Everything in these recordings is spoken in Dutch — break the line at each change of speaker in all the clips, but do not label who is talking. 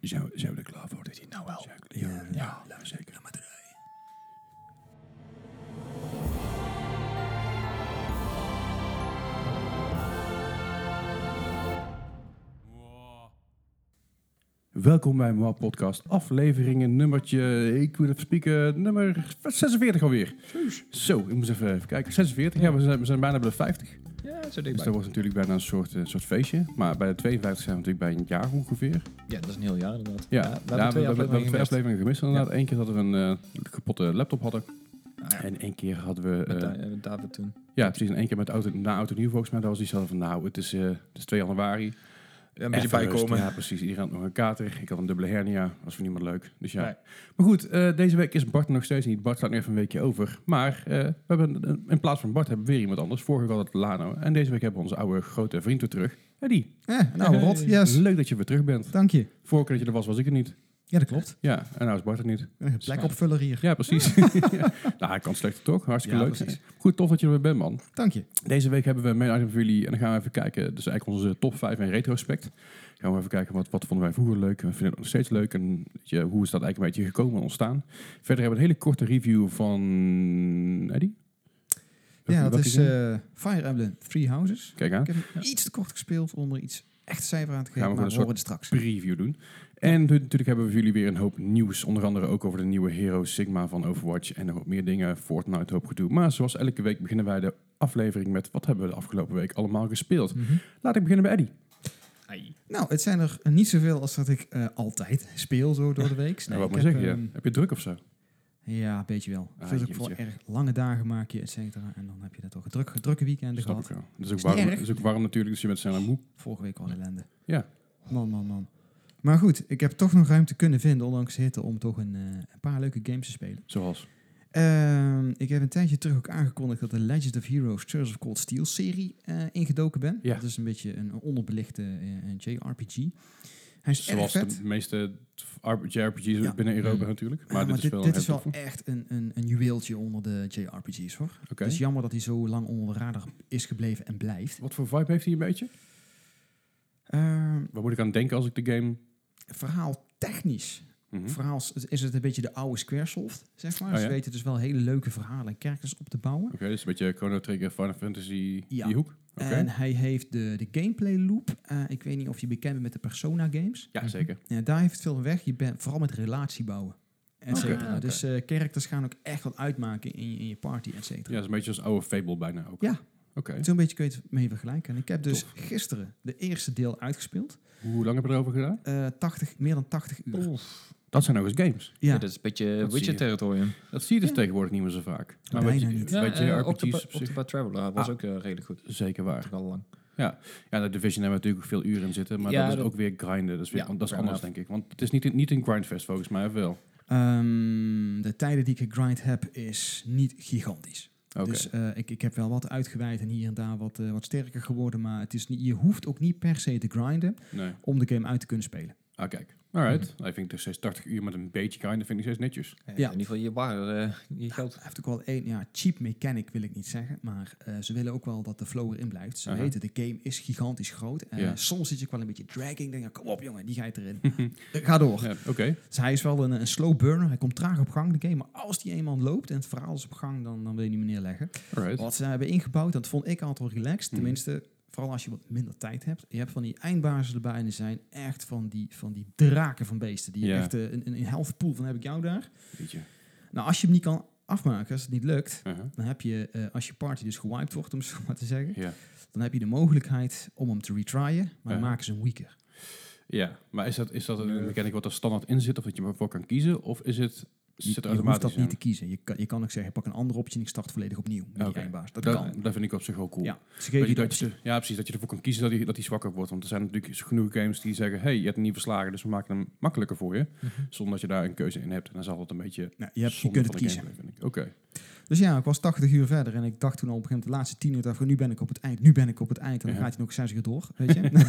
Zijn we, zijn we er klaar voor? Dit nou wel. Ja, ja, ja, zeker. Welkom bij mijn podcast, afleveringen nummertje, ik wil even spieken, nummer 46 alweer. Zo, ik moet even, even kijken. 46, ja, we zijn, we zijn bijna bij de 50.
Ja, zo
Dus
dichtbij.
dat was natuurlijk bijna een soort, eh, soort feestje. Maar bij de 52 zijn we natuurlijk bij een jaar ongeveer.
Ja, dat is een heel jaar inderdaad.
Ja,
we
ja,
hebben twee afleveringen
twee
gemist.
afleveringen gemist inderdaad. Eén keer dat we een eh, kapotte laptop hadden.
Ah, ja.
En één keer hadden we... eh,
Met Da- eh, met David toen.
ja, precies. En één keer met auto, na Auto Nieuw volgens mij. Daar was iets van, nou, het is, eh, het is 2 januari.
Ja, een beetje
Even rust.
bijkomen.
Ja, precies. Iedereen had nog een kater. Ik had een dubbele hernia. Dat was voor niemand leuk. Dus ja.
Nee.
Maar goed, eh, deze week is Bart er nog steeds niet. Bart staat nu even een weekje over. Maar eh, we hebben, een- in plaats van Bart hebben we weer iemand anders. Vorige week had het Lano. En deze week hebben we onze oude grote vriend weer terug. Eddie,
Eh, nou, rot, yes.
leuk dat je weer terug bent.
Dank je.
Vorige keer dat je er was, was ik er niet.
Ja, dat klopt.
Ja, en nou is Bart er niet.
Een Plekopvuller hier.
Ja, precies. Ja. Nou, hij kan slechter toch? Hartstikke
Ja,
leuk.
precies.
Goed, tof dat je er weer bent, man.
Dank je.
Deze week hebben we een main item voor jullie. En dan gaan we even kijken. Dus eigenlijk onze top 5 in retrospect. Gaan we even kijken wat, wat vonden wij vroeger leuk. We vinden het nog steeds leuk. En weet je, hoe is dat eigenlijk een beetje gekomen en ontstaan. Verder hebben we een hele korte review van Eddie.
Ja,
Welke-
dat
welke
is
game?
eh, Fire Emblem Three Houses.
Kijk aan.
Ik heb hem iets te kort gespeeld om er iets echt cijfer aan te
Gaan
geven,
we gewoon
maar we
een
horen het straks.
Preview doen. En tu- natuurlijk hebben we voor jullie weer een hoop nieuws. Onder andere ook over de nieuwe Hero Sigma van Overwatch. En nog wat meer dingen. Fortnite, hoop gedoe. Maar zoals elke week beginnen wij de aflevering met... Wat hebben we de afgelopen week allemaal gespeeld?
Mhm.
Laat ik beginnen bij Eddie.
Ai.
Nou, het zijn er niet zoveel als dat ik eh, altijd speel zo door de week.
Nou, wat
ik
maar
heb,
zeggen. ja.
ehm,
Heb je druk of zo?
ja, een beetje wel.
Ah,
Veel ook
jeetje.
voor erg lange dagen maak je, et cetera. En dan heb je dat toch druk, drukke weekenden
Snap
gehad.
ik wel. Het is ook
Is niet
warm,
erg.
het is ook warm natuurlijk, dus je bent snel en moe.
Vorige week al ellende.
Ja.
Man, man, man. Maar goed, ik heb toch nog ruimte kunnen vinden, ondanks de hitte, om toch een, eh, een paar leuke games te spelen.
Zoals.
Ehm, ik heb een tijdje terug ook aangekondigd dat de Legend of Heroes Church of Cold Steel serie eh, ingedoken ben.
Ja.
Dat is een beetje een onderbelichte eh, een JRPG. Hij is
Zoals
erg vet.
de meeste JRPG's
Ja.
binnen Europa
Mm.
natuurlijk.
Ah,
Maar dit is wel een
dit is
hele
wel
toffe.
echt een, een, een juweeltje onder de JRPG's hoor.
Oké.
Het is jammer dat hij zo lang onder de radar is gebleven en blijft.
Wat voor vibe heeft hij een beetje?
Ehm,
Waar moet ik aan denken als ik de game...
verhaal technisch
Mhm.
verhaal is- is het een beetje de oude Squaresoft, zeg maar.
Oh,
Ze
ja?
weten dus wel hele leuke verhalen en characters op te bouwen.
Oké, dus een beetje Chrono Trigger, Final Fantasy,
Ja. Eh,
die hoek. Oké.
En hij heeft de, de gameplay loop. Eh, ik weet niet of je bekend bent met de Persona games.
Ja, zeker.
Ja, daar heeft het veel van weg. Je bent vooral met relatie bouwen. Et
Oké.
cetera.
Ah, oké.
Dus eh characters gaan ook echt wat uitmaken in je, in je party, et
Ja,
cetera.
dat is een beetje als oude Fable bijna ook.
Ja.
Oké.
Zo'n beetje kun je het mee vergelijken. En ik heb dus
Tof.
gisteren de eerste deel uitgespeeld.
Hoe lang heb je erover gedaan?
Eh 80, meer dan 80 uur.
Dat zijn nog eens games.
Ja,
Ja, dat is een beetje
Dat zie je.
Witcher-territorium.
Dat zie je dus
Ja.
tegenwoordig niet meer zo vaak. Maar
Bijna
wat je,
niet.
bij
Ja, eh, Octopa-
JRPG's op zich
Octopath Traveler was
Ah.
ook eh, redelijk goed.
zeker waar.
Toch al lang.
Ja, de Division hebben natuurlijk ook veel uren in zitten, maar
Ja,
dat is
dat-
ook weer grinden. Dat is, weer,
Ja,
dat is
fair
anders, denk ik. Want het is niet, niet een grindfest, volgens mij, of wel.
Ehm, de tijden die ik gegrind heb is niet gigantisch.
Oké.
Dus eh, ik, ik heb wel wat uitgeweid en hier en daar wat, eh, wat sterker geworden. Maar het is niet, je hoeft ook niet per se te grinden
nee.
om de game uit te kunnen spelen.
Ah, kijk. Alright.
Mhm.
Hij vindt toch steeds 80 uur met een beetje grinden, vind ik steeds netjes.
Eh,
Ja.
In ieder geval je waar, eh, je geld.
Hij heeft ook wel een ja, cheap mechanic, wil ik niet zeggen. Maar eh, ze willen ook wel dat de flow erin blijft. Ze
Aha.
weten, de game is gigantisch groot. Eh,
Ja.
Soms zit je ook wel een beetje dragging. Denk je, kom op jongen, die ga je erin. Eh, Ga door.
Ja, Oké.
Dus hij is wel een, een slow burner. Hij komt traag op gang, de game. Maar als die eenmaal loopt en het verhaal is op gang, dan, dan wil je niet meer neerleggen.
Alright.
Wat ze hebben ingebouwd, dat vond ik altijd wel relaxed.
Dus- Mhm.
Tenminste, vooral als je wat minder tijd hebt. Je hebt van die eindbazen erbij en die zijn echt van die, van die draken van beesten. Die je
Ja.
echt eh, een, een, een helft pool van heb ik jou daar.
Weet je.
Nou, als je hem niet kan afmaken, als het niet lukt...
Aha.
Dan heb je, eh, als je party dus gewiped wordt, om het zo maar te zeggen,
Ja.
dan heb je de mogelijkheid om hem te retryen, maar dan
Ja.
maken ze hem weaker.
ja. Maar is dat, is dat een
Nee.
mechanic wat er standaard in zit, of dat je ervoor kan kiezen? Of is het,
Je,
zit er
je hoeft
automatisch
dat niet te
in?
kiezen. Je kan, je kan ook zeggen, pak een andere optie en ik start volledig opnieuw met
Oké.
die eindbaas. Dat,
Dat,
kan.
dat vind ik op zich wel cool.
Ja, ze
Dat
geven
je,
je de
dat je,
optie.
ja, precies. Dat je ervoor kan kiezen dat hij dat die zwakker wordt. Want er zijn natuurlijk genoeg games die zeggen... hey, je hebt hem niet verslagen, dus we maken hem makkelijker voor je. Zonder dat je daar een keuze in hebt. En dan zal dat een beetje...
Nou, Mhm. je, hebt, je
zonde
kunt het
van de
kiezen.
gameplay, vind ik. Oké.
Dus ja, ik was 80 uur verder en ik dacht toen al op een gegeven moment de laatste 10 uur daarvoor, nu ben ik op het eind, nu ben ik op het eind. En dan
Ja.
gaat hij nog 6 uur door, weet je. Nou,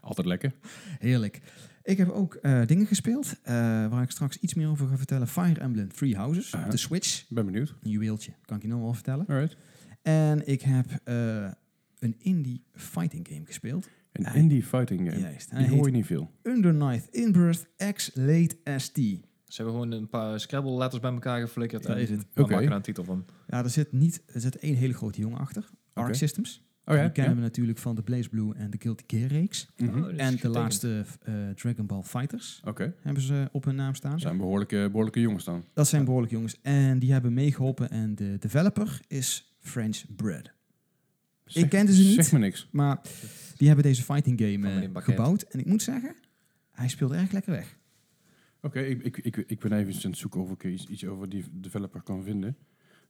Altijd lekker.
Heerlijk. Ik heb ook eh, dingen gespeeld, eh, waar ik straks iets meer over ga vertellen. Fire Emblem Three Houses, op
Aha.
de Switch.
Ik ben benieuwd.
Een juweeltje, kan ik je nou al vertellen.
Alright.
En ik heb eh, een indie fighting game gespeeld.
Een
Ah,
indie fighting game.
Juist. En
Die
hij
hoor
heet
je niet veel.
Underknife Inbirth X Late ST.
Ze hebben gewoon een paar Scrabble-letters bij elkaar geflikkerd.
Daar
en
is het.
We
Oké.
maken daar een titel van.
Ja, er zit, niet, er zit één hele grote jongen achter. Arc
Oké.
Systems.
Oh ja?
Die kennen
ja.
we natuurlijk van de Blaze Blue en de Guilty Gear reeks.
Mhm.
Oh, dat is
En de
getekend.
laatste eh, Dragon Ball Fighters
Oké.
hebben ze op hun naam staan.
Dat zijn behoorlijke, behoorlijke jongens dan.
Dat zijn behoorlijk jongens. En die hebben meegeholpen. En de developer is French Bread.
Zeg-
kende ze niet.
Zeg me niks.
Maar die hebben deze fighting game
Van
eh,
meneer Bakket.
gebouwd. En ik moet zeggen, hij speelde erg lekker weg.
Oké, ik, ik, ik, ik ben even aan het zoeken of ik iets, iets over die developer kan vinden.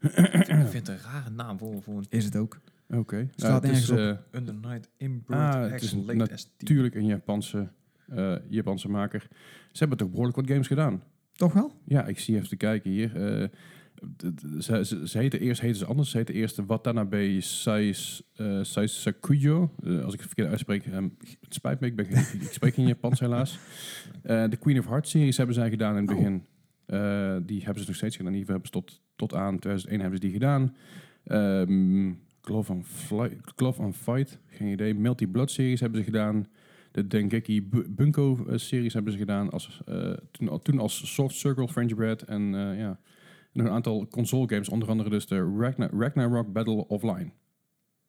Ik vind het een rare naam voor, voor een
Is het ook.
Oké.
Staat
het is
ergens op.
eh,
Under Night Inbird
Ah, het is
Action Late ST.
natuurlijk een Japanse, eh, Japanse maker. Ze hebben toch behoorlijk wat games gedaan.
Toch wel?
Ja, ik zie even te kijken hier. Eh, d- d- ze, ze, ze heten eerst heten ze anders. Ze heten eerst Watanabe Sais, eh, Saisakuyo. Eh, als ik het verkeerd uitspreek, ehm, het spijt me. Ik, ben, geen- ik spreek geen Japans helaas. Eh, de Queen of Hearts series hebben zij gedaan in het
Oh.
begin. Eh, die hebben ze nog steeds gedaan. Die hebben ze tot, tot aan 2001 hebben ze die gedaan. Ehm Glove and, Fly- Glove and Fight, geen idee. Melty Blood series hebben ze gedaan. De Dengeki Bu- Bunko eh, series hebben ze gedaan. Als, eh, toen, al- toen als Soft Circle, French Bread en eh, ja, nog een aantal console games. Onder andere dus de Ragna- Ragnarok Battle Offline.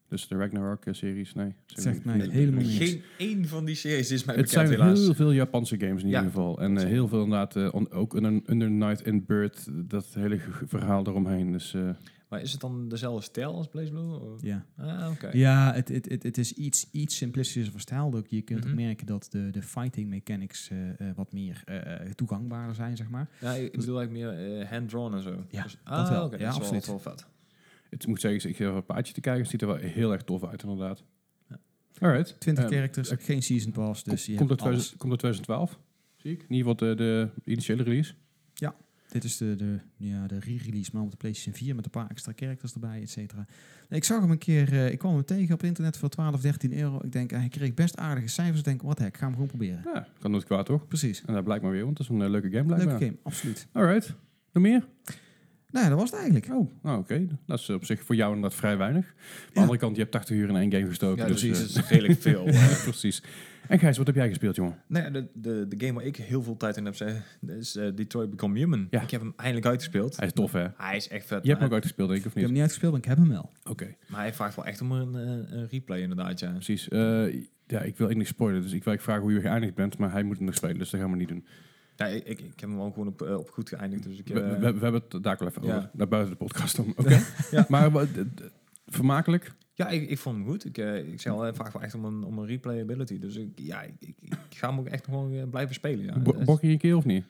Dus de Ragnarok eh, series, nee.
Zegt mij
Nee,
helemaal
nee.
niks.
Geen één van die series is mij
Het
bekend
zijn
helaas.
heel veel Japanse games in
Ja.
ieder geval. En eh, heel veel inderdaad, eh, on- ook Under, Under Night in Bird, dat hele ge- verhaal eromheen. Dus eh,
Maar is het dan dezelfde stijl als BlazBlue? Of-
Ja.
Ah, oké.
Ja, het, het, het, het is iets, iets simplistischer versteld ook. Je kunt
Mhm.
ook merken dat de, de fighting mechanics eh, eh, wat meer eh, eh, toegankbaarder zijn, zeg maar.
Ja, ik ik bedoel eigenlijk meer eh, hand-drawn en zo.
Ja,
Dus-
dat
ah,
wel.
oké,
Ja,
dat is
absoluut.
wel, wel vet.
het moet zeggen, ik heb een paardje te kijken. Het ziet er wel heel erg tof uit inderdaad.
Ja.
Alright.
20
Eh,
characters, geen season pass, dus
Kom-
je
komt,
hebt
uit
alles.
2000 komt uit 2012, zie ik. In ieder geval de, de initiële release.
Dit is de, de, ja, de re-release, maar op de PlayStation 4 met een paar extra characters erbij, et cetera. Ik zag hem een keer, eh, ik kwam hem tegen op internet voor 12, 13 euro. Ik denk, hij kreeg best aardige cijfers. Ik denk, wat heck, ga hem gewoon proberen.
Ja, kan nooit kwaad toch?
Precies.
En dat blijkt maar weer, want het is een eh, leuke game blijkbaar.
Leuke game, absoluut.
Alright. Nog meer?
Nou, ja, dat was het eigenlijk.
Oh, nou, oké. Dat is op zich voor jou inderdaad vrij weinig. Aan de
Ja.
andere kant, je hebt 80 uur in één game gestoken.
Ja,
dus,
precies.
eh,
Dat is redelijk veel. eh.
ja, precies. En Gijs, wat heb jij gespeeld, jongen?
Nou ja, de, de, de game waar ik heel veel tijd in heb zitten, dat is eh, Detroit Become Human.
Ja.
Ik heb hem eindelijk uitgespeeld.
Hij is tof, hè? Je
Hij is echt vet.
hebt hem
maar,
ook uitgespeeld, denk ik, of
Ik heb
niet?
hem niet uitgespeeld, maar ik heb hem wel.
Oké,
maar hij vraagt wel echt om een, eh, een replay inderdaad, ja.
precies. Eh, ja, ik wil niks spoilen, dus ik wil eigenlijk vragen hoe je geëindigd bent, maar hij moet hem nog spelen, dus dat gaan we niet doen.
ja ik, ik, ik heb hem ook gewoon op, eh, op goed geëindigd. Dus ik,
We,
eh,
we, we hebben het daar ook wel even
Ja.
over, naar buiten de podcast om. Oké. Maar wat- d- d- vermakelijk?
ja, ik, ik vond hem goed. Ik, eh, ik zei al, hij vraagt wel echt om een, om een replayability. Dus ik, ja, ik, ik- ik ga hem ook echt nog wel weer blijven spelen, ja.
Bo-
Dat is-
Bok je je keel of niet?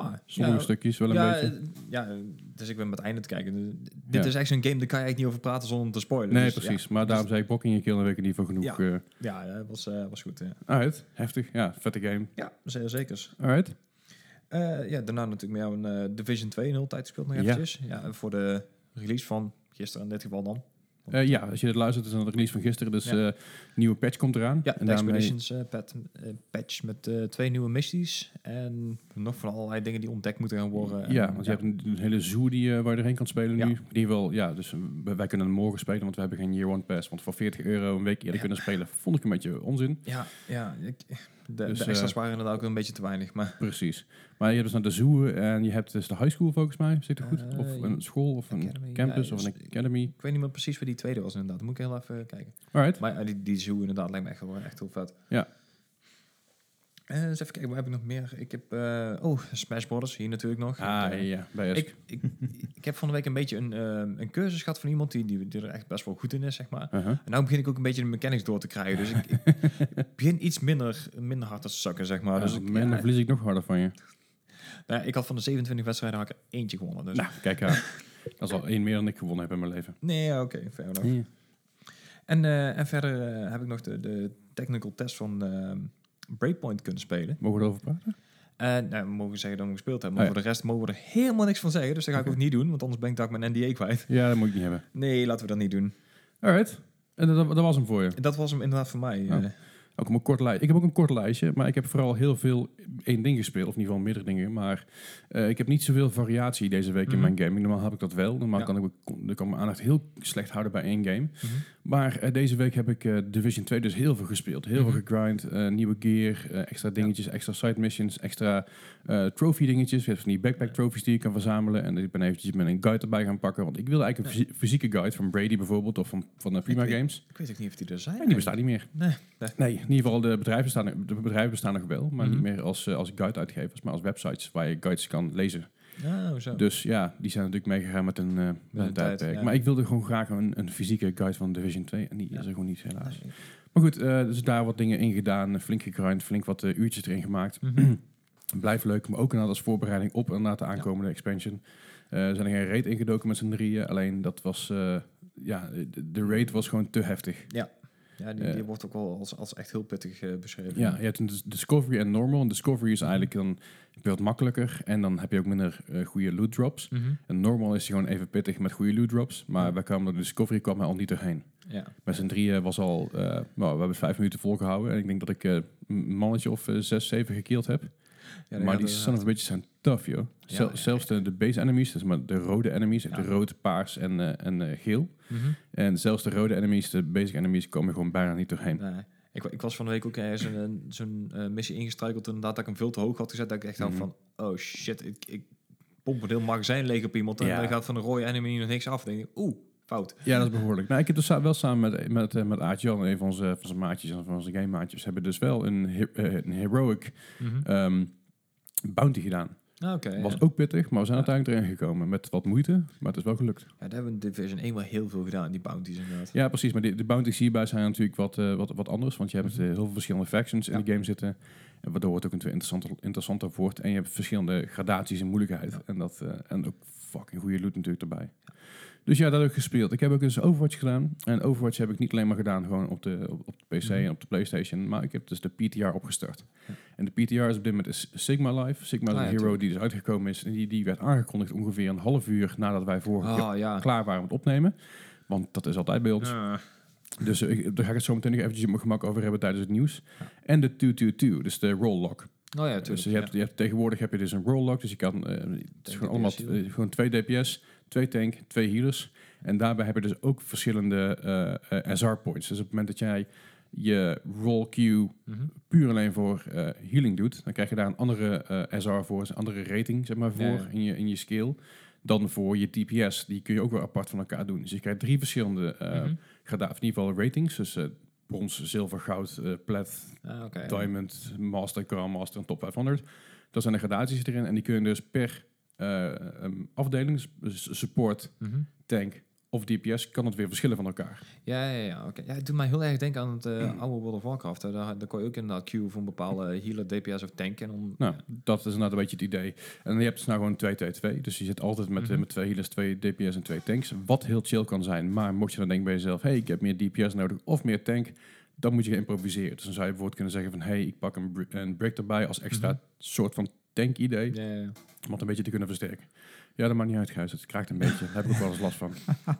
ja,
Sommige
ja,
stukjes wel een
ja,
beetje.
eh, ja, dus ik ben met het einde te kijken. Dus Dit
Ja.
is echt zo'n game, daar kan je eigenlijk niet over praten zonder te spoilen.
Nee,
Dus ja.
precies. Maar daarom zei ik bok in je keel en weet ik in ieder geval genoeg eh,
Ja, ja, was, eh, was goed. Ja,
uit. Heftig. Ja, vette game.
ja zeer zeker.
Alright.
Eh, ja, daarna natuurlijk met jou een eh, Division 2 in heel tijd gespeeld nog
Ja.
eventjes. Ja. voor de release van gisteren in dit geval dan.
Eh, ja, als je dit luistert, is het een release van gisteren. Dus
Ja.
eh, nieuwe patch komt eraan.
Ja,
en
de
daarmee-
Expeditions eh, pat- eh, patch met eh, twee nieuwe missies. En nog van allerlei dingen die ontdekt moeten gaan worden. En,
Ja, want je hebt een, een hele zoo die, eh, waar je erheen kan spelen
Ja.
nu. In ieder geval, ja, dus eh, wij- wij kunnen hem morgen spelen, want we hebben geen year one pass. Want voor 40 euro een week eerder
Ja.
kunnen spelen, vond ik een beetje onzin.
Ja, ja ik- de,
Dus,
de
eh,
extra's waren inderdaad ook een beetje te weinig. Maar
Precies. Maar je hebt dus naar de zoo en je hebt dus de high school volgens mij, zit ik goed?
Eh,
Of een school, of een
academy.
campus,
Ja,
of
dus-
een academy.
ik weet niet meer precies waar die tweede was inderdaad. moet ik heel even kijken.
Alright.
Maar ja, die, die zoo inderdaad lijkt me echt, wel echt heel vet.
Ja.
Eh, eens even kijken, waar heb ik nog meer? Ik heb, eh, oh, Smash Brothers, hier natuurlijk nog.
Ah, ja,
Eh,
ja, bij Esk.
ik, ik, ik heb van de week een beetje een, eh, een cursus gehad van iemand die, die, die er echt best wel goed in is, zeg maar.
Uh-huh.
En nu begin ik ook een beetje de mechanics door te krijgen. Dus ik, ik begin iets minder, minder hard te zakken, zeg maar.
Ja,
dus ik,
Ah, man, dan
ja,
verlies ik nog harder van je.
nou ja, ik had van de 27 wedstrijden had ik er eentje gewonnen. Dus.
Nou, kijk aan. Dat is al één meer dan ik gewonnen heb in mijn leven.
Nee, ja, oké, fair enough.
Ja.
En, eh, en verder eh, heb ik nog de, de technical test van ehm, Breakpoint kunnen spelen.
Mogen we erover praten?
En nou, we mogen zeggen dat we hem gespeeld hebben. Maar
Oh ja.
voor de rest mogen we er helemaal niks van zeggen. Dus dat ga ik
Oké.
ook niet doen, want anders ben ik daar ook mijn NDA kwijt.
Ja, dat moet ik niet hebben.
Nee, laten we dat niet doen.
Alright. En dat, dat was hem voor je.
En dat was hem inderdaad voor mij.
Oh.
eh.
Ook om een kort lijstje. Ik heb ook een kort lijstje, maar ik heb vooral heel veel één ding gespeeld. Of in ieder geval meerdere dingen. Maar eh, ik heb niet zoveel variatie deze week in
Mhm.
mijn gaming. Normaal heb ik dat wel. Normaal
Ja.
kan ik, me- kon- ik kan mijn aandacht heel slecht houden bij één game.
Mhm.
Maar eh, deze week heb ik eh, Division 2 dus heel veel gespeeld. Heel
Mhm.
veel gegrind, eh, nieuwe gear, eh, extra dingetjes, extra side missions, extra eh, trophy dingetjes. Je hebt van die backpack trophies die je kan verzamelen. En ik ben eventjes met een guide erbij gaan pakken. Want ik wilde eigenlijk een fysi- fysieke guide van Brady bijvoorbeeld of van, van eh, Prima
Ik weet-
Games.
Ik weet ook niet of die er zijn.
En die bestaat niet meer.
Nee.
Nee, in ieder geval de bedrijven bestaan, de bedrijven bestaan nog wel. Maar
Mhm.
niet meer als, eh, als guide-uitgevers, maar als websites waar je guides kan lezen.
Ja, oh, zo.
Dus ja, die zijn natuurlijk meegegaan met een, eh, met
Met
een
een tijd,
tijdperk.
ja.
Maar ik wilde gewoon graag een, een fysieke guide van Division 2. En die
Ja.
is er gewoon niet, helaas.
Nee.
Maar goed, eh, dus daar wat dingen in gedaan. Flink gegrind, flink wat eh, uurtjes erin gemaakt.
Mhm.
Blijft leuk, maar ook inderdaad als voorbereiding op inderdaad de aankomende expansion. Eh, er zijn er geen raid ingedoken met z'n drieën. Alleen dat was, eh, ja, de, de raid was gewoon te heftig.
Ja, die,
Eh.
die wordt ook wel als, als echt heel pittig eh, beschreven.
Ja, je hebt een dis- Discovery en Normal. En Discovery is eigenlijk
Mhm.
dan wat makkelijker. En dan heb je ook minder eh, goede loot drops.
Mhm.
En normal is hij gewoon even pittig met goede loot drops. Maar
Ja.
wij kwamen door de Discovery kwam hij al niet doorheen.
ja.
Met z'n drieën was al... eh, nou, we hebben vijf minuten volgehouden. En ik denk dat ik eh, een mannetje of eh, zes, zeven gekeeld heb.
Ja,
maar
gaat
die
er- eh,
son of bitches zijn tough, joh.
Ja,
Zel-
ja,
Zelfs de, de base enemies, dus maar de rode enemies.
Ja.
De rood, paars en, eh, en eh, geel.
Mhm.
En zelfs de rode enemies, de basic enemies, komen gewoon bijna niet doorheen.
Nee. Ik, wa- ik was van de week ook ergens een- een- zo'n eh, missie ingestruikeld. Inderdaad, dat ik hem veel te hoog had gezet. Dat ik echt dacht
Mhm.
van, oh shit, ik, ik pomp een heel magazijn leeg op iemand. En
Ja.
dan gaat van de rode enemy nog niks af. Dan denk ik, oeh, fout.
Ja, dat is behoorlijk. Nou, ik heb dus sa- wel samen met, met, eh, met Aart Jan, een van onze, van zijn maatjes en van onze game maatjes, hebben dus wel een, he- eh, een heroic ehm, bounty gedaan.
Ah, Oké, ja.
Was ook pittig, maar we zijn
Ja.
uiteindelijk erin gekomen met wat moeite, maar het is wel gelukt.
Ja, daar hebben we in Division 1 wel heel veel gedaan, die bounties inderdaad.
Ja, precies, maar de, de bounties hierbij zijn natuurlijk wat, eh, wat, wat anders, want je hebt eh, heel veel verschillende factions in
Mhm. Ja.
de game zitten, en waardoor het ook een twee interessanter, interessanter wordt en je hebt verschillende gradaties in moeilijkheid
Ja.
en, dat, eh, en ook fucking goede loot natuurlijk erbij. Dus ja, dat heb ik gespeeld. Ik heb ook eens Overwatch gedaan. En Overwatch heb ik niet alleen maar gedaan gewoon op de, op, op de PC
Mhm.
en op de PlayStation. Maar ik heb dus de PTR opgestart.
Ja.
En de PTR is op dit moment is Sigma Life. Sigma is
Ah,
een
ja,
hero
tuurlijk.
die dus uitgekomen is. En die, die werd aangekondigd ongeveer een half uur nadat wij vorige keer
Oh, ja.
klaar waren met opnemen. Want dat is altijd bij ons. Dus eh, ik- daar ga ik het zo meteen nog eventjes op mijn gemak over hebben tijdens het nieuws.
Ja.
En de 222, dus de roll lock.
Oh ja, tuurlijk.
Dus je
ja.
hebt, je hebt, tegenwoordig heb je dus een roll lock. Dus je kan, eh, het is
DPS
gewoon allemaal
healen.
eh, gewoon twee DPS, twee tank, twee healers. En daarbij heb je dus ook verschillende eh, eh, SR points. Dus op het moment dat jij je roll queue
Mhm.
puur alleen voor eh, healing doet, dan krijg je daar een andere eh, SR voor, dus een andere rating zeg maar, voor
Ja, ja.
In, je, in je skill dan voor je DPS. Die kun je ook wel apart van elkaar doen. Dus je krijgt drie verschillende eh
Mhm.
grada- of in ieder geval ratings. Dus eh, brons, zilver, goud, eh plat,
Ah, oké, ja.
Diamond, Master, Grand Master en Top 500. Dat zijn de gradaties erin. En die kun je dus per eh, ehm, afdeling, dus- dus support,
Mhm.
tank of DPS, kan het weer verschillen van elkaar.
Ja, ja, ja. oké. ja het doet mij heel erg denken aan het
Mm.
eh, oude World of Warcraft. Hè. Daar, daar kon je ook inderdaad queue voor een bepaalde healer, DPS of tank. En dan,
Nou, dat is inderdaad een beetje het idee. En je hebt dus nou gewoon 2-2-2. Dus je zit altijd met, eh,
Mhm.
met twee healers, twee DPS en twee tanks. Wat heel chill kan zijn. Maar mocht je dan denken bij jezelf, hey, ik heb meer DPS nodig of meer tank. Dan moet je gaan improviseren. Dus dan zou je bijvoorbeeld kunnen zeggen van... hey, ik pak een, br- een break erbij als extra
Mhm.
soort van tank-idee.
ja, ja, ja.
Om het een beetje te kunnen versterken. Ja, dat maakt niet uit, Gijs. Het kraakt een beetje. Daar heb ik ook wel eens last van.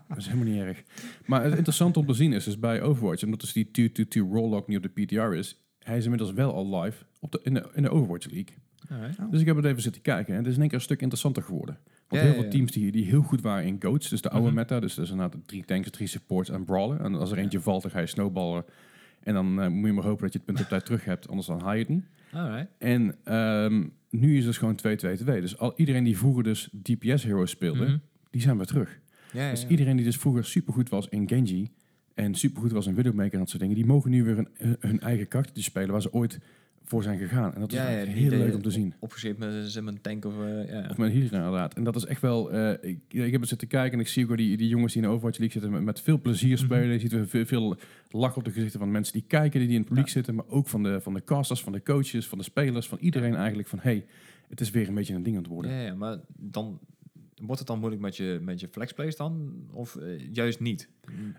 Dat is helemaal niet erg. Maar het interessante om te zien is dus bij Overwatch... omdat dus die 222 roll-lock nu op de PTR is... hij is inmiddels wel al live op de, in, de, in de Overwatch League.
Alright.
Dus ik heb het even zitten kijken. En het is in één keer een stuk interessanter geworden. Want
Ja,
heel
ja,
veel
ja.
teams die, die heel goed waren in goats... dus de oude
Mhm.
meta... dus dat is inderdaad drie tanks, drie supports en brawler. En als er eentje valt, dan ga je snowballen... En dan eh, moet je maar hopen dat je het punt op tijd terug hebt, anders dan haal je het niet.
Alright.
En ehm, nu is het dus gewoon 2-2-2. Dus al, iedereen die vroeger dus DPS-heroes speelde,
Mhm.
die zijn weer terug.
Ja, ja,
Dus
ja.
iedereen die dus vroeger supergoed was in Genji en supergoed was in Widowmaker en dat soort dingen, die mogen nu weer hun, hun- hun eigen karaktertje spelen waar ze ooit voor zijn gegaan. En dat is
Ja, ja,
echt
die
heel
idee-
leuk om te zien.
Opgeschreven met, een- met een tank of... eh, ja.
Of met hier inderdaad. En dat is echt wel... eh, ik, ja, ik heb het zitten kijken en ik zie ook wel die, die jongens die in de Overwatch League zitten met, met veel
Mhm.
plezier spelen. Je ziet weer veel, veel lach op de gezichten van mensen die kijken, die in het publiek zitten. Maar ook van de, van de casters, van de coaches, van de spelers, van iedereen eigenlijk van... Hey, het is weer een beetje een ding aan het worden.
Ja, ja, maar dan Wordt het dan moeilijk met je, met je flexplays dan? Of eh, juist niet?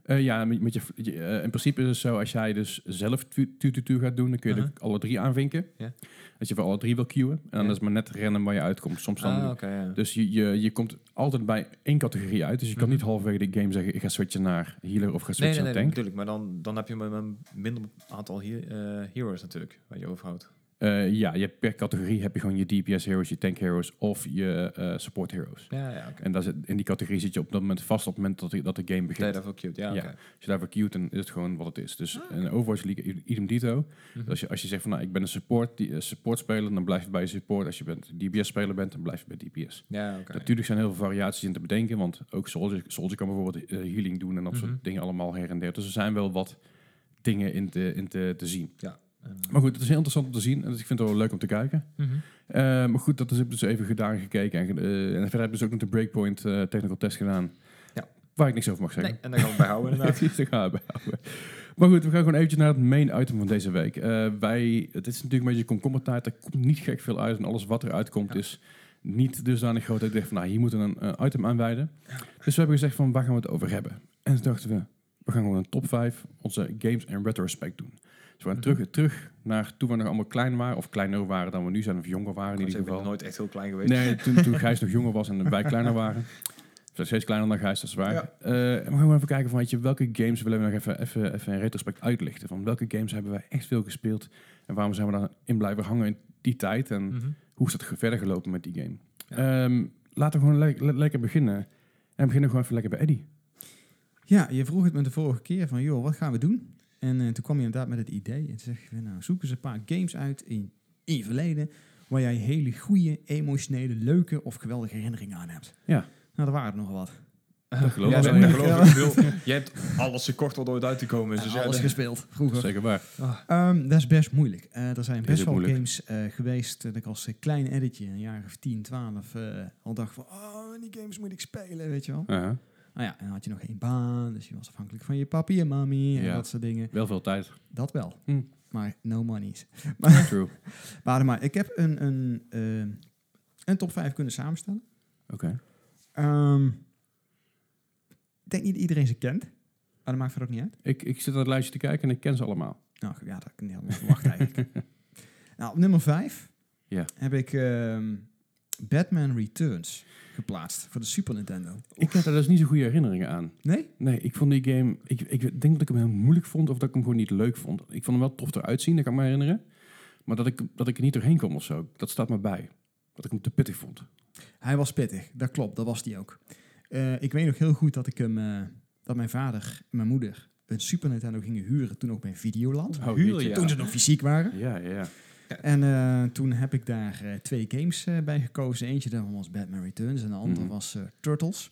Eh, ja, met, met je, je- eh, in principe is het zo, als jij dus zelf tu- tu tu- tu gaat doen, dan kun je
Aha.
er alle drie aanvinken.
Ja.
Als je voor alle drie wil queuen. En dan
Ja.
is het maar net rennen waar je uitkomt. Soms dan
Ah, oké, ja.
Dus je, je, je komt altijd bij één categorie uit. Dus je kan
Mhm.
niet halverwege de game zeggen, ik ga switchen naar healer of ga
Nee,
switchen
nee, nee,
naar tank.
natuurlijk. Maar dan, dan heb je maar een minder aantal he- eh, heroes natuurlijk, waar je overhoudt.
Eh, ja, je hebt per categorie heb je gewoon je DPS heroes, je tank heroes of je eh, support heroes.
Ja, ja, oké.
En daar zit, in die categorie zit je op dat moment vast op het moment dat de, dat de game begint.
Nee, dat Ah. is wel cute. Ja,
Ja.
oké.
Als je daarvoor queued, dan is het gewoon wat het is. Dus in Overwatch League, i- idem dito.
Mhm.
Dus als je, als je zegt van, nou, ik ben een support, die, eh, support speler, dan blijf je bij je support. Als je bent DPS speler bent, dan blijf je bij DPS.
Ja, oké.
Natuurlijk zijn er heel veel variaties in te bedenken, want ook Soldier, Soldier kan bijvoorbeeld eh, healing doen en dat
Mhm.
soort dingen allemaal her en der. Dus er zijn wel wat dingen in te, in te, te zien.
Eh,
Maar goed, het is heel interessant om te zien en dus ik vind het wel leuk om te kijken.
mhm.
Eh, maar goed, dat is dus even gedaan en gekeken. En, eh, en verder hebben ze ook nog de Breakpoint eh, technical test gedaan.
Ja.
Waar ik niks over mag zeggen.
Nee, en dan gaan we bijhouden inderdaad.
Die gaan we houden. Maar goed, we gaan gewoon eventjes naar het main item van deze week. Eh, wij, het is natuurlijk een beetje komkommertijd. Er komt niet gek veel uit. En alles wat er uitkomt
Ja.
is niet dusdanig groot. dat Ik dacht van, nou, hier moeten we een eh, item aanwijden. Dus we hebben gezegd van, waar gaan we het over hebben? En toen dachten we, we gaan gewoon een top 5 onze games en retrospect doen. Dus we gaan terug, terug naar toen we nog allemaal klein waren. Of kleiner waren dan we nu zijn. Of jonger waren in
Want
ieder
ik ben
geval.
nooit echt heel klein geweest.
Nee, toen, toen Gijs nog jonger was en wij kleiner waren. We zijn steeds kleiner dan Gijs, dat is waar. Eh, maar we gaan even kijken van, weet je, welke games willen we nog even, even, even in retrospect uitlichten. Van welke games hebben wij echt veel gespeeld en waarom zijn we daarin blijven hangen in die tijd en
Mhm.
hoe is dat ge- verder gelopen met die game.
Ja.
Ehm, laten we gewoon le- le- lekker beginnen. En we beginnen gewoon even lekker bij Eddie.
Ja, je vroeg het me de vorige keer van, joh, wat gaan we doen? En eh, toen kwam je inderdaad met het idee. En toen zeg je, nou, zoek eens een paar games uit in, in je verleden... waar jij hele goede, emotionele, leuke of geweldige herinneringen aan hebt.
Ja.
Nou, er waren er nogal wat.
Dat geloof
Ja,
ik.
dat
wel.
ik geloof ik. Ik bedoel, Je hebt alles gekocht wat ooit uit te komen is.
En
Dus ja,
Eh, alles
dat-
gespeeld, vroeger.
Zeker waar.
Ehm, dat is best moeilijk. Eh, er zijn
Is
best
ook
wel
moeilijk.
games eh, geweest eh, dat ik als eh, klein editje, een jaar of 10, 12, eh, al dacht van, oh, die games moet ik spelen, weet je wel.
Aha.
Nou ja, en dan had je nog geen baan, dus je was afhankelijk van je papi en mami en
Ja.
dat soort dingen.
Wel veel tijd.
Dat wel.
Hm.
Maar no monies.
True.
Maar, maar ik heb een, een, ehm, een top 5 kunnen samenstellen.
Oké.
Ehm, ik denk niet dat iedereen ze kent. Maar dat maakt verder ook niet uit.
Ik, ik zit aan het lijstje te kijken en ik ken ze allemaal.
Nou ja, dat had ik niet helemaal verwacht eigenlijk. nou, op nummer 5
Ja.
heb ik ehm, Batman Returns geplaatst voor de Super Nintendo.
Ik heb daar dus niet zo goede herinneringen aan.
Nee?
Nee, ik vond die game... Ik, ik denk dat ik hem heel moeilijk vond of dat ik hem gewoon niet leuk vond. Ik vond hem wel tof eruit zien, dat kan ik me herinneren. Maar dat ik, dat ik er niet doorheen kwam of zo, dat staat me bij. Dat ik hem te pittig vond.
Hij was pittig, dat klopt, dat was die ook. Eh, ik weet nog heel goed dat ik hem, eh, dat mijn vader en mijn moeder een Super Nintendo gingen huren toen ook bij Videoland.
Oh,
Huur
jeetje.
je?
Toen ze nog fysiek waren.
Ja, ja, ja.
En eh, toen heb ik daar eh, twee games eh, bij gekozen. Eentje daarvan was Batman Returns en de andere
Mhm.
was eh, Turtles.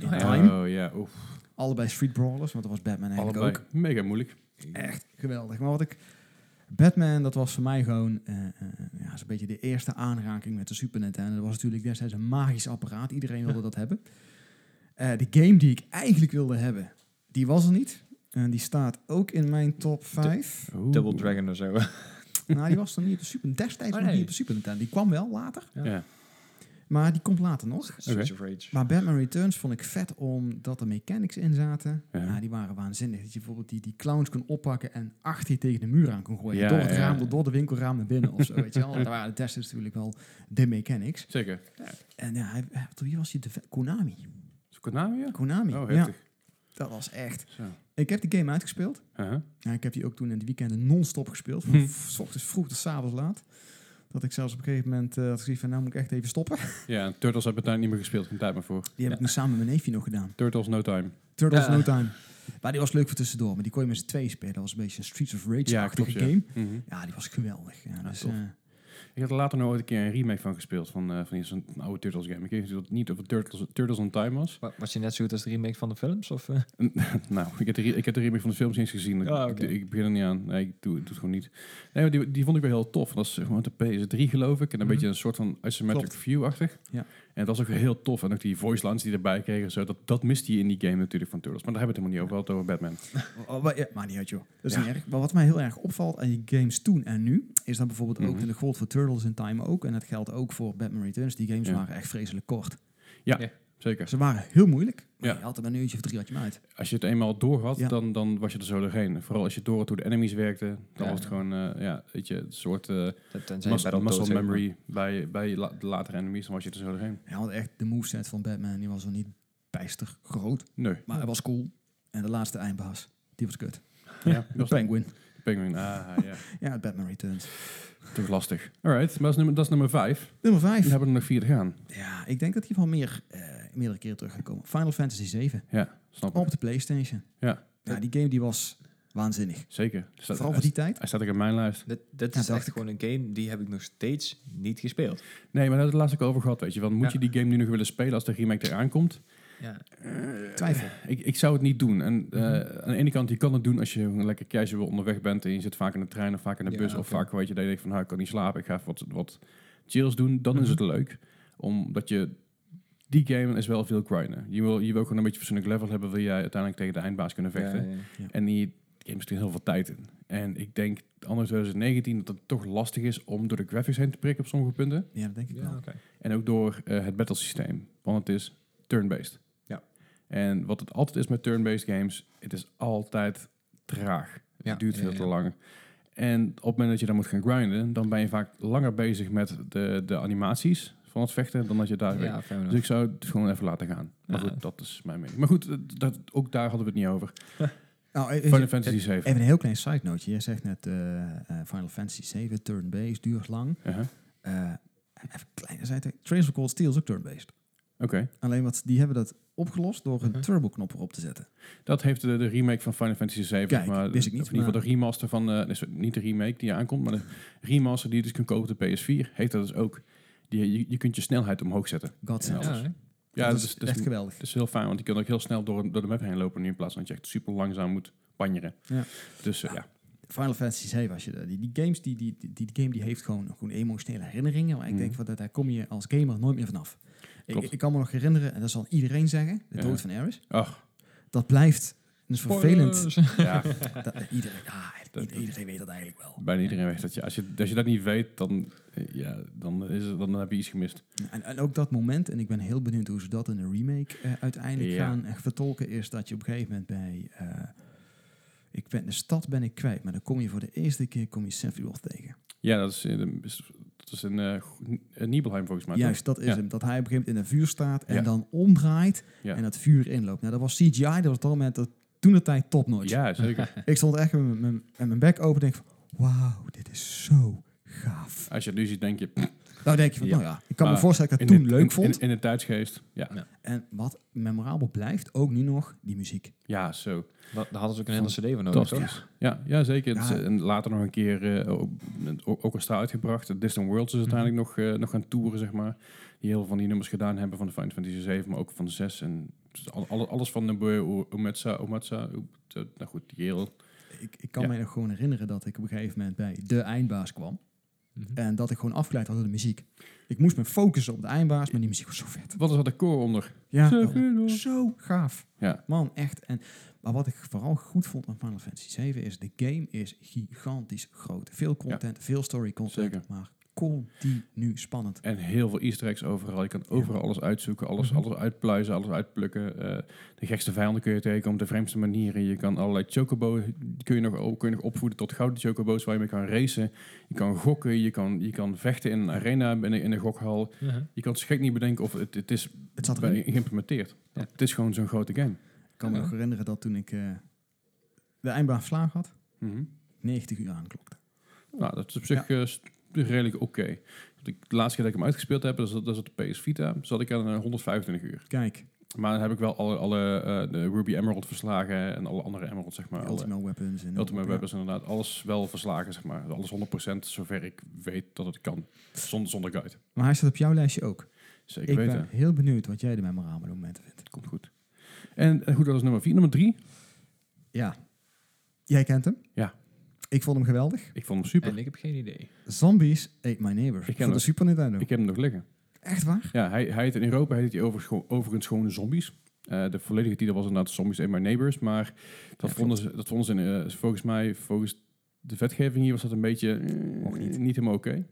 In
Ah, ja.
Time.
Oh ja, oef.
Allebei Street Brawlers, want dat was Batman eigenlijk
Allebei
ook.
mega moeilijk.
Echt geweldig. Maar wat ik. Batman, dat was voor mij gewoon eh, eh, ja, zo'n beetje de eerste aanraking met de Super Nintendo. Dat was natuurlijk destijds een magisch apparaat. Iedereen wilde dat hebben. Eh, de game die ik eigenlijk wilde hebben, die was er niet. En die staat ook in mijn top 5.
Oeh.
Double Dragon of zo.
Nou, die was dan niet op de Super Destijds
Oh,
nog niet
nee.
op de Super Nintendo. Die kwam wel later,
Ja.
maar die komt later nog.
Switch of Rage.
Maar Batman Returns vond ik vet omdat er mechanics in zaten.
Ja.
Ja, die waren waanzinnig. Dat je bijvoorbeeld die, die clowns kon oppakken en achter je tegen de muur aan kon gooien.
Ja,
door het
ja.
raam, door de winkelraam naar binnen of zo. Weet je wel. Dat waren destijds natuurlijk wel de mechanics.
Zeker.
En ja, hij, hij- wie was die? De, Konami.
Is het Konami, ja?
Konami.
Oh,
ja,
heftig.
dat was echt.
Zo.
Ik heb die game uitgespeeld.
Aha.
Ja, ik heb die ook toen in de weekenden non-stop gespeeld. Van
Hm.
v- s ochtends vroeg tot s avonds laat. Dat ik zelfs op een gegeven moment eh had gezien van nou moet ik echt even stoppen.
Ja, en Turtles heb ik daar niet meer gespeeld. Geen tijd meer voor.
Die heb ik nu samen met mijn neefje nog gedaan.
Turtles No Time.
Turtles
Ja.
No Time. Maar die was leuk voor tussendoor. Maar die kon je met z'n tweeën spelen. Dat was een beetje een Streets of Rage-achtige
klopt, ja.
game.
Mhm.
Ja, die was geweldig. Ja, dus,
tof.
eh,
Ik heb er later nog ooit een keer een remake van gespeeld. Van, eh, van zo'n oude Turtles game. Ik weet natuurlijk niet of het Turtles, Turtles on Time was.
Wa- Was je net zo goed als de remake van de films? Of, eh?
Nou, ik heb, de, re- ik heb de remake van de films eens gezien. Ik-
Ah, oké.
ik, ik begin er niet aan. Nee, ik doe, ik doe het gewoon niet. Nee, maar die, die vond ik wel heel tof. Dat is eh, gewoon de PS3 geloof ik. En een
Mhm.
beetje een soort van isometric
Klopt.
view-achtig.
Ja.
En dat was ook heel tof. En ook die voice lines die erbij kregen. Zo, dat, dat miste je in die game natuurlijk van Turtles. Maar daar hebben we het helemaal niet over. We hadden het over
oh, oh, maar, ja, maar niet uit, joh. Dat is
Ja.
niet erg. Maar wat mij heel erg opvalt aan die games toen en nu... is dat bijvoorbeeld ook
Mhm.
in de Gold for Turtles in Time ook. En dat geldt ook voor Batman Returns. Die games
Ja.
waren echt vreselijk kort.
Batman. Zeker.
Ze waren heel moeilijk. Maar
Ja.
je had er maar een uurtje of drie had je hem uit.
Als je het eenmaal door had,
Ja.
dan, dan was je er zo doorheen. Vooral als je door had hoe de enemies werkten, dan
Ja.
was het gewoon eh, ja, weet je, een soort eh,
Tenzij je
mus-
bij dat
muscle
dood, zeg maar.
memory bij, bij la- de latere enemies, dan was je er zo doorheen.
Ja, want echt, de moveset van Batman die was wel niet bijster groot.
Nee.
Maar hij was cool. En de laatste eindbaas, die was kut.
Ja,
De
dat was
Penguin.
de penguin. Ah, ja.
Ja, Batman Returns.
Toch lastig. Alright, maar dat is nummer, dat is nummer vijf.
Nummer
We
5.
hebben er nog vier te gaan.
Ja, ik denk dat die wel meer, eh, meerdere keren terug gaat komen. Final Fantasy 7
Ja, snap ik.
op de PlayStation.
Ja.
Ja, die game die was waanzinnig.
Zeker. Dus dat- hij,
Vooral voor die tijd.
hij staat ook in mijn lijst.
Dat, dat
Ja,
is
dacht
echt
ik.
gewoon een game die heb ik nog steeds niet gespeeld.
Nee, maar daar hebben we het laatst ook over gehad, weet je. Want moet
Ja.
je die game nu nog willen spelen als de remake eraan komt?
Ja,
Twijfel.
Eh, Ik, ik zou het niet doen. En eh, aan de ene kant, je kan het doen als je gewoon lekker casual onderweg bent en je zit vaak in de trein of vaak in de
Ja,
bus of
oké.
vaak, weet je, dat je denkt van, nou, ik kan niet slapen, ik ga even wat, wat chills doen. Dan
Mhm.
is het leuk, omdat je... Die game is wel veel grinden. Je wil, je wil gewoon een beetje persoonlijk level hebben, wil jij uiteindelijk tegen de eindbaas kunnen vechten.
Ja, ja.
En die game zit er heel veel tijd in. En ik denk, anders 2019, dat het toch lastig is om door de graphics heen te prikken op sommige punten.
Ja, dat denk ik
Ja,
wel.
oké.
En ook door eh, het battlesysteem. Want het is turn-based.
Ja.
En wat het altijd is met turn-based games, het is altijd traag.
Ja,
Het duurt
ja,
veel
ja.
te lang. En op het moment dat je dan moet gaan grinden, dan ben je vaak langer bezig met de, de animaties van het vechten dan dat je daar
Ja, fair enough.
Dus ik zou het gewoon even laten gaan. Maar
Ja.
goed, dat is mijn mening. Maar goed, eh, dat, ook daar hadden we het niet over.
Nou, eh,
Final Fantasy 7.
even een heel klein side note. Jij zegt net eh, eh, Final Fantasy 7, turn-based, duurt lang.
Uh-huh.
Eh, en even een kleine zijde. Trails of Cold Steel is ook turn-based.
Oké.
Alleen wat, die hebben dat opgelost door een
Mhm.
turbo-knop erop te zetten.
Dat heeft de, de remake van Final Fantasy VII.
Kijk,
zeg maar,
wist ik niet,
Of in ieder geval
maar-
de remaster van... eh, nee, sorry, niet de remake die aankomt, maar de remaster die je dus kunt kopen op de PS4... heeft dat dus ook. Die, je, je kunt je snelheid omhoog zetten.
God
Ja,
sent.
dat
Ja, hè?
Ja, dus-
dat,
dat,
is
is, dat,
echt
is,
geweldig.
dat is heel fijn, want je kunt ook heel snel door, door de map heen lopen... nu in plaats van dat je echt super langzaam moet banjeren.
Ja.
Dus eh, ja.
Final Fantasy 7, als je de- die, die games, die, die, die, die game die heeft gewoon, gewoon emotionele herinneringen. Maar ik
Mhm.
denk van dat daar kom je als gamer nooit meer vanaf. Ik,
Klopt.
ik kan me nog herinneren, en dat zal iedereen zeggen, de
Ja.
dood van Eris.
Ach,
Dat blijft een vervelend.
Spoilers.
ja.
Dat, eh, iedereen, ja,
Dat-
iedereen weet dat eigenlijk wel.
Bijna iedereen weet dat je... Als je, als je dat niet weet, dan, eh, ja, dan, is het, dan heb je iets gemist.
En, en ook dat moment, en ik ben heel benieuwd hoe ze dat in de remake eh, uiteindelijk
Ja.
gaan eh, vertolken, is dat je op een gegeven moment bij, eh, ik ben, de stad ben ik kwijt, maar dan kom je voor de eerste keer kom je Sephiroth tegen.
Ja, dat is, eh, de- is- dat is in eh, Go- eh, Nibelheim volgens mij.
Juist, dat is
ja.
hem. Dat hij op een gegeven moment in een vuur staat en
Ja.
dan omdraait
Ja.
en dat vuur inloopt. Nou, dat was CGI, dat was op dat moment dat, toen de tijd
toch?
topnotch.
Ja, zeker.
Ik stond echt met mijn- mijn- met mijn bek open en denk van, wauw, dit is zo gaaf.
Als je het nu ziet, denk je...
Nou denk je van,
Ja.
nou ja, ik kan me
Maar
voorstellen dat ik
in
dat toen
het-
leuk
in-
vond.
In, in de tijdsgeest, ja.
En wat memorabel blijft, ook nu nog, die muziek.
Ja, zo.
Daar daar hadden ze ook een hele CD voor nodig. toch?
Fantastisch. Ja, ja zeker.
Ja.
Dus, eh, en later nog een keer eh, ook- ook orkestra uitgebracht. Distant Worlds is uiteindelijk nog, eh, nog gaan toeren, zeg maar. Die heel veel van die nummers gedaan hebben van de Final Fantasy 7, maar ook van de 6. En dus al- alle- alles van Nobuo Umetsa, Umatsa, Oep- eh, nou goed, die heel...
Ik, ik kan
Ja.
mij nog gewoon herinneren dat ik op een gegeven moment bij de eindbaas kwam.
Mhm.
En dat ik gewoon afgeleid had door de muziek. Ik moest me focussen op de eindbaas, maar die muziek was zo vet.
Wat is er de koor onder?
Ja,
Zo
dat-
goed, hoor.
zo gaaf.
Mm. Ja.
Man, echt. En, maar wat ik vooral goed vond aan Final Fantasy 7 is, de game is gigantisch groot. Veel content, veel story content,
Zeker.
maar continu spannend.
En heel veel easter eggs overal. Je kan overal alles uitzoeken, alles,
Mhm.
alles uitpluizen, alles uitplukken. Eh, de gekste vijanden kun je tegenkomen op de vreemdste manieren. Je kan allerlei chocobo kun je nog, op- kun je nog opvoeden tot gouden chocobo's waar je mee kan racen. Je kan gokken, je kan, je kan vechten in een arena, in een, in een gokhal.
Ja.
Je kan het gek niet bedenken of het, het is
Het zat erin.
bij- geïmplementeerd.
Ja.
Het is gewoon zo'n grote game.
Ik kan me
Ja.
nog herinneren dat toen ik eh, de eindbaas verslagen had,
Mhm.
90 uur aanklokte.
Nou, dat is op zich eh, s- redelijk oké. Want ik- De laatste keer dat ik hem uitgespeeld heb, dat is, dat is op de PS Vita, zat ik aan eh, 125 uur.
Kijk,
Maar dan heb ik wel alle, alle eh, de Ruby Emerald verslagen en alle andere Emerald, zeg maar.
de
alle
Ultimate Weapons. En
Ultimate
ja.
Weapons inderdaad. Alles wel verslagen, zeg maar. Alles 100% zover ik weet dat het kan. Zonder, zonder guide.
Maar hij staat op jouw lijstje ook.
Zeker
Ik, eh, ben
weten.
heel benieuwd wat jij de memorabele momenten vindt.
Het komt goed. En eh, goed, dat is nummer 4. Nummer 3.
Ja. Jij kent hem?
Ja.
Ik vond hem geweldig.
Ik vond hem super.
En ik heb geen idee.
Zombies Ate My Neighbors.
Ik ken
voor de
hem.
Super Nintendo.
Ik heb hem nog liggen.
Echt waar?
Ja, hij, hij heet in Europa heet hij overigens, overigens gewoon Zombies. Eh, de volledige titel was inderdaad Zombies and My Neighbors. Maar dat
Ja,
vonden ze, dat vonden ze in, eh, volgens mij, volgens de wetgeving hier was dat een beetje eh,
Mocht niet.
helemaal oké.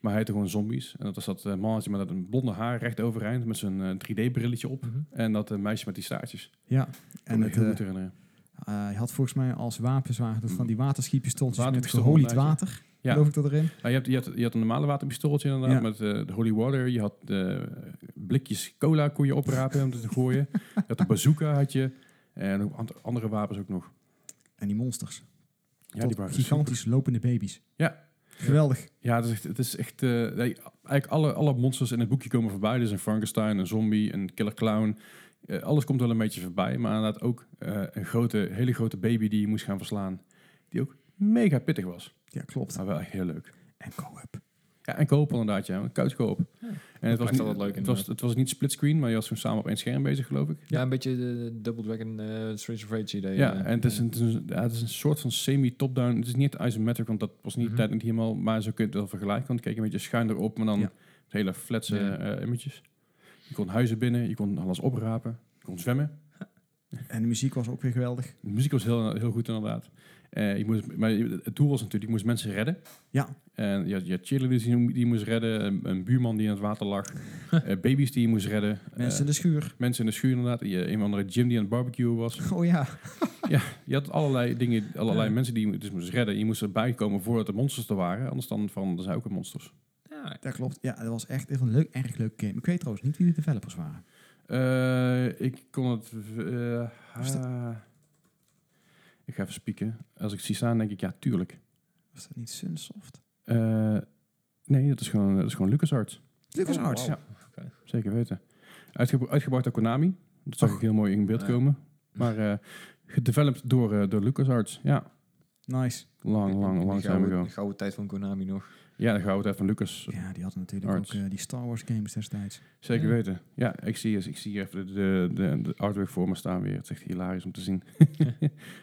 Maar hij had gewoon zombies. En dat was dat eh, mannetje met dat blonde haar recht overeind. Met zijn 3D-brilletje op.
Mhm.
En dat eh, meisje met die staartjes.
Ja, en
En
het,
heel
eh,
goed herinneren.
eh, hij had volgens mij als wapens waren dat van die waterschiepistooltjes met
Waterpistool,
geholied
inderdaad,
water,
Ja.
geloof ik dat erin.
Nou, je, hebt, je, had, je had een normale waterpistooltje inderdaad.
Ja.
Met eh, de holy water. Je had eh, blikjes cola kon je oprapen om te gooien. Je had de bazooka had je. En ook ant- andere wapens ook nog.
En die monsters.
Ja,
Tot
die waren
gigantisch lopende babies.
Ja.
Geweldig.
Ja, het is echt... Het is echt eh, nee, eigenlijk alle, alle monsters in het boekje komen voorbij. Dus een Frankenstein, een zombie, een killer clown. Eh, alles komt wel een beetje voorbij. Maar inderdaad ook eh, een grote, hele grote baby die je moest gaan verslaan. Die ook mega pittig was.
Ja, klopt.
Maar wel echt heel leuk.
En co-op.
Ja, en koop inderdaad, ja. Een couch koop. En het was,
maakt
niet,
altijd leuk
het, was,
inderdaad.
het was niet splitscreen, maar je was gewoon samen op één scherm bezig, geloof ik.
Ja, een beetje de Double Dragon eh Streets of Rage idee.
Ja,
eh.
en het is, een, het, is een, ja, het is een soort van semi-top-down. Het is niet isometric, want dat was niet
Mhm.
tijd niet helemaal. Maar zo kun je het wel vergelijken. Want ik keek een beetje schuin erop, maar dan
Ja.
het hele flatse
Ja.
eh, images. Je kon huizen binnen, je kon alles oprapen, je kon zwemmen.
En de muziek was ook weer geweldig.
De muziek was heel, heel goed inderdaad. Eh, je moest, maar je- het doel was natuurlijk, je moest mensen redden.
Ja,
En je had, je had cheerleaders die, je- die je moest redden, een, een buurman die in het water lag, eh, baby's die je moest redden.
mensen
eh,
in de schuur.
mensen in de schuur inderdaad. Je, een of andere Jim die aan het barbecue was.
Oh ja.
Je had allerlei dingen, allerlei
Ja.
mensen die je dus moest redden. Je moest erbij komen voordat de monsters er waren. Anders dan veranderden zij ook in monsters.
Ja,
Dat klopt. Ja, dat was echt een leuk, erg leuk game. Ik weet trouwens niet wie de developers waren.
Eh, ik kon het... eh,
Was dat-
ha- ik ga even spieken. Als ik het zie staan, denk ik, ja, tuurlijk.
Was dat niet Sunsoft?
Eh, nee, dat is gewoon, dat is gewoon LucasArts.
LucasArts.
Ja, zeker weten. Uitgebra- uitgebracht door Konami. Dat zag
Och.
ik heel mooi in beeld
Ja.
komen. Maar eh, gedeveloped door, eh, door LucasArts. Ja,
Nice.
lang, lang, lang time ago.
De gouden tijd van Konami nog.
Ja, de gouden tijd van Lucas.
Ja, die hadden natuurlijk
Arts.
ook eh, die Star Wars games destijds.
Zeker
Ja.
weten. Ja, ik zie, ik zie hier even de, de, de, de artwork voor me staan weer. Het is echt hilarisch om te zien.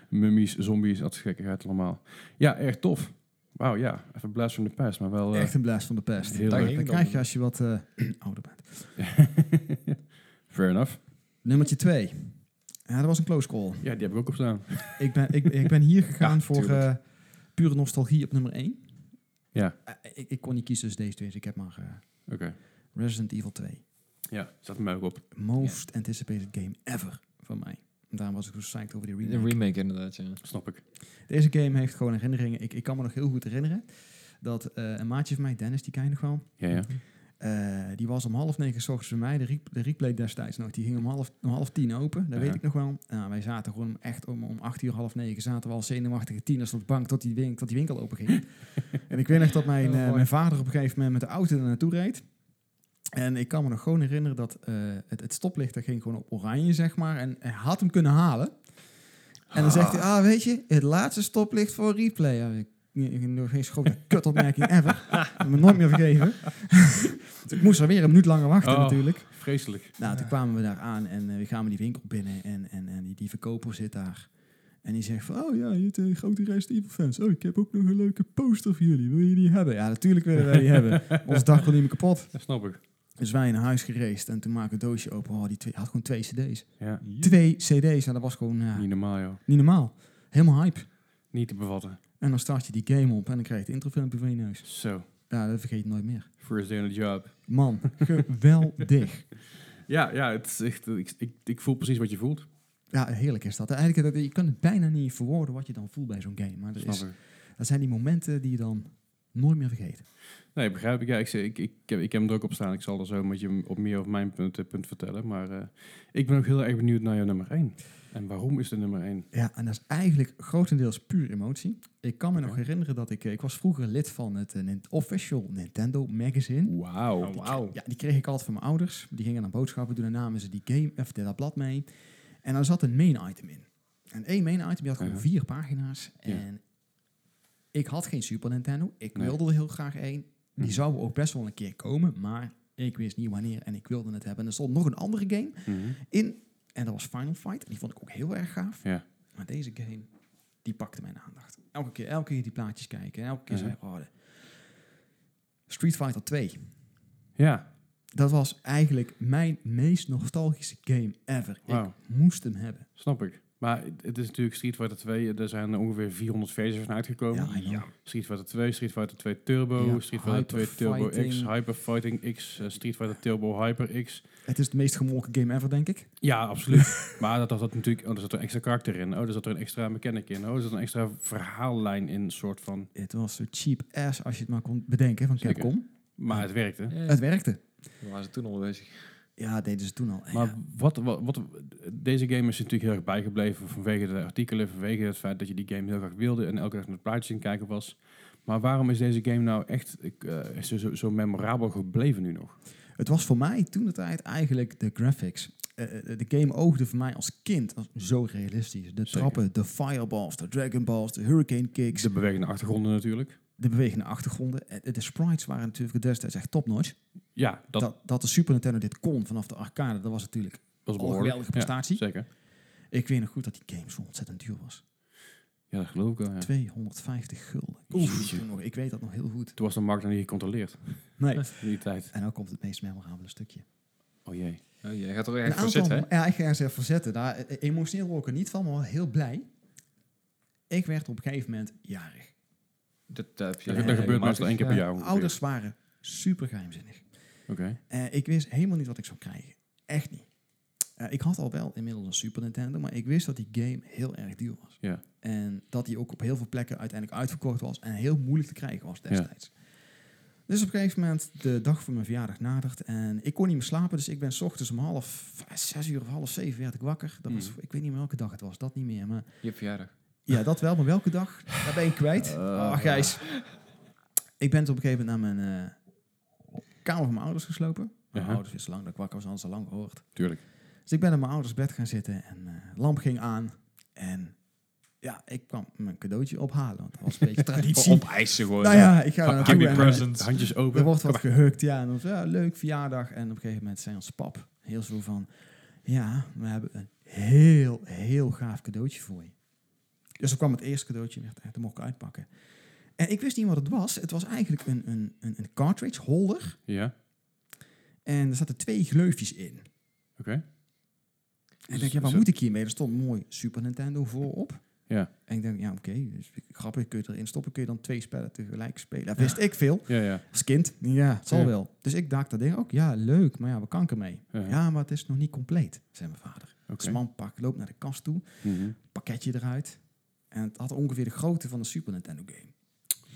Mummies, zombies, dat is gekkigheid allemaal. Ja, erg tof. Wauw, ja. Even blast from the past, maar wel... eh,
Echt een blast van de pest.
heel
Daar
leuk.
ging het
Dan krijg
om.
je als je wat eh, ouder bent.
Fair enough.
Nummertje 2. Ja, dat was een close call.
Ja, die heb ik ook op staan.
Ik ben, ik, ik ben hier gegaan
Ja,
voor
tuurlijk.
eh, pure nostalgie op nummer 1.
Ja.
ik, ik kon niet kiezen tussen deze twee, dus ik heb maar eh,
Oké.
Resident Evil 2.
Ja, staat mij ook op.
Most anticipated game ever van mij. En daarom was ik zo psyched over die remake.
Een remake inderdaad, ja.
Snap ik.
Deze game heeft gewoon herinneringen. Ik, ik kan me nog heel goed herinneren dat eh, een maatje van mij, Dennis, die ken je nog wel.
Ja, ja.
Eh, die was om half negen s ochtends bij mij, de, re- de replay destijds nog. Die ging om half, om half tien open, dat weet
Ja.
ik nog wel. Nou, wij zaten gewoon echt om, om acht uur, half negen, zaten we al zenuwachtige tieners op de bank tot die, win- tot die winkel open ging. en ik weet nog dat mijn,
Oh,
eh,
mooi.
mijn vader op een gegeven moment met de auto er naartoe reed. En ik kan me nog gewoon herinneren dat eh, het, het stoplicht dat ging gewoon op oranje, zeg maar. En hij had hem kunnen halen. En dan zegt hij, ah, weet je, het laatste stoplicht voor replay. Ja, ik, ik, nog geen grote kutopmerking ever. Ik heb me nooit meer vergeven. ik moest er weer een minuut langer wachten
Oh.
natuurlijk.
Vreselijk.
Nou, toen kwamen we daar aan en eh, we gaan we die winkel binnen. En, en, en die, die verkoper zit daar. En die zegt van, oh ja, je hebt eh, grote Resident Evil fans. Oh, ik heb ook nog een leuke poster voor jullie. Wil je die hebben? Ja, natuurlijk willen wij die hebben. Ons dag kon niet meer kapot.
Dat snap ik.
Dus wij naar huis gereisd en toen maken we het doosje open. Oh, die twee, had gewoon twee cd's.
Ja.
Twee cd's, nou, dat was gewoon ja,
Niet normaal, joh.
niet normaal. Helemaal hype.
Niet te bevatten.
En dan start je die game op en dan krijg je het introfilmpje van je neus.
Zo.
Ja, dat vergeet je nooit meer.
First day on the job.
Man, geweldig.
Ja, ja. Het is echt, ik, ik, ik voel precies wat je voelt.
Ja, heerlijk is dat. Eigenlijk, dat- je kan het bijna niet verwoorden wat je dan voelt bij zo'n game. Maar dat,
Snap
is,
ik.
dat zijn die momenten die je dan nooit meer vergeet.
Nee, begrijp ik. Ja, ik, zeg- ik, ik, heb, ik heb hem er ook op staan. Ik zal er zo met je op meer over mijn punt, eh, punt vertellen. Maar eh, ik ben ook heel erg benieuwd naar jouw nummer 1. En waarom is de nummer 1?
Ja, en dat is eigenlijk grotendeels puur emotie. Ik kan me nog
Oké.
herinneren dat ik... eh, Ik was vroeger lid van het eh, Nin- official Nintendo magazine.
Wauw.
Oh, wauw.
Ja, die kreeg ik altijd van mijn ouders. Die gingen dan boodschappen doen en namen ze die game, of dat blad mee. En daar zat een main item in. En één main item, die had gewoon
Ja.
vier pagina's.
Ja.
En ik had geen Super Nintendo. Ik
Nee.
wilde er heel graag één. Die
Mhm.
zou ook best wel een keer komen, maar ik wist niet wanneer en ik wilde het hebben. En er stond nog een andere game
Mhm.
in. En dat was Final Fight. En die vond ik ook heel erg gaaf.
Ja.
Maar deze game, die pakte mijn aandacht. Elke keer, elke keer die plaatjes kijken. En elke keer
Ja.
zei ik, oh, de- Street Fighter 2
Ja,
dat was eigenlijk mijn meest nostalgische game ever.
wauw.
Ik moest hem hebben.
Snap ik. Maar Maar het is natuurlijk Street Fighter 2. Er zijn ongeveer 400 versies van uitgekomen.
Ja, I know.
Street Fighter 2, Street Fighter 2 Turbo,
Ja,
Street Fighter 2
Hyper
Turbo X,
Fighting.
Hyper Fighting X, eh, Street Fighter Turbo Hyper X.
Het is het meest gemolken game ever, denk ik.
Ja, absoluut. maar dat, dat, dat natuurlijk, oh, er zat een extra karakter in. Oh, er zat er een extra mechanic in. Oh, er zat een extra verhaallijn in, soort van.
Het was zo cheap ass als je het maar kon bedenken van
Zeker.
Capcom.
Maar het werkte.
Het werkte.
Daar waren ze toen al bezig.
Ja, dat deden ze toen al. En
Maar
ja,
wat, wat, wat- deze game is natuurlijk heel erg bijgebleven vanwege de artikelen, vanwege het feit dat je die game heel graag wilde en elke dag met plaatjes in kijken was. Maar waarom is deze game nou echt ik, eh, is zo, zo, zo memorabel gebleven nu nog?
het was voor mij toen de tijd eigenlijk de graphics. Eh, eh, de game oogde voor mij als kind als zo realistisch. De
Zeker.
trappen, de fireballs, de dragon balls, de hurricane kicks,
De bewegende achtergronden natuurlijk.
de bewegende achtergronden. Eh, De sprites waren natuurlijk destijds echt topnotch.
Ja, dat,
Dat, dat, de Super Nintendo dit kon vanaf de arcade, dat was natuurlijk
was
al een
behoorlijk.
geweldige prestatie.
Zeker.
ik weet nog goed dat die game zo ontzettend duur was.
Ja, dat geloof ik wel. ja.
250 gulden.
Oef.
Jeetje, jongen, ik weet dat nog heel goed.
Toen was de markt nog niet gecontroleerd
Nee.
in die tijd.
En dan komt het meest memorabele stukje.
Oh jee.
Oh, jij gaat er
Een
echt voor zitten, hè?
Ja, ik ga er even zetten. Daar, eh, emotioneel word ik er niet van, maar wel heel blij. Ik werd op een gegeven moment jarig.
Dat, eh, heb je
Dat,
Ja,
dat
regelmatig,
gebeurt meestal één keer per
ja.
jaar. ongeveer.
Ouders waren super geheimzinnig.
Oké.
Eh, ik wist helemaal niet wat ik zou krijgen. Echt niet. Eh, ik had al wel inmiddels een Super Nintendo, maar ik wist dat die game heel erg duur was.
Ja.
En dat die ook op heel veel plekken uiteindelijk uitverkocht was en heel moeilijk te krijgen was destijds. Dus op een gegeven moment, de dag van mijn verjaardag nadert en ik kon niet meer slapen. Dus ik ben 's ochtends om half v- zes uur of half zeven werd ik wakker. Dat was,
Mhm.
ik weet niet meer welke dag het was, dat niet meer. Maar
Je hebt verjaardag.
ja, dat wel, maar welke dag? Daar ben ik kwijt.
Eh,
Ah, Gijs. Ik ben op een gegeven moment naar mijn eh, kamer van mijn ouders geslopen. Mijn
Aha.
ouders is lang dat ik wakker was, anders al lang gehoord.
Tuurlijk.
Dus ik ben in mijn ouders bed gaan zitten en eh, lamp ging aan. En ja, ik kwam mijn cadeautje ophalen, want dat was een beetje traditie.
Opeisen gewoon.
nou ja, ik ga daar
Ha-
naartoe
hang
happy
je
en eh,
present.
Handjes open.
er wordt wat gehukt. Ja, en dan zo, ja, leuk verjaardag. En op een gegeven moment zei ons pap heel zo van... Ja, we hebben een heel, heel gaaf cadeautje voor je. Dus er kwam het eerste cadeautje en werd- eh, dat mocht ik uitpakken. En ik wist niet wat het was. Het was eigenlijk een, een, een, een cartridge holder.
Ja,
En er zaten twee gleufjes in.
oké. Dus
En ik denk, ja, wat
Zo-
moet ik hiermee? Er stond mooi Super Nintendo voorop.
Ja.
En ik denk, ja, oké, dus grappig, kun je het erin stoppen, kun je dan twee spellen tegelijk spelen. Dat wist ik veel.
Ja, ja.
Als kind? Ja, het zal
Ja.
wel. Dus ik dacht dat ding ook, ja, leuk, maar ja, we kanker mee.
Ja.
Ja, maar het is nog niet compleet, zei mijn vader.
Oké.
Dus man pak, loopt naar de kast toe,
Mhm.
pakketje eruit. En het had ongeveer de grootte van een Super Nintendo game.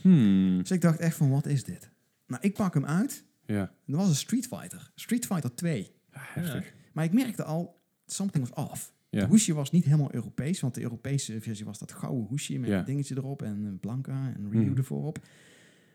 Hmm.
Dus ik dacht echt van, wat is dit? Nou, ik pak hem uit.
Ja,
En dat was een Street Fighter. Street Fighter 2.
heftig.
Maar ik merkte al, something was off.
Ja.
Het hoesje was niet helemaal Europees, want de Europese versie was dat gouden hoesje met
Ja.
een dingetje erop en een Blanca en Ryu
Mhm.
ervoor op.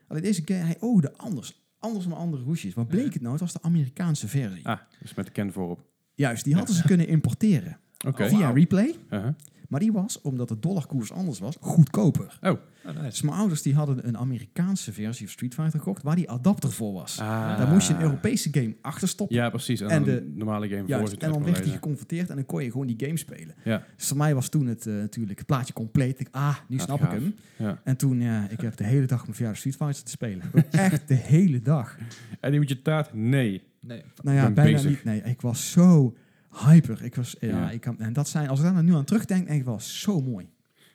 Alleen deze keer, hij oogde anders. Anders dan andere hoesjes. Wat bleek het nou? Het was de Amerikaanse versie.
Ah, dus met de ken voorop.
Juist, die hadden ze kunnen importeren
Oké.
via replay.
Uh-huh.
Maar die was, omdat de dollarkoers anders was, goedkoper.
Oh, nice.
Dus mijn ouders die hadden een Amerikaanse versie of Street Fighter gekocht, waar die adapter voor was.
Ah.
Daar moest je een Europese game achter stoppen.
Ja, precies. En,
En
dan
de-
een normale game
Juist,
voor zit
en dan
uit
werd
kan
die
lezen.
geconverteerd en dan kon je gewoon die game spelen.
Ja.
Dus voor mij was toen het eh, natuurlijk het plaatje compleet. Ik, ah, nu
Ja,
snap ik
gaaf.
hem.
Ja.
En toen, ja, ik heb de hele dag mijn verjaardag Street Fighter te spelen. Echt de hele dag.
En die moet je taart? Nee.
Nee.
Nou ja,
Ben
bijna
bezig.
niet. Nee, ik was zo hyper. Ik was, ja,
Ja.
Ik kan, en dat zijn, als ik daar nou nu aan terugdenk, denk ik wel zo mooi.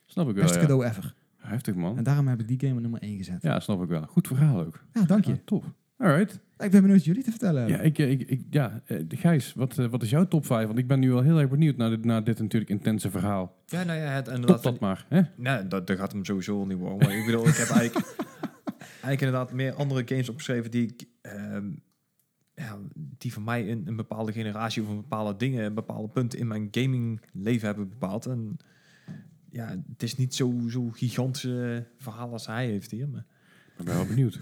Snap ik wel.
Beste
ja.
cadeau ever.
Heftig, man.
En daarom heb ik die game op nummer 1 gezet. Ja,
Ja, snap ik wel. Goed verhaal ook.
dank je.
Ja, top. Alright.
Ik ben benieuwd wat jullie te vertellen.
Ja,
hebben.
ik, ik, ik, ja eh, Gijs, wat, eh, wat is jouw top 5? Want ik ben nu al heel erg benieuwd naar dit, naar dit natuurlijk intense verhaal.
Ja, nou ja, het,
Top
inderdaad.
dat maar. Hè?
Nee, dat, dat gaat hem sowieso wel niet worden. Maar ik bedoel, ik heb eigenlijk, eigenlijk inderdaad meer andere games opgeschreven die ik... ehm, ja, die voor mij een, een bepaalde generatie of een bepaalde dingen, bepaalde punten in mijn gamingleven hebben bepaald. En ja, het is niet zo, zo gigantische verhaal als hij heeft hier. Maar,
Ik ben wel benieuwd.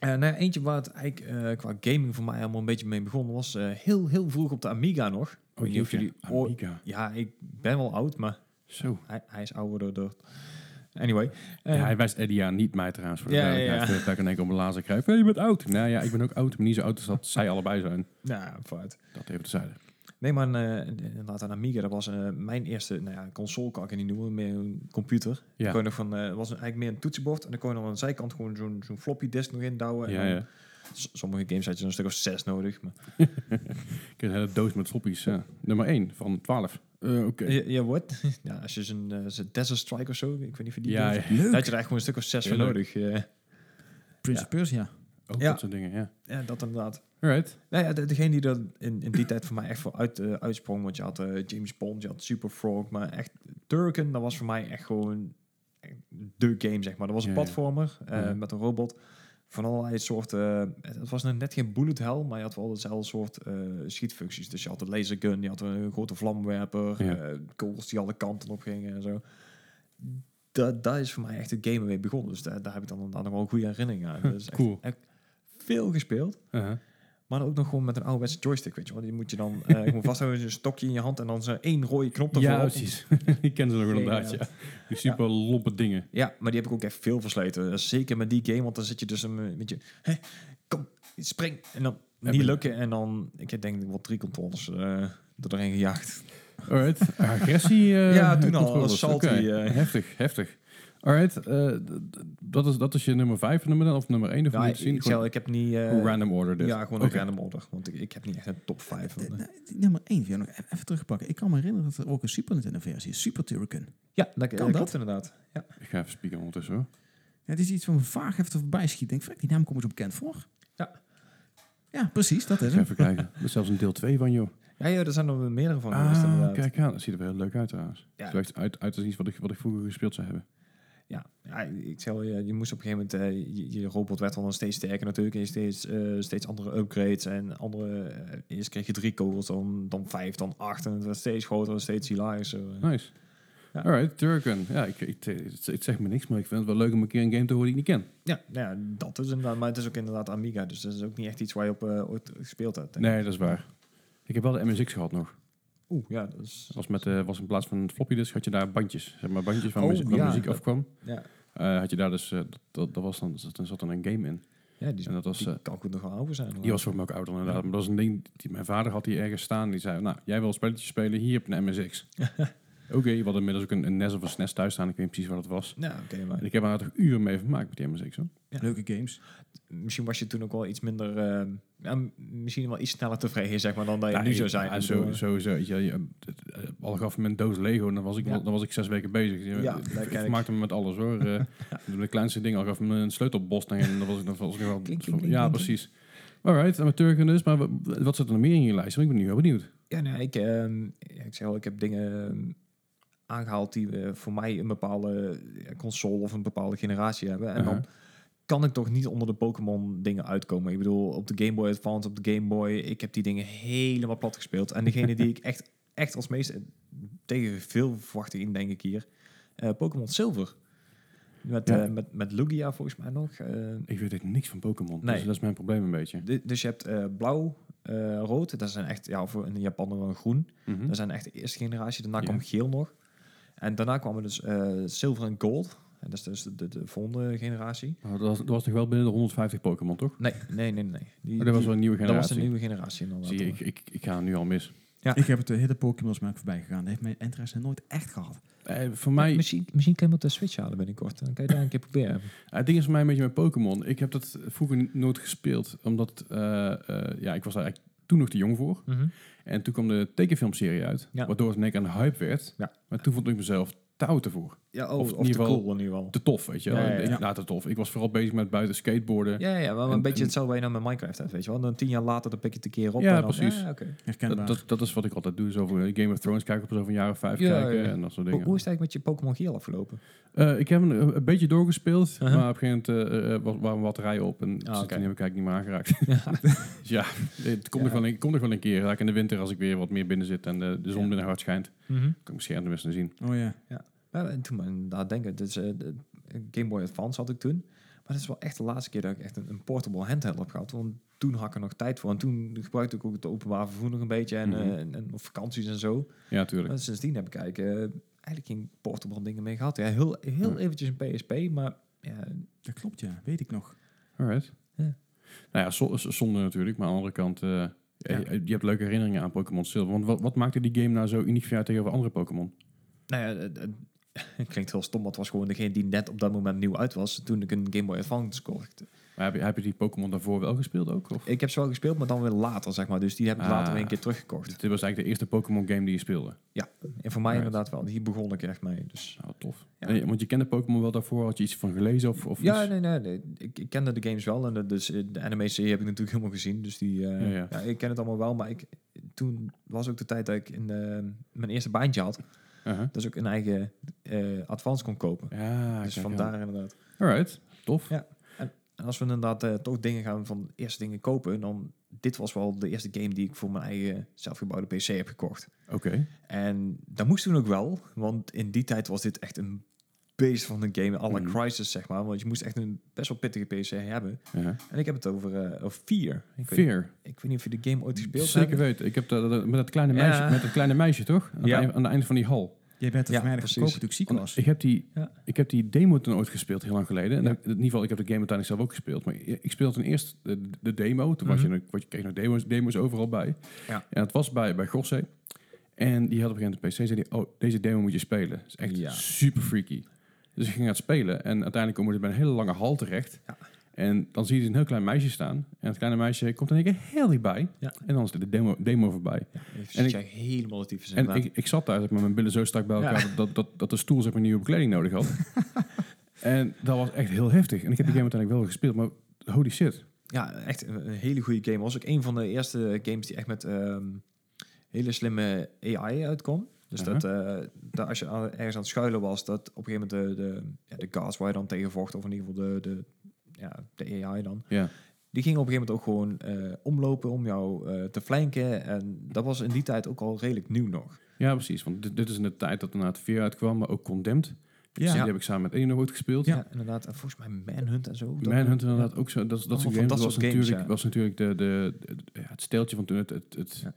Eh, nou ja, eentje waar het eigenlijk eh, qua gaming voor mij allemaal een beetje mee begon, was eh, heel, heel vroeg op de Amiga nog.
Oh,
niet of
jeetje.
jullie ooit-
Amiga.
Ja, ik ben wel oud, maar
Zo.
hij, hij is ouder door... Anyway. eh,
Ja, hij wijst Eddie aan, niet mij trouwens. Voor de
Ja, ja,
duidelijkheid.
ja.
eh, Dat ik in één keer op mijn lazer krijg. Hey, je bent oud. Nou ja, ik ben ook oud, maar niet zo oud als dat zij allebei zijn.
Nou, vooruit.
Dat even tezijde.
Nee, maar eh, inderdaad, een Amiga, dat was eh, mijn eerste nou ja, console, kan ik het niet noemen, meer een computer.
Ja.
Kon je nog van, eh, het was eigenlijk meer een toetsenbord en dan kon je dan aan de zijkant gewoon zo'n zo'n floppy disk nog indouwen. en
Ja,
dan-
ja.
S- Sommige games had je een stuk of zes nodig, maar
Ik heb een hele doos met floppies. ja. Nummer 1 van 12. Eh, Oké.
Ja, ja, wat? Ja, als je zo'n eh, zo'n Desert Strike of zo, ik weet niet of je die
Ja,
durft.
ja.
Daar
Leuk.
had je er echt gewoon een stuk of zes
Ja,
voor
leuk.
nodig. eh.
Prince of Persia.
Ook
Ja.
dat soort dingen, ja.
ja, dat inderdaad.
Alright.
Nou ja, de- degene die er in, in die tijd voor mij echt voor uit, eh, uitsprong, want je had eh, James Bond, je had Super Frog, maar echt Turken, dat was voor mij echt gewoon echt de game, zeg maar. Dat was een
Ja, ja.
platformer eh,
Ja.
met een robot van allerlei soorten, eh, het was nog net geen bullet hell, maar je had wel hetzelfde soort eh, schietfuncties. Dus je had een lasergun, je had een grote vlamwerper,
Ja.
eh, kogels die alle kanten op gingen en zo. Dat, dat is voor mij echt het game mee begonnen, dus daar, daar heb ik dan, dan nog wel een goede herinnering aan. Dus echt-
Cool.
echt veel gespeeld.
Uh-huh.
Maar dan ook nog gewoon met een ouderwetse joystick, weet je wel. Die moet je dan eh gewoon vasthouden met een stokje in je hand en dan zo'n één rode knop ervoor.
Ja,
op.
precies. ik ken ze nog wel inderdaad, ja. Die super lompe dingen.
Ja, maar die heb ik ook echt veel versleten. Eh, Zeker met die game, want dan zit je dus een beetje... Hè, kom, spring! En dan
Heb
niet
je-
lukken en dan... Ik heb denk ik wel drie controllers eh er doorheen gejaagd.
Alright. Agressie. eh,
Ja, toen al,
controllers.
als salty,
Oké.
eh.
Heftig, heftig. Alright. eh, d- d- dat, is, dat is je nummer 5 nummer dan, of nummer 1? Of
Ja,
moet
ik,
ik zien?
ik, zei al, Nou, ik heb niet... eh,
Gewoon random order dit.
ja, gewoon
Oké.
een random order. Want ik, ik heb niet echt een top 5.
Eh, nou, die nummer 1, nog even even terugpakken. Ik kan me herinneren dat er ook een Super Nintendo versie is. Super Turrican.
Ja, dat kan
dat?
klopt inderdaad. Ja.
Ik ga even spieken ondertussen hoor.
Ja, het is iets van vaag even voorbij schiet. Ik denk, frek, die naam komt zo bekend voor.
Ja.
Ja, precies, dat
Ik
is
ga
het.
even kijken. Er is zelfs een deel 2 van joh.
Ja, ja, er zijn er meerdere van geweest
Ah,
inderdaad.
kijk aan. Dat ziet er wel heel leuk uit trouwens.
Ja.
Het lijkt uit, uit als iets wat ik, wat ik vroeger gespeeld zou hebben.
Ja, ja, ik zei al, je, je moest op een gegeven moment, eh, je, je robot werd dan steeds sterker natuurlijk. En je steeds, eh, steeds andere upgrades en andere, eh, eerst kreeg je drie kogels, dan, dan vijf, dan acht. En het werd steeds groter en steeds hilarischer.
Nice.
Ja.
Alright, Turken. Ja, ik, ik, het, het zegt me niks, maar ik vind het wel leuk om een keer een game te horen die ik niet ken.
Ja, nou ja, dat is inderdaad, maar het is ook inderdaad Amiga. Dus dat is ook niet echt iets waar je op eh, ooit gespeeld hebt. denk ik.
Nee, dat is waar. Ik heb wel de MSX gehad nog.
Oeh, ja, dat is...
Dat was, met, eh, was in plaats van een floppy disk had je daar bandjes. Zeg maar bandjes waar,
Oh,
muziek, waar
ja.
muziek afkwam.
Ja,
Eh, had je daar dus, eh, dat, dat, dat was dan, dan zat dan een game in.
ja die, is-
En dat was,
die
eh,
kan goed nog wel over zijn.
Die was voor mij ook ouder inderdaad. Maar dat was een ding, die, mijn vader had die ergens staan. Die zei, nou, jij wil spelletjes spelen, hier heb je een MSX. Oké, we hadden inmiddels ook een, een NES of een SNES thuis staan. Ik weet niet precies wat het was.
Ja, oké, maar
En ik heb er toch uren mee vermaakt met die MSX. Hoor.
Ja.
Leuke games.
misschien was je toen ook wel iets minder, eh, ja, m- misschien wel iets sneller tevreden, zeg maar, dan dat je
Ja,
nu zou
Nou, ik-
zijn.
ja,
Ik
zo,
bedoel,
sowieso. weet Je, je, eh, eh, al gaf me een doos Lego en dan was ik,
Ja.
dan was ik zes weken bezig. Je-
Ja,
ik-
dat
ik
ken ik.
maakte me met alles hoor. Eh, de kleinste dingen al gaf me een sleutelbos. En dan was ik, dan was ik nog wel...
Klink, klink, klink,
ja,
klink.
precies. Alright, amateur dus. Maar wat, wat zit er nog meer in je lijst? Want ik ben nu heel benieuwd.
Ja, nou, ik, ehm, ja, ik zeg al, ik heb dingen ehm, aangehaald die eh, voor mij een bepaalde eh, console of een bepaalde generatie hebben. En
Uh-huh.
dan kan ik toch niet onder de Pokémon dingen uitkomen. Ik bedoel, op de Game Boy Advance, op de Game Boy, ik heb die dingen helemaal plat gespeeld. En degene die ik echt, echt als meest eh, tegen veel verwachting in, denk ik hier, eh, Pokémon Silver. Met,
Ja.
eh, met, met Lugia volgens mij nog. eh,
Ik weet echt niks van Pokémon.
Nee.
Dus dat is mijn probleem een beetje.
du- dus je hebt eh, blauw, eh, rood, dat zijn echt, ja, of in Japan dan groen.
Mhm.
Dat zijn echt de eerste generatie. Daarna
Ja.
kwam geel nog. En daarna kwamen dus eh zilver en gold. En dat is dus de, de, de volgende generatie.
Maar dat, was, dat was toch wel binnen de 150 Pokémon, toch?
Nee, nee, nee, nee. Die,
Maar Oh, dat was
die-
wel een nieuwe
dat was
generatie.
een nieuwe generatie inderdaad.
Zie je, ik, ik, ik ga nu al mis.
Ja.
Ik heb het de hele Pokémon's merk voorbij gegaan. Dat heeft mijn interesse nooit echt gehad.
Eh, voor mij,
misschien, misschien kan je hem op de Switch halen binnenkort. Dan kan je daar een keer proberen.
het ding is voor mij een beetje met Pokémon. Ik heb dat vroeger n- nooit gespeeld, omdat eh, eh, ja, ik was daar eigenlijk toen nog te jong voor.
Mhm.
En toen kwam de tekenfilmserie uit,
Ja.
waardoor het in één keer een hype werd.
Ja.
Maar toen vond ik mezelf te oud ervoor.
Ja, oh,
Of
of,
in ieder
te
geval
cool in ieder geval.
Te tof, weet je wel.
Ja, ja, ja.
Ik-
Ja.
nou, te tof. Ik was vooral bezig met buiten skateboarden.
Ja, ja, maar een
En-
beetje
en-
hetzelfde waar je nou met Minecraft hebt, weet je wel. Dan tien jaar later, dan pik je het een keer op.
Ja,
en dan,
precies.
Ja, oké.
Dat,
Herkenbaar.
dat, dat is wat ik altijd doe. Zo voor Game of Thrones kijken op zo'n jaar of vijf
Ja,
kijken
ja.
en dat soort
Hoe,
dingen.
hoe is het eigenlijk met je Pokémon Geel afgelopen?
Eh, ik heb hem een, een beetje doorgespeeld,
Uh-huh.
maar op een gegeven moment eh, eh, was, waren wat rijen op en dus
Ah, oké.
toen heb ik eigenlijk niet meer aangeraakt. Dus ja, het komt, nog
Ja.
wel een, komt nog wel een keer. Raak in de winter als ik weer wat meer binnen zit en de, de zon
Ja.
binnen hard schijnt, kan
Mhm.
ik mijn scherm de best aan zien.
Oh ja.
Ja, en toen maar daar denken, dus eh, de Game Boy Advance had ik toen. Maar dat is wel echt de laatste keer dat ik echt een, een portable handheld heb gehad. Want toen had ik er nog tijd voor. En toen gebruikte ik ook het openbaar vervoer nog een beetje. En, eh,
Mhm.
en, en op vakanties en zo.
Ja, tuurlijk.
Maar sindsdien heb ik eigenlijk, eh, eigenlijk geen portable dingen meer gehad. Ja, heel, heel
Ja.
eventjes een PSP, maar... Ja,
Dat klopt, ja. Weet ik nog.
Alright.
Ja.
Nou ja, zo- z- zonde natuurlijk, maar aan de andere kant, eh, eh, je hebt leuke herinneringen aan Pokémon Silver. Want wat, wat maakte die game nou zo uniek voor jou tegenover andere Pokémon?
nou ja, het, het- het klinkt heel stom. Maar het was gewoon degene die net op dat moment nieuw uit was. Toen ik een Game Boy Advance kocht.
Maar heb je, heb je die Pokémon daarvoor wel gespeeld ook? Of?
Ik heb ze wel gespeeld, maar dan weer later, zeg maar. Dus die heb ik later
Ah.
weer een keer teruggekocht.
Dit was eigenlijk de eerste Pokémon game die je speelde.
En voor mij
Right.
inderdaad wel. Hier begon ik echt mee. Dus.
Nou, tof.
Ja.
En je- want je kende Pokémon wel daarvoor? Had je iets van gelezen? Of, of
Ja,
iets?
nee, nee. nee. Ik, ik kende de games wel. En de, dus eh, de anime-serie heb ik natuurlijk helemaal gezien. Dus die, eh,
Ja,
ja,
ja.
ik ken het allemaal wel. Maar ik, toen was ook de tijd dat ik in, eh, mijn eerste baantje had.
Uh-huh.
Dus ook een eigen eh advance kon kopen.
Ja,
dus
Ah, kijk aan.
vandaar inderdaad.
Alright, tof.
Ja. En als we inderdaad eh, toch dingen gaan van eerst dingen kopen, dan dit was wel de eerste game die ik voor mijn eigen zelfgebouwde PC heb gekocht.
Oké.
En dat moest toen ook wel, want in die tijd was dit echt een beest van een game, alle
Mhm.
crisis zeg maar, want je moest echt een best wel pittige PC hebben.
Ja.
En ik heb het over eh, over vier. Ik weet,
Veer.
ik weet niet of je de game ooit gespeeld
Zeker
hebt.
weten. Ik heb dat, dat- met, dat kleine meisje,
Ja.
met dat kleine meisje, toch? Aan,
Ja.
het einde, aan het einde van die hal.
Jij bent er
Ja,
voor mij
precies.
gekomen toen ik ziek
Want
was.
Ik heb, die,
Ja.
ik heb die demo toen ooit gespeeld, heel lang geleden. En
Ja.
dan- in ieder geval, ik heb de game uiteindelijk zelf ook gespeeld. Maar ik speelde toen eerst de, de demo. Toen was
Mhm.
je, wat je kreeg nog demo's, demo's overal bij.
Ja.
En dat was bij, bij Gosse. En die had op een gegeven moment de PC. Zei die, oh, deze demo moet je spelen. Dat is echt
Ja.
super freaky. Dus ik ging aan het spelen. En uiteindelijk kom je dus bij een hele lange hal terecht.
Ja.
En dan zie je dus een heel klein meisje staan. En het kleine meisje komt in één keer heel dichtbij.
Ja.
En dan is de demo, demo voorbij.
Ja, en
En ik-
jij helemaal het tyfus
En
inderdaad.
ik, ik zat daar zeg maar, met mijn billen zo strak bij elkaar
Dus Ja.
dat, dat, dat de stoel zeg maar, nieuwe bekleding nodig had. en dat was echt heel heftig. En ik heb die game uiteindelijk wel gespeeld, maar holy shit.
Ja, echt een, een hele goede game. Was ook een van de eerste games die echt met ehm, hele slimme AI uitkwam. Dus dat, eh, dat als je aan- ergens aan het schuilen was, dat op een gegeven moment de, de, ja, de guards waar je dan tegen vocht, of in ieder geval de, de, ja, de AI dan,
Ja.
die ging op een gegeven moment ook gewoon eh, omlopen om jou eh, te flanken. En dat was in die tijd ook al redelijk nieuw nog.
ja, precies. Want dit, dit is in de tijd dat het VR uitkwam, maar ook Condemned. Dus
Ja.
Die heb ik samen met Eno ooit gespeeld.
Ja, inderdaad. En volgens mij Manhunt en zo. dat-
Manhunt inderdaad ook zo. Dat, dat
Allemaal
soort
van
games
dat
was,
soort games,
natuurlijk,
ja.
was natuurlijk de, de, de- ja, het steeltje van toen. Het, het, het
Ja.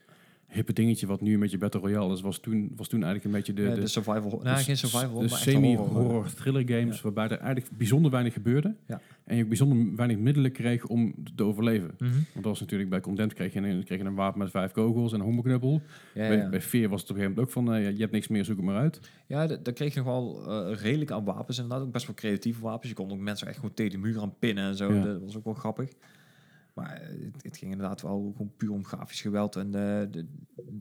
hippe dingetje wat nu een beetje Battle Royale is, was toen, was toen eigenlijk een beetje de...
Ja,
de-
de survival. Nou,
Dus-
geen survival,
dus
maar echt een horror.
semi-horror thriller games,
Ja.
waarbij er eigenlijk bijzonder weinig gebeurde.
Ja.
En je ook bijzonder weinig middelen kreeg om te overleven.
Mhm.
Want dat was natuurlijk bij Condemned kreeg je een, kreeg je een wapen met vijf kogels en een hongerknuppel.
Ja,
bij,
ja.
bij Fear was het op een gegeven moment ook van, eh, ja, je hebt niks meer, zoek het maar uit.
Ja, d- daar kreeg je nog wel eh, redelijk aan wapens. Inderdaad, ook best wel creatieve wapens. Je kon ook mensen echt gewoon tegen de muur aan pinnen en zo.
Ja.
Dat was ook wel grappig. Maar eh, het, het ging inderdaad wel gewoon puur om grafisch geweld en eh, de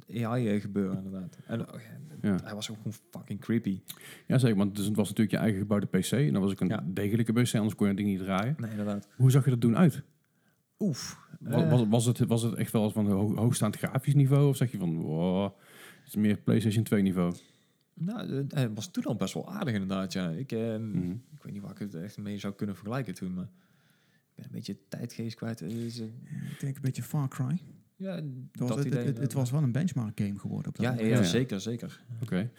de AI gebeuren inderdaad. En oh ja,
Ja,
hij was ook gewoon fucking creepy.
ja zeker, want dus het was natuurlijk je eigen gebouwde PC. En dat was ook een
Ja.
degelijke PC, anders kon je dat ding niet draaien.
Nee, inderdaad.
Hoe zag je dat doen uit?
Oef.
Was,
Eh.
was, was, het, was het echt wel van ho- hoogstaand grafisch niveau? Of zeg je van, wow, het is meer PlayStation 2 niveau?
Nou, eh, het was toen al best wel aardig inderdaad, ja. Ik, eh,
Mhm.
ik weet niet waar ik het echt mee zou kunnen vergelijken toen, maar... Ik ben een beetje tijdgeest kwijt. Eh, dus, eh,
Ik denk een beetje Far Cry.
ja,
Dat
dat
was, het,
idee.
het- het, het was wel een benchmark game geworden. Op dat
ja, ja,
moment.
Ja, ja.
zeker, zeker.
Oké.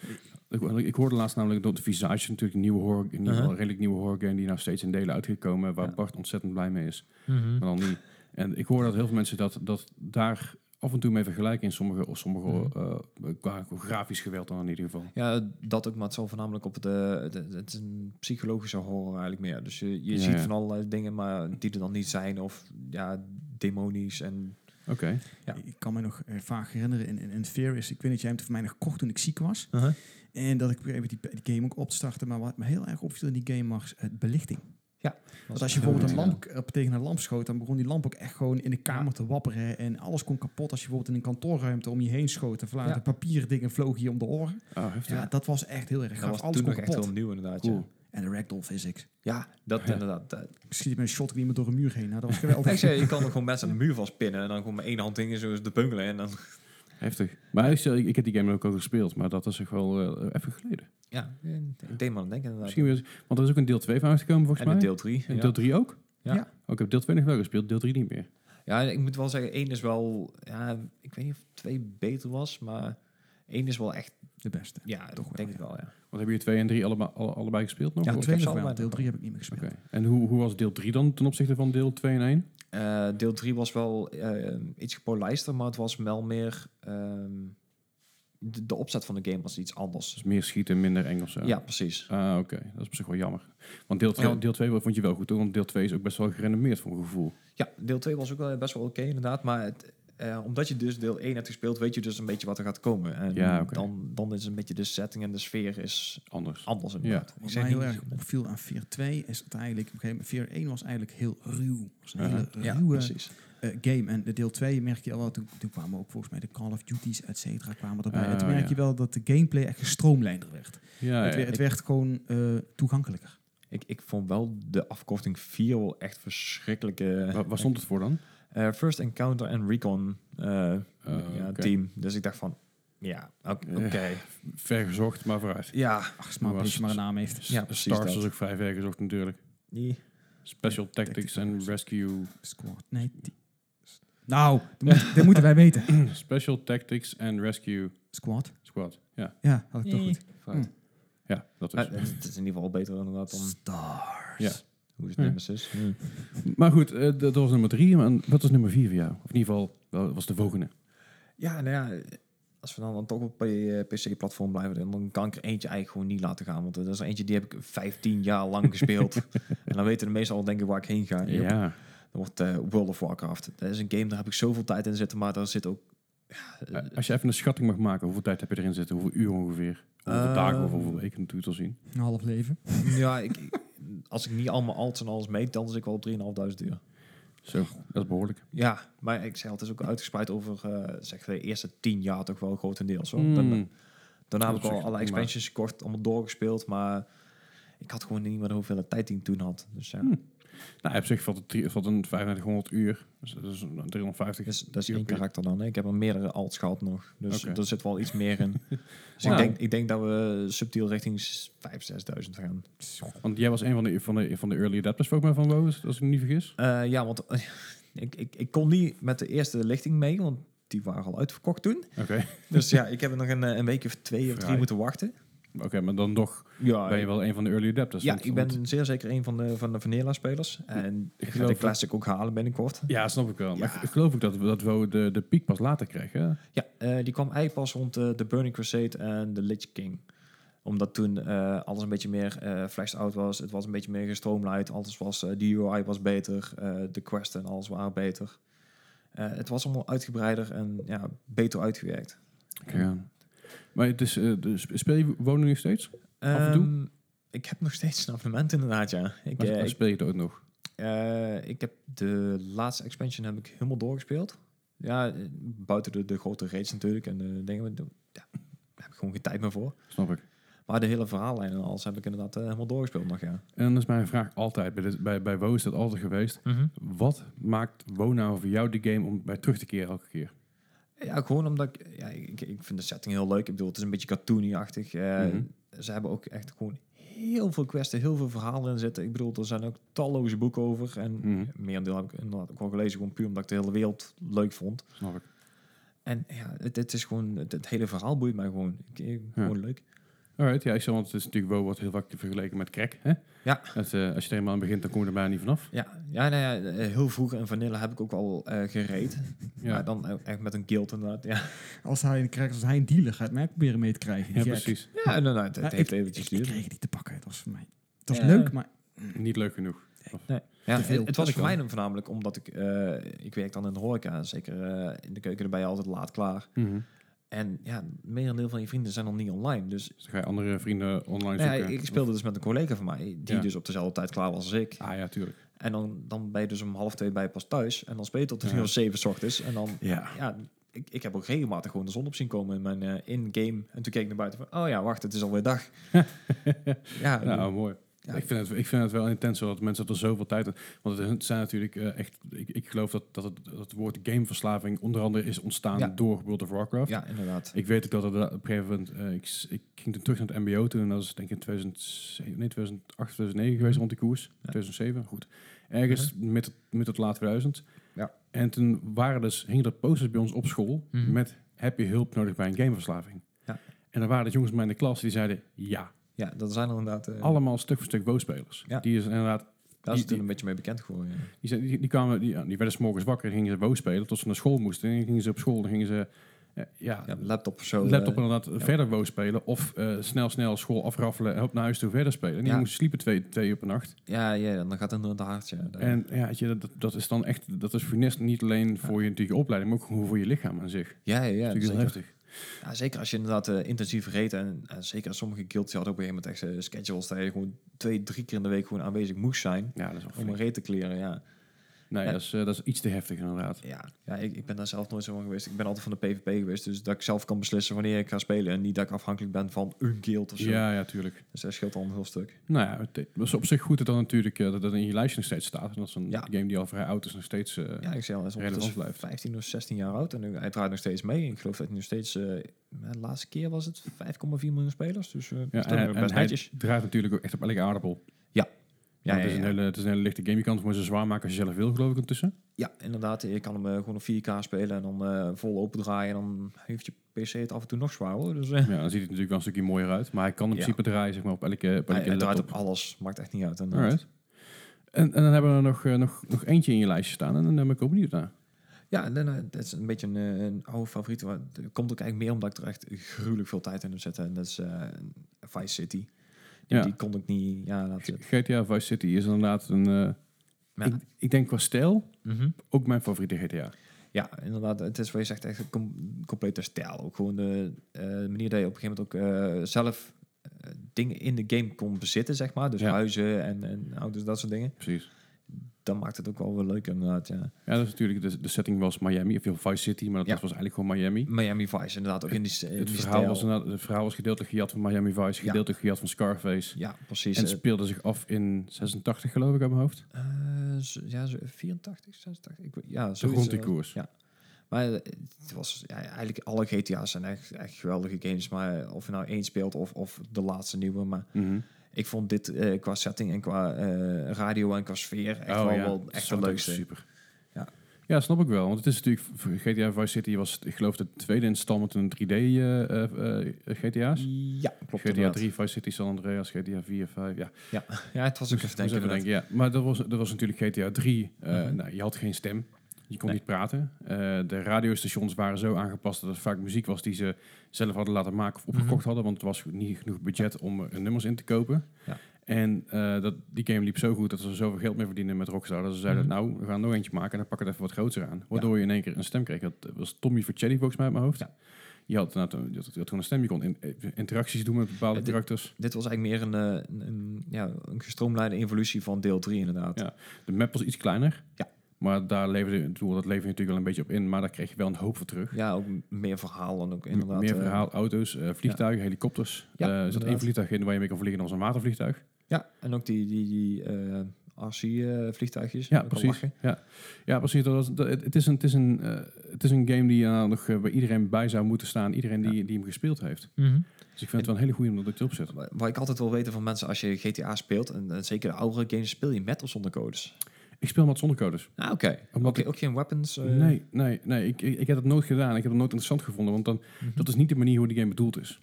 Ik, ik hoorde laatst namelijk dat Visage natuurlijk een nieuwe horror, een nieuwe,
Uh-huh.
redelijk nieuwe horror game die nou steeds in delen uitgekomen, waar
Ja.
Bart ontzettend blij mee is. Maar dan niet. En ik hoor dat heel veel mensen dat, dat daar af en toe mee vergelijken in sommige, of sommige
Mhm.
eh, qua grafisch geweld dan in ieder geval.
Ja, dat ook, maar het zal voornamelijk op de, de- Het is een psychologische horror eigenlijk meer. Dus je, je
Ja,
ziet
ja.
van allerlei dingen, maar die er dan niet zijn. Of ja, demonisch en...
Oké.
Ja.
Ik kan me nog eh, vaag herinneren, in, in, in Fear is, ik weet niet, jij hebt het voor mij nog gekocht toen ik ziek was.
Uh-huh.
En dat ik op een gegeven moment die, die game ook opstartte. Maar wat me heel erg opviel in die game was het belichting. Want als je bijvoorbeeld een
goed
lamp op, tegen een lamp schoot, dan begon die lamp ook echt gewoon in de kamer te wapperen. En alles kon kapot als je bijvoorbeeld in een kantoorruimte om je heen schoot. En vlagen
Ja.
papierdingen vlogen je om de oren.
Ah, heftig.
Ja, dat was echt heel erg
Dat
gaaf.
was
Alles
toen
kon
nog echt
kapot.
heel nieuw inderdaad,
Cool.
ja.
En de ragdoll physics.
Ja, dat
Ja.
inderdaad. dat-
Ik schiet met een shotgun iemand door een muur heen. Nou, dat was
Ik
geweldig.
zei, je kan er gewoon mensen aan de muur vastpinnen en dan gewoon met één hand dingen zoals de bungelen. En dan,
Heftig. Maar ik, stel- ik, ik heb die game ook al gespeeld, maar dat is echt wel eh, even geleden.
ja, ik deed maar aan denken inderdaad.
Misschien weer, want er is ook een deel 2 van uitgekomen volgens
En een
mij.
deel 3.
en
ja.
deel 3 ook?
Ja.
Ja.
Ook ik heb deel 2 nog wel gespeeld, deel 3 niet meer.
Ja, ik moet wel zeggen, één is wel... Ja, ik weet niet of twee beter was, maar één is wel echt...
De beste.
Ja,
Toch wel,
denk
ja.
ik wel, ja.
Want hebben je 2 en 3 allebei, alle- allebei gespeeld nog?
Ja,
Of-
ik
twee
heb ze
nog wel.
allebei
Deel
nog
3 heb ik niet meer gespeeld.
Oké. En hoe, hoe was deel 3 dan ten opzichte van deel 2 en 1?
Eh, deel 3 was wel eh, iets gepolijster, maar het was wel meer... ehm, de, de opzet van de game was iets anders.
Dus meer schieten, minder eng of zo?
Ja, precies.
Ah, oké. Dat is op zich wel jammer. Want deel 2,
Ja.
deel 2 vond je wel goed, hoor, want deel 2 is ook best wel gerenommeerd voor mijn gevoel.
Ja, deel 2 was ook wel best wel oké inderdaad, maar het, eh, omdat je dus deel 1 hebt gespeeld, weet je dus een beetje wat er gaat komen. En
Ja, oké.
dan, dan is een beetje de setting en de sfeer is
Anders.
anders inderdaad. Ik
Wat
zeg
mij
niet-
heel erg opviel aan 4-2 is het eigenlijk... Op een gegeven moment, 4-1 was eigenlijk heel ruw. was een
Ja.
hele
Ja,
ruwe
precies.
eh, game. En de deel 2 merk je al wel, toen, toen kwamen ook volgens mij de Call of Duties, et cetera, kwamen erbij.
Ah,
en toen merk
ja. Oh,
je wel dat de gameplay echt gestroomlijnder werd.
Ja,
het,
ja.
werd het werd gewoon eh, toegankelijker.
Ik, ik vond wel de afkorting 4 wel echt verschrikkelijke.
Wa- waar stond het voor dan?
Eh, First Encounter and Recon eh,
Eh,
ja,
oké.
team. Dus ik dacht van, ja, oké.
Ja.
oké.
Vergezocht, maar vooruit.
Ja,
Ach, is maar een
Was-
beetje maar een naam heeft.
Ja,
S-
precies
Stars
dat.
was ook vrij vergezocht natuurlijk.
die-
Special Tactics and Rescue.
Squad. Nee, die- Nou, dat, moet- dat moeten wij weten.
Special Tactics and Rescue
Squad.
Squad. Ja,
Ja, had ik toch
Nee.
goed.
ja dus- dat is.
Eh, het is in ieder geval beter inderdaad dan
Stars.
Ja.
hoe is het
Ja.
Nemesis. Hm.
Maar goed, eh, dat was nummer drie. Maar wat was nummer vier voor jou? Of in ieder geval, wel, was de volgende.
Ja, nou ja, als we dan, dan toch op eh, PC-platform blijven, dan kan ik er eentje eigenlijk gewoon niet laten gaan. Want dat is er eentje die heb ik 15 jaar lang gespeeld. en dan weten de meesten al denk ik waar ik heen ga.
Ja.
Dat wordt eh, World of Warcraft. Dat is een game, daar heb ik zoveel tijd in zitten, maar daar zit ook...
Eh, Als je even een schatting mag maken, hoeveel tijd heb je erin zitten? Hoeveel uur ongeveer? Hoeveel
Ehm,
dagen of hoeveel weken natuurlijk te zien?
Een half leven.
ja, ik, ik- als ik niet allemaal alts en alles meet, dan zit ik wel op 3.500 uur.
Zo, dat is behoorlijk.
Ja, maar ik zei, het is ook uitgespreid over eh, zeg, de eerste 10 jaar toch wel grotendeels. Hoor.
Mm.
Dan- Daarna
Dat
heb ik
is
al
echt
alle
prima.
expansions gekocht, allemaal doorgespeeld, maar ik had gewoon niet meer de hoeveelheid tijd die ik toen had. Dus ja,
Hm. Nou, op zich valt het, drie- valt een 3500 uur. Dus dat is een 350.
dus, dat is
uur
één
per-
karakter dan. Hè. Ik heb er meerdere alts gehad nog, dus
Oké.
er zit wel iets meer in. Dus
Wauw.
ik, denk, ik denk dat we subtiel richting 5.000, 6.000 gaan.
Want jij was een van de, van de, van de early adapters volgens mij van WoW, als als ik me niet vergis.
Eh, ja, want eh, ik, ik, ik kon niet met de eerste lichting mee, want die waren al uitverkocht toen.
Oké,
Dus ja, ik heb er nog een, eh, een week of twee of
Fraai.
drie moeten wachten.
oké, maar dan toch
Ja,
ben je wel een van de early adapters.
ja
want-
ik
want-
ben zeer zeker een van de, van de Vanilla-spelers. En ik ga
geloof
de
dat-
Classic ook halen binnenkort.
Ja, snap ik wel. Maar
Ja.
ik geloof ook dat, we- dat WoW de, de piek pas later kregen. hè?
Ja, eh, die kwam eigenlijk pas rond eh, The Burning Crusade en The Lich King. Omdat toen eh, alles een beetje meer eh fleshed out was. Het was een beetje meer gestroomlijnd. Alles was, eh, de UI was beter. eh, de quest en alles waren beter. Eh, het was allemaal uitgebreider en ja, beter uitgewerkt.
Ja. Maar het is, eh, de- speel je WoW nu nog steeds? Af en toe?
Ehm, ik heb nog steeds een abonnement inderdaad, ja. Ik,
Maar,
eh,
maar
ik,
speel je het ook nog?
eh, ik heb de laatste expansion heb ik helemaal doorgespeeld. Ja, eh, buiten de, de grote raids natuurlijk en de dingen. maar Ja, daar heb ik gewoon geen tijd meer voor.
Snap ik.
Maar de hele verhaallijn en alles heb ik inderdaad eh, helemaal doorgespeeld nog, ja.
En dan is mijn vraag altijd, bij, dit- bij, bij WoW is dat altijd geweest. Wat maakt WoW nou voor jou de game om bij terug te keren elke keer?
Ja, gewoon omdat ik, ja, ik, ik vind de setting heel leuk. Ik bedoel, het is een beetje cartoony-achtig. Eh,
Mhm.
Ze hebben ook echt gewoon heel veel questen, heel veel verhalen in zitten. Ik bedoel, er zijn ook talloze boeken over. En
Mhm.
merendeel heb ik inderdaad ook wel gelezen, gewoon puur omdat ik de hele wereld leuk vond.
Snap ik.
En ja, het, het is gewoon, het, het hele verhaal boeit mij gewoon. Ik, ik-
Ja.
Gewoon leuk.
Alright, ja, ik zeg, want het is natuurlijk WoW wordt heel vaak vergeleken met crack. Hè?
Ja.
Het, eh, als je er eenmaal aan begint, dan kom je er bijna niet vanaf.
Ja, ja, nou ja eh, heel vroeg in Vanilla heb ik ook al eh, gereed.
Ja.
Maar dan ook echt met een guild inderdaad. Ja,
Als hij, krijgt, als hij een dealer gaat mij proberen mee te krijgen. die
Ja,
gek.
precies.
ja inderdaad. Het
Maar
heeft
ik,
eventjes
ik, ik
duur.
kreeg die te pakken. Het was voor mij... Het was
Ja.
leuk, maar
Niet leuk genoeg.
Ja,
te veel.
Het, het was
Dat
voor
kan.
mij dan voornamelijk omdat ik... eh, ik werk dan in de horeca. Zeker eh, in de keuken erbij altijd laat klaar.
Mhm.
En ja, merendeel van je vrienden zijn dan niet online. Dus
Dus dan ga je andere vrienden online
nou ja,
zoeken.
ik speelde dus met een collega van mij... die
Ja.
dus op dezelfde tijd klaar was als ik.
Ah ja, tuurlijk.
En dan, dan ben je dus om half twee bij pas thuis. En dan speel je tot een
Ja.
uur of zeven 's ochtends. En dan...
Ja.
Ja, ik, ik heb ook regelmatig gewoon de zon op zien komen in mijn eh, in-game. En toen keek ik naar buiten van... Oh ja, wacht, het is alweer dag. ja,
Nou, mooi.
Ja.
Ik, vind het, ik vind het wel intens hoor, dat mensen dat er zoveel tijd aan... Want het zijn natuurlijk eh, echt... Ik, ik geloof dat, dat, het, dat het woord gameverslaving onder andere is ontstaan
Ja.
door World of Warcraft.
ja inderdaad.
Ik weet ook dat er op een gegeven moment... eh, ik, s- ik ging toen terug naar het mbo toen. En dat is denk ik in 2007, nee, 2008, 2009 geweest rond die koers. 2007, goed. Ergens met, het, met het laat 2000.
Mhm. Ja.
En toen waren dus, hingen er posters bij ons op school...
Mhm.
met heb je hulp nodig bij een gameverslaving?
Ja.
En er waren dus jongens bij mij in de klas die zeiden ja.
Ja, dat zijn er inderdaad... eh,
Allemaal stuk voor stuk WoW-spelers.
Ja.
Die is inderdaad
Daar is
Oh, Die-
het toen
die-
een beetje mee bekend geworden. ja.
die, zijn, die, die kwamen, die, ja, die werden s'morgens wakker en gingen ze WoW spelen tot ze naar school moesten. En dan gingen ze op school, dan gingen ze eh, ja,
Ja, laptop of zo. eh,
laptop inderdaad verder wou spelen. Of eh, snel, snel school afraffelen en op naar huis toe verder spelen. En die
Ja.
jongens sliepen twee, twee uur per nacht.
ja, ja, dan gaat het inderdaad hard. Ja, Dan-
En ja, weet je, dat, dat is dan echt, dat is funest niet alleen voor je, natuurlijk je opleiding, maar ook gewoon voor je lichaam aan zich.
ja, ja,
dat
ja
is natuurlijk heel
zeker.
heftig.
Ja, zeker als je inderdaad eh, intensief reed. En, en zeker sommige guilds die hadden op een gegeven moment echt eh, schedules... dat je gewoon twee, drie keer in de week gewoon aanwezig moest zijn...
Ja, dat is wel
om een
flink.
reet te kleren, ja.
Nee,
Ja.
dat, is, eh, dat is iets te heftig inderdaad.
Ja, ja ik, ik ben daar zelf nooit zo van geweest. Ik ben altijd van de PvP geweest. Dus dat ik zelf kan beslissen wanneer ik ga spelen. En niet dat ik afhankelijk ben van een guild of zo.
Ja, ja, tuurlijk.
Dus dat scheelt al een heel stuk.
Nou ja, het het is op zich goed dat dan natuurlijk eh, dat dat in je lijstje nog steeds staat. En dat is een
Ja.
game die al vrij oud is, nog steeds eh,
Ja, ik zeg al, hij is
relevant
ondertussen
blijft.
15 of 16 jaar oud. En nu- hij draait nog steeds mee. Ik geloof dat hij nog steeds... eh, de laatste keer was het 5,4 miljoen spelers. Dus eh
Ja,
dat is
en, en
best
hij
netjes.
draait natuurlijk ook echt op elke aardappel. Ja, het, is Een hele, het is een hele lichte game. Je kan het maar zo zwaar maken als je zelf wil, geloof ik, ondertussen.
Ja, inderdaad. Je kan hem eh, gewoon op 4K spelen en dan eh, vol open draaien. En dan heeft je PC het af en toe nog zwaar hoor. Dus, eh,
Ja, dan ziet het natuurlijk wel een stukje mooier uit. Maar hij kan in
Ja.
principe draaien zeg maar, op elke, op
hij,
elke
hij draait
laptop.
op alles. Maakt echt niet uit. En, eh,
Alright. En, en dan hebben we er nog, eh, nog, nog eentje in je lijstje staan. En dan ben ik ook benieuwd naar.
Ja, en dan, eh, dat is een beetje een, eh, een oude favoriet. Maar het komt ook eigenlijk meer omdat ik er echt gruwelijk veel tijd in heb zitten. En dat is eh, Vice City. Die,
Ja.
die kon ik niet... Ja, laat
G-
het.
GTA Vice City is inderdaad een... eh,
Ja.
ik, ik denk qua stijl
Mhm.
ook mijn favoriete GTA.
Ja, inderdaad. Het is wat je zegt, echt een com- complete stijl. Ook gewoon de eh, manier dat je op een gegeven moment ook eh, zelf eh, dingen in de game kon bezitten, zeg maar. Dus
Ja.
huizen en, en auto's, dat soort dingen.
Precies.
Dan maakt het ook wel weer leuk, inderdaad, ja.
Ja, dat is natuurlijk... De, de setting was Miami, of heel Vice City, maar dat
Ja.
was eigenlijk gewoon Miami.
Miami Vice, inderdaad, ook in die, in
Het
die
verhaal,
stijl.
was inderdaad- het verhaal was gedeeltelijk gejat van Miami Vice,
Ja.
gedeeltelijk gejat van Scarface.
Ja, precies.
En het
eh,
speelde zich af in 86, geloof ik, uit mijn hoofd.
eh, z- ja, zo 84, 86, ik, weet- ja,
Zo
zoiets.
rond die
eh,
koers.
ja. Maar eh, het was ja, eigenlijk alle GTA's zijn echt, echt geweldige games. Maar eh, of je nou één speelt of, of de laatste nieuwe. Maar
Mhm.
ik vond dit eh, qua setting en qua eh, radio en qua sfeer echt wel, wel
Het
echt
Oh, is
wel
wel
leukste.
Super.
Ja.
ja, snap ik wel. Want het is natuurlijk... voor GTA Vice City was, ik geloof, de tweede installment in 3D eh, eh, eh, GTA's.
Ja, klopt
GTA
inderdaad.
3, Vice City, San Andreas, GTA 4, 5, ja.
Ja, het was ook even
Moest
denken.
even denken, ja. Maar dat was, dat was natuurlijk GTA 3. eh,
Mhm.
nou, je had geen stem. Je kon
Nee.
niet praten. Eh, de radiostations waren zo aangepast dat het vaak muziek was die ze zelf hadden laten maken of opgekocht
Mhm.
hadden. Want er was niet genoeg budget om er nummers in te kopen.
Ja.
En eh, dat, die game liep zo goed dat ze er zoveel geld mee verdienden met Rockstar. Dat ze zeiden,
Mhm.
nou, we gaan nog eentje maken en dan pak het even wat groter aan. Waardoor je in één keer een stem kreeg. Dat was Tommy Vercelli volgens mij uit mijn hoofd.
Ja.
Je had, nou, je, had, je had gewoon een stem. Je kon in- eh, interacties doen met bepaalde
Ja, dit-
karakters.
Dit was eigenlijk meer een, eh, een, een, ja, een gestroomlijnde evolutie van deel 3 inderdaad.
Ja. De map was iets kleiner.
Ja.
Maar daar leverde, ik bedoel, dat leverde natuurlijk wel een beetje op in. Maar daar kreeg je wel een hoop voor terug.
Ja, ook m- meer verhaal dan ook inderdaad.
Meer
eh,
verhaal, auto's, eh, vliegtuigen, helikopters.
Ja,
Eh, er zat
inderdaad.
één vliegtuig in waar je mee kon vliegen. Dat was een watervliegtuig.
ja, en ook die, die, die eh, RC-vliegtuigjes.
Ja, precies. Ja. ja, precies. Dat was, dat- het, het is een, het, is een, eh, het is een game die eh, nog eh, bij iedereen bij zou moeten staan. Iedereen die, die hem gespeeld heeft. Dus ik vind het wel een hele goede om dat op te zetten.
Wa- Wat ik altijd wil weten van mensen als je GTA speelt, en, en zeker de oudere games, speel je met of zonder codes?
Ik speel met zonder codes.
Ah, oké.
Omdat
Oké,
ik-
ook geen weapons? eh?
Nee, nee, nee. Ik, ik, ik heb dat nooit gedaan. Ik heb het nooit interessant gevonden. Want dan,
Mhm.
dat is niet de manier hoe die game bedoeld is.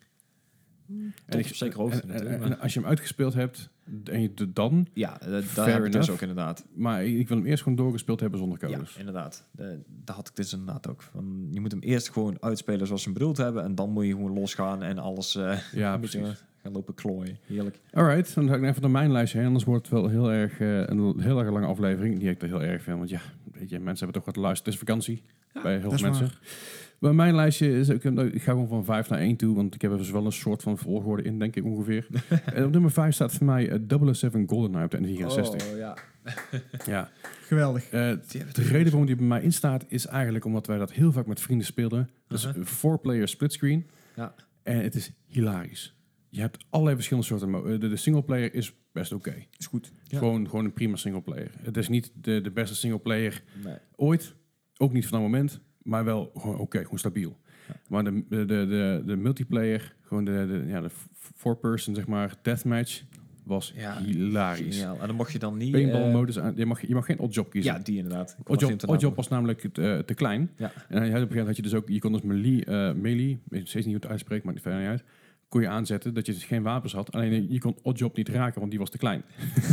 Tot op zekere hoogte
en-
natuurlijk,
en- en als je hem uitgespeeld hebt en je doet dan...
Ja, eh,
Fair
daar heb ik dus
enough.
ook inderdaad.
Maar ik ik wil hem eerst gewoon doorgespeeld hebben zonder codes.
Ja, inderdaad. Eh, daar had ik dus inderdaad ook. Van, je moet hem eerst gewoon uitspelen zoals ze hem bedoeld hebben. En dan moet je gewoon losgaan en alles eh,
Ja,
een beetje
precies.
gaan lopen klooien. Oh, Heerlijk.
Alright, dan ga ik nou even naar mijn lijstje heen. Anders wordt het wel heel erg, eh, een heel erg lange aflevering. Die heb ik er heel erg veel. Want ja, weet je, mensen hebben toch wat luisteren. Het is vakantie bij heel
dat
veel
is
mensen. Maar mijn lijstje is... Ik, heb- ik ga gewoon van 5 naar 1 toe. Want ik heb er dus wel een soort van volgorde in, denk ik ongeveer. en op nummer 5 staat voor mij eh, 007 GoldenEye op de N64.
Oh, ja.
Ja.
Geweldig.
Eh,
Die hebben
De
het
reden waarom die bij mij in staat is eigenlijk omdat wij dat heel vaak met vrienden speelden. Dus
Uh-huh.
een four-player splitscreen.
Ja.
En het is hilarisch. Je hebt allerlei verschillende soorten. mo- eh, De, de singleplayer is best oké.
Is goed.
Ja.
Gewoon, gewoon een prima singleplayer. Het is niet de, de beste singleplayer
Nee.
ooit. Ook niet van dat moment. Maar wel gewoon oké, gewoon stabiel.
Ja.
Maar de, de, de, de, de multiplayer, gewoon de, de, ja, de f- four-person, zeg maar, deathmatch, was
Ja,
hilarisch.
Geniaal. En dan mocht je dan niet... eh,
Paintball-modus aan. Je mag, je mag geen odd-job kiezen.
ja, die inderdaad. Ik kon
Oddjob,
even de naam
Oddjob was namelijk het, eh, te klein.
Ja.
En hij had op een gegeven moment had je dus ook, je kon dus melee, eh melee ik weet steeds niet hoe het uitspreekt, maar het verder niet uit, kon je aanzetten dat je dus geen wapens had. Alleen je kon Oddjob niet raken, want die was te klein.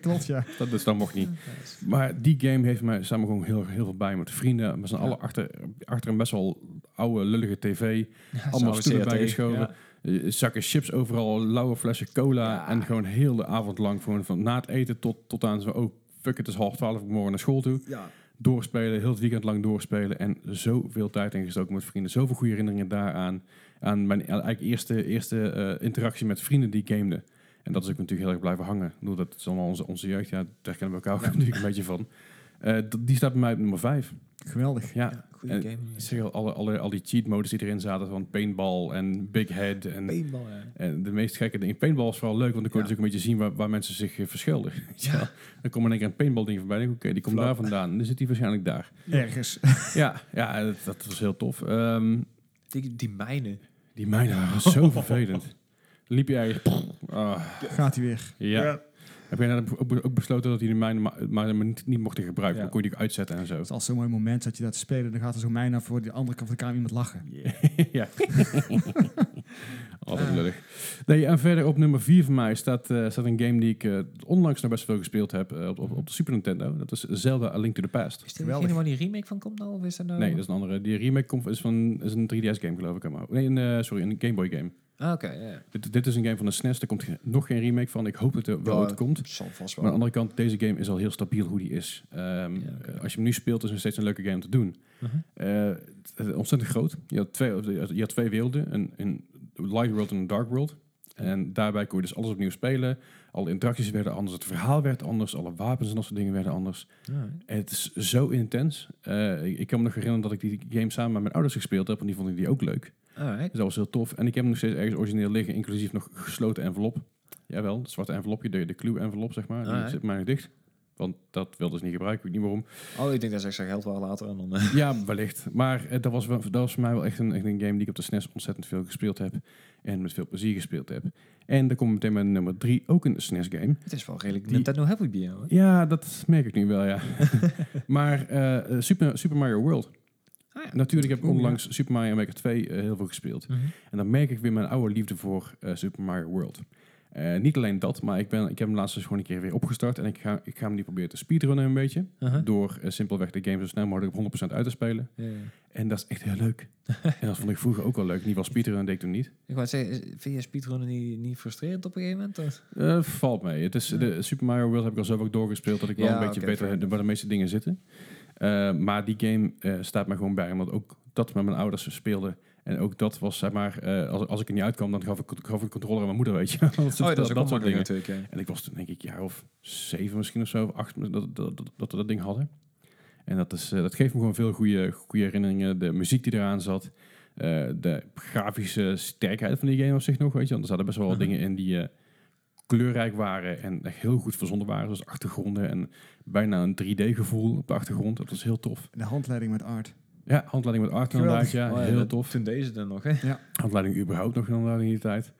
Klopt, ja.
Dat, dus dat mocht niet.
noemen. Nice.
Maar die game heeft mij samen gewoon heel, heel veel bij met vrienden. We zijn
Ja.
alle achter, achter een best wel oude lullige tv, allemaal stoelen bijgeschoven. eh, zakken chips overal, lauwe flessen cola
Ja.
en gewoon heel de avond lang gewoon van na het eten tot, tot aan zo, oh fuck het is half twaalf, ik moet morgen naar school toe.
Ja.
Doorspelen, heel het weekend lang doorspelen en zoveel tijd ingestoken met vrienden, zoveel goede herinneringen daaraan. Aan mijn eigenlijk eerste, eerste eh, interactie met vrienden die gameden. En dat is ook natuurlijk heel erg blijven hangen. Ik bedoel, dat is allemaal onze, onze jeugd, ja, daar kennen we elkaar ook natuurlijk een beetje van. Eh, d- die staat bij mij op nummer vijf.
Geweldig.
Ja,
Ja, goede
Eh,
game.
ik zeg al, alle, alle, al die cheat modes die erin zaten van paintball en big head en
Paintball, ja.
en de meest gekke ding, paintball is vooral leuk, want dan kon je
Ja.
natuurlijk een beetje zien waar, waar mensen zich eh, verschilden.
Ja.
Dan komt in één keer een paintball ding voorbij, denk ik, oké, die komt
Flap.
daar vandaan, dan zit die waarschijnlijk daar.
Ergens.
ja, ja dat, dat was heel tof. Ehm,
Die, die mijnen.
die mijnen waren zo vervelend. Liep je eigenlijk... Ah,
Gaat hij weer.
ja. Heb jij dan ook, ook besloten dat die mijnen maar, maar niet, niet mochten gebruiken?
Ja.
Dan kon je die ook uitzetten en zo.
Het is al zo'n mooi moment dat je dat speelt. Dan gaat er zo'n mijn af voor de andere kant van de kamer iemand lachen.
ja. Altijd lullig. Nee, en verder op nummer 4 van mij staat, eh, staat een game die ik eh, onlangs nog best veel gespeeld heb eh, op, op, op de Super Nintendo. Dat is Zelda A Link to the Past.
Is dit
Geweldig.
degene waar die remake van komt nou? Of is dat nou...
Nee, dat is een andere. Die remake komt, is van is een 3DS game geloof ik. helemaal. Nee, een, eh, sorry, een Game Boy game.
Ah, oké, ja.
Dit, dit is een game van de SNES, daar komt ge- nog geen remake van. Ik hoop dat er wel
Ja,
ooit komt.
Zal vast
Maar aan
wel.
de andere kant, deze game is al heel stabiel hoe die is. Ehm,
Ja, oké.
Als je hem nu speelt, is het nog steeds een leuke game om te doen.
Mhm.
Eh, het- het- ontzettend groot. Je had twee, eh, je had twee werelden, een, een light world en een dark world. En daarbij kon je dus alles opnieuw spelen. Alle interacties werden anders, het verhaal werd anders, alle wapens en dat soort dingen werden anders.
Alright.
En het is zo intens. Eh, ik, ik kan me nog herinneren dat ik die game samen met mijn ouders gespeeld heb, en die vonden die ook leuk.
Alright.
Dus dat was heel tof. En ik heb hem nog steeds ergens origineel liggen, inclusief nog gesloten envelop. Jawel, het zwarte envelopje, de, de clue-envelop, zeg maar.
Ah,
die
hè?
zit maar nog dicht. Want dat wilde ze niet gebruiken, ik weet niet waarom.
Oh, ik denk dat ze extra geld wel later en dan... eh,
ja, wellicht. Maar eh, dat, was wel, dat was voor mij wel echt een, echt een game die ik op de SNES ontzettend veel gespeeld heb. En met veel plezier gespeeld heb. En dan komt meteen mijn nummer drie, ook een SNES-game.
het is wel redelijk
Die-
Nintendo heavy bij jou, hè?
Ja, dat merk ik nu wel, ja. maar eh, eh, Super, Super Mario World.
Ah, ja.
Natuurlijk heb ik
Oeh,
onlangs Super Mario Maker 2 eh, heel veel gespeeld. En dan merk ik weer mijn oude liefde voor eh, Super Mario World. Eh, niet alleen dat, maar ik, ben, ik heb hem laatst dus gewoon een keer weer opgestart. En ik ga, ik ga hem nu proberen te speedrunnen een beetje.
Aha.
Door eh, simpelweg de game zo snel mogelijk op 100% uit te spelen.
Uh-huh. Ja, ja.
En dat is echt heel leuk. en dat vond ik vroeger ook wel leuk. In ieder geval speedrunnen deed ik toen niet.
Ik wou zeggen, is- vind je speedrunnen niet, niet frustrerend op een gegeven moment? of?
Eh, valt mee. Het is, de Super Mario World heb ik al zo ook doorgespeeld dat ik wel
Ja,
een beetje
oké,
weet
fair.
waar de meeste dingen zitten. Eh, maar die game eh, staat me gewoon bij. Omdat ook dat met mijn ouders speelden. En ook dat was, zeg maar, eh, als, als ik er niet uitkwam, dan gaf ik, gaf ik de controle aan mijn moeder, weet je. wel.
Oh, ja, dat is ook wel
soort
makkelijk
dingen.
natuurlijk, ja.
En ik was toen denk ik een jaar of zeven misschien of zo, of acht, dat, dat, dat, dat we dat ding hadden. En dat, is, eh, dat geeft me gewoon veel goede, goede herinneringen. De muziek die eraan zat, eh, de grafische sterkheid van die game op zich nog, weet je. Want er zaten best wel wat
Mhm.
dingen in die eh, kleurrijk waren en echt heel goed verzonnen waren. Zoals achtergronden en bijna een 3D-gevoel op de achtergrond. Dat was heel tof.
De handleiding met art.
Ja, handleiding met art
Geweldig.
inderdaad, ja,
Oh, ja,
heel
dat-
tof.
Toen deze dan nog, hè?
Handleiding überhaupt nog een handleiding in die tijd.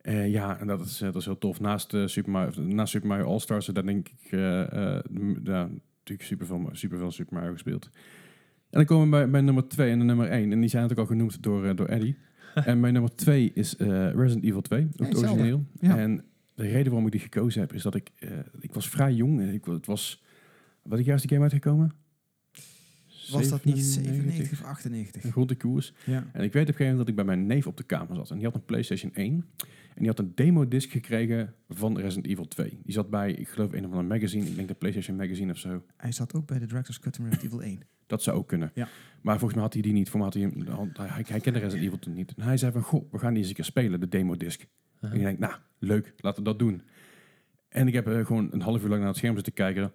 Eh, ja, en dat is, eh, dat is heel tof. Naast, eh, Super Mario, naast Super Mario All-Stars, daar denk ik, eh, eh, m- ja, natuurlijk super veel, super veel Super Mario gespeeld. En dan komen we bij, bij nummer 2 en de nummer 1. En die zijn natuurlijk al genoemd door, eh, door Eddie. en mijn nummer 2 is eh, Resident Evil 2, ook het
hetzelfde.
origineel.
Ja.
En de reden waarom ik die gekozen heb, is dat ik, eh, ik was vrij jong. en Ik, het was, wat ik juist die game uitgekomen?
Was dat niet 97 of 98?
Rond de koers.
Ja.
En ik weet op een gegeven moment dat ik bij mijn neef op de kamer zat. En die had een PlayStation 1. En die had een demodisc gekregen van Resident Evil 2. Die zat bij, ik geloof, een of andere magazine. Ik denk de PlayStation Magazine of zo.
Hij zat ook bij de Director's Cut van Resident Evil 1.
Dat zou ook kunnen.
Ja.
Maar volgens mij had hij die niet. Voor mij had hij, hem- had- hij, hij kende Resident Evil toen niet. En hij zei van, goh, we gaan die eens een keer spelen, de demodisc.
Aha.
En ik denk, nou, leuk, laten we dat doen. En ik heb eh, gewoon een half uur lang naar het scherm zitten kijken.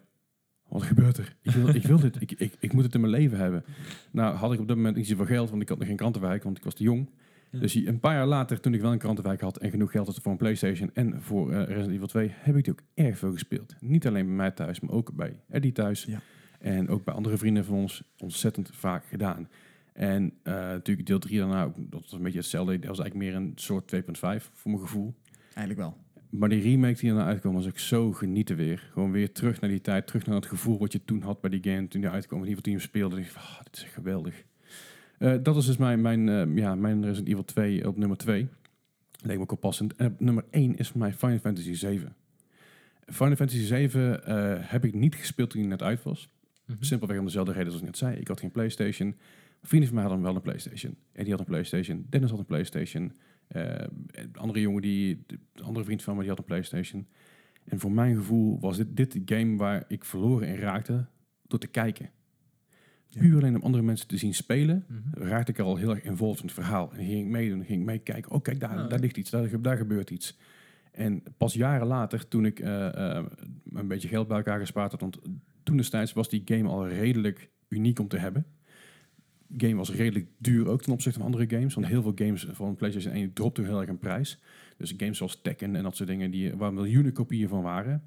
Wat gebeurt er? Ik wil, ik wil dit. Ik, ik, ik moet het in mijn leven hebben. Nou, had ik op dat moment niet zoveel geld, want ik had nog geen krantenwijk, want ik was te jong.
Ja.
Dus die- een paar jaar later, toen ik wel een krantenwijk had en genoeg geld had voor een PlayStation en voor eh, Resident Evil 2, heb ik die ook erg veel gespeeld. Niet alleen bij mij thuis, maar ook bij Eddie thuis.
Ja.
En ook bij andere vrienden van ons ontzettend vaak gedaan. En eh, natuurlijk deel 3 daarna, ook, dat was een beetje hetzelfde. Dat was eigenlijk meer een soort 2.5 voor mijn gevoel.
Eigenlijk wel.
Maar die remake die erna uitkwam, was ook zo genieten weer. Gewoon weer terug naar die tijd, terug naar het gevoel wat je toen had bij die game. Toen die uitkwam, in ieder geval toen je hem speelde, dacht ik van, "Ah, dit is echt geweldig. Eh, dat is dus mijn, mijn, eh, ja, mijn Resident Evil 2 op nummer 2. Leek me ook wel passend. En op nummer 1 is voor mij Final Fantasy 7. Final Fantasy 7 eh, heb ik niet gespeeld toen hij net uit was.
Mhm.
Simpelweg om dezelfde reden als ik net zei. Ik had geen PlayStation. Vrienden van mij hadden wel een PlayStation. Eddie had een PlayStation. Dennis had een PlayStation. Eh, een andere jongen die, de andere vriend van me, die had een PlayStation. En voor mijn gevoel was dit, dit de game waar ik verloren in raakte door te kijken.
Ja.
Puur alleen om andere mensen te zien spelen, raakte ik al heel erg involved in het verhaal. En ging ik meedoen, ging ik meekijken. Oh, kijk, daar,
Ah, ja.
daar ligt iets, daar, ge- daar gebeurt iets. En pas jaren later, toen ik eh, eh, een beetje geld bij elkaar gespaard had, want toen destijds was die game al redelijk uniek om te hebben. De game was redelijk duur ook ten opzichte van andere games. Want heel veel games van PlayStation 1 dropten heel erg in prijs. Dus games zoals Tekken en dat soort dingen, die, waar miljoenen kopieën van waren,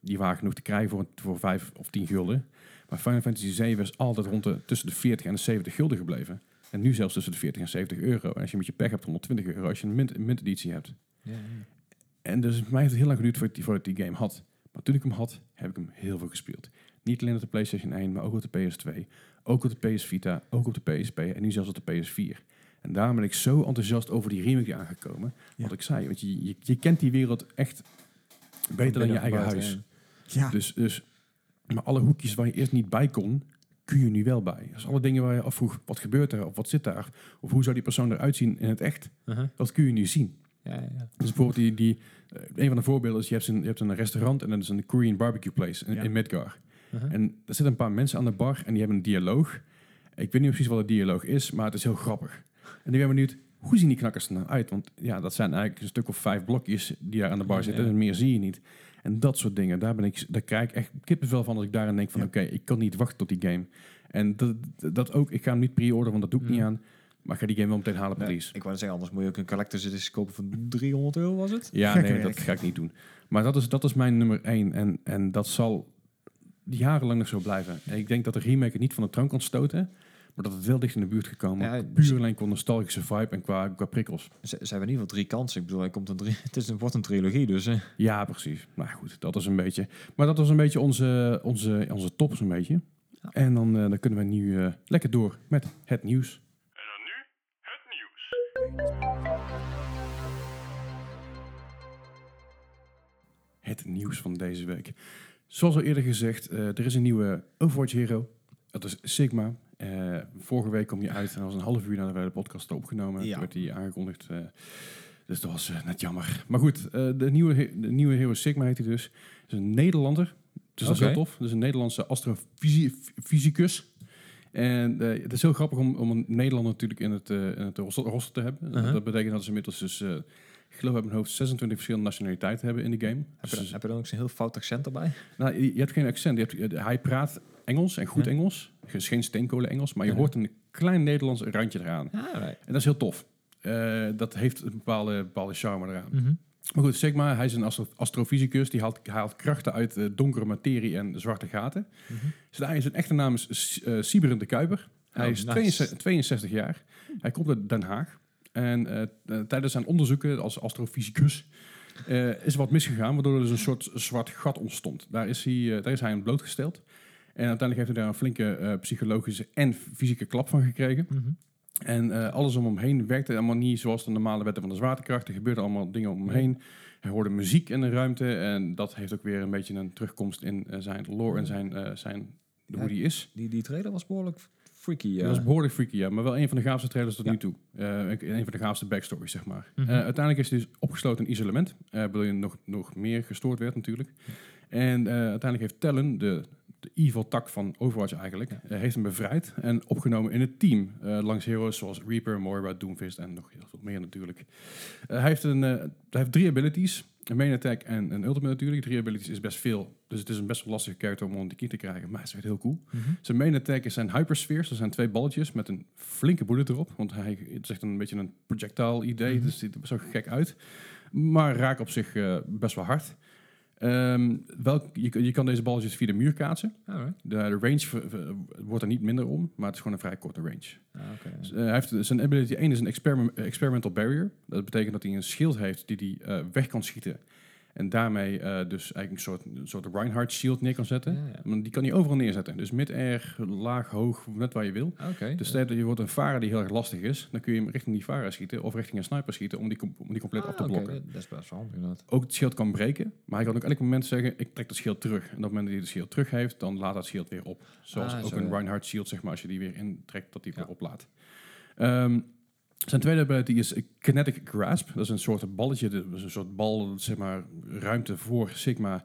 die waren genoeg te krijgen voor, voor 5 of 10 gulden. Maar Final Fantasy 7 is altijd rond de, tussen de 40 en de 70 gulden gebleven. En nu zelfs tussen de 40 en 70 euro. En als je met je pech hebt, 120 euro als je een mint, mint editie hebt.
Ja,
En dus voor mij heeft het heel lang geduurd voordat ik, voordat ik die game had. Maar toen ik hem had, heb ik hem heel veel gespeeld. Niet alleen op de PlayStation 1, maar ook op de PS2. Ook op de PS Vita, ook op de PSP en nu zelfs op de PS4. En daarom ben ik zo enthousiast over die remake die aangekomen. Wat
Ja.
ik zei, want je, je, je kent die wereld echt beter dan je eigen huis.
Ja,
Dus, dus, maar alle hoekjes waar je eerst niet bij kon, kun je nu wel bij. Dus alle dingen waar je afvroeg, wat gebeurt er, of wat zit daar, of hoe zou die persoon eruit zien in het echt, dat kun je nu zien.
Ja, ja, ja.
Dus bijvoorbeeld die, die, eh, een van de voorbeelden is, je hebt een, je hebt een restaurant en dat is een Korean barbecue place in,
Ja.
in Midgar.
Mhm.
En er zitten een paar mensen aan de bar en die hebben een dialoog. Ik weet niet precies wat de dialoog is, maar het is heel grappig. En ik ben benieuwd, hoe zien die knakkers er nou uit? Want ja, dat zijn eigenlijk een stuk of vijf blokjes die daar aan de bar
Ja,
zitten.
ja.
En meer zie je niet. En dat soort dingen, daar, ben ik, daar krijg ik echt kippenvel van als ik daarin denk van...
Ja.
oké, ik kan niet wachten tot die game. En dat, dat ook, ik ga hem niet pre-orderen, want dat doe ik
Mhm.
Mm.
niet aan. Maar ik ga die game wel meteen halen op
Nee,
release.
ik wou net zeggen, anders moet je ook een collector's edition kopen van 300 euro, was het?
Ja,
Gekke
nee,
werk.
dat ga ik niet doen. Maar dat is, dat is mijn nummer één. En, en dat zal jarenlang nog zo blijven. En ik denk dat de remake het niet van de troon kan stoten. Maar dat het wel dicht in de buurt gekomen.
Ja,
puur alleen qua nostalgische vibe en qua, qua prikkels.
Z- Ze hebben in ieder geval drie kansen. Ik bedoel, hij komt een drie, het is een, wordt een trilogie, dus... eh.
Ja, precies. Maar goed, dat is een beetje... Maar dat was een beetje onze, onze, onze top zo'n beetje.
Ja.
En dan, eh, dan kunnen we nu eh, lekker door met het nieuws.
En dan nu het nieuws.
het nieuws van deze week. Zoals al eerder gezegd, eh, er is een nieuwe Overwatch Hero. Dat is Sigma. Eh, vorige week kwam die uit en dat was een half uur nadat wij de podcast hadden opgenomen.
Ja.
Toen werd die aangekondigd. eh, dus dat was eh, net jammer. Maar goed, eh, de, nieuwe, he- de nieuwe hero Sigma heet hij dus. is een Nederlander. Dus dat is
Oké.
heel tof. Dus een Nederlandse astrofysicus. En eh, het is heel grappig om, om een Nederlander natuurlijk in het, eh, in het roster roster te hebben.
Uh-huh.
Dat betekent dat ze inmiddels dus... eh, ik geloof uit mijn hoofd 26 verschillende nationaliteiten hebben in de game. Dus
Heb, je dan, heb je dan ook zo'n heel fout accent erbij?
nou, je je hebt geen accent. Je hebt, eh, hij praat Engels en goed
Ja.
Engels. Dus geen steenkolen Engels. Maar je
Ja.
hoort een klein Nederlands randje eraan.
Ja, right.
En dat is heel tof. Eh, dat heeft een bepaalde, bepaalde charme eraan. Maar goed, Sigma, hij is een astro- astrofysicus. Die haalt, haalt krachten uit eh, donkere materie en zwarte gaten.
Mhm.
Dus hij, zijn echte naam is S- eh, Syberin de Kuiper. Hij
Oh,
is
nice.
62, 62 jaar. Hij komt uit Den Haag. En eh, eh, tijdens zijn onderzoeken als astrofysicus eh, is er wat misgegaan, waardoor er dus een soort zwart gat ontstond. Daar is hij, eh, daar is hij aan blootgesteld. En uiteindelijk heeft hij daar een flinke eh, psychologische en fysieke klap van gekregen. En eh, alles om hem heen werkte allemaal niet zoals de normale wetten van de zwaartekracht. Er gebeurden allemaal dingen om hem heen. Hij hoorde muziek in de ruimte. En dat heeft ook weer een beetje een terugkomst in eh, zijn lore en zijn, eh, zijn,
Ja.
hoe die is.
Die, die trailer was behoorlijk freaky, ja.
Dat was behoorlijk freaky, ja. Maar wel een van de gaafste trailers tot
Ja.
nu toe. Eh, ik- een van de gaafste backstories, zeg maar.
Mhm.
Eh, uiteindelijk is hij dus opgesloten in isolement. eh waardoor je nog, nog meer gestoord werd natuurlijk. En eh, uiteindelijk heeft Tellen, de, de evil tak van Overwatch eigenlijk...
Ja.
eh, heeft hem bevrijd en opgenomen in het team. eh, langs heroes zoals Reaper, Moira, Doomfist en nog heel veel meer natuurlijk. Eh, hij, heeft een, eh, hij heeft drie abilities. Een main attack en een ultimate natuurlijk. Drie abilities is best veel. Dus het is een best wel lastige character om onder de key te krijgen. Maar het is echt heel cool. Zijn main attack is zijn hyperspheres. Dat zijn twee balletjes met een flinke bullet erop. Want hij het is echt een beetje een projectile idee.
Mhm.
Dus ziet er best wel gek uit. Maar raakt op zich eh, best wel hard. Ehm, welk, je, kan- je kan deze balletjes via de muur kaatsen.
Alright.
De, de range ver- ver- wordt er niet minder om, maar het is gewoon een vrij korte range.
Ah, oké.
Dus, eh, hij heeft, zijn ability 1 is een experim- eh, experimental barrier. Dat betekent dat hij een schild heeft die hij eh, weg kan schieten. En daarmee eh, dus eigenlijk een soort, een soort Reinhardt shield neer kan zetten.
Ja, ja.
Maar Die kan hij overal neerzetten. Dus mid-air, laag, hoog, net waar je wil.
Oké.
Dus stel dat je wordt een varen die heel erg lastig is, dan kun je hem richting die varen schieten of richting een sniper schieten om die, com- om die compleet af te
Ah, oké,
blokken.
dat- Dat is best wel handig inderdaad.
Ook het schild kan breken, maar hij kan ook elk moment zeggen: ik trek dat schild terug. En op het moment dat hij het schild terug heeft, dan laat dat schild weer op. Zoals
Ah,
ook
zo,
een
ja.
Reinhardt shield, zeg maar, als je die weer intrekt, dat die weer
Ja.
oplaat. Ehm, zijn tweede ability is Kinetic Grasp. Dat is een soort balletje, dat is een soort bal, zeg maar, ruimte voor Sigma.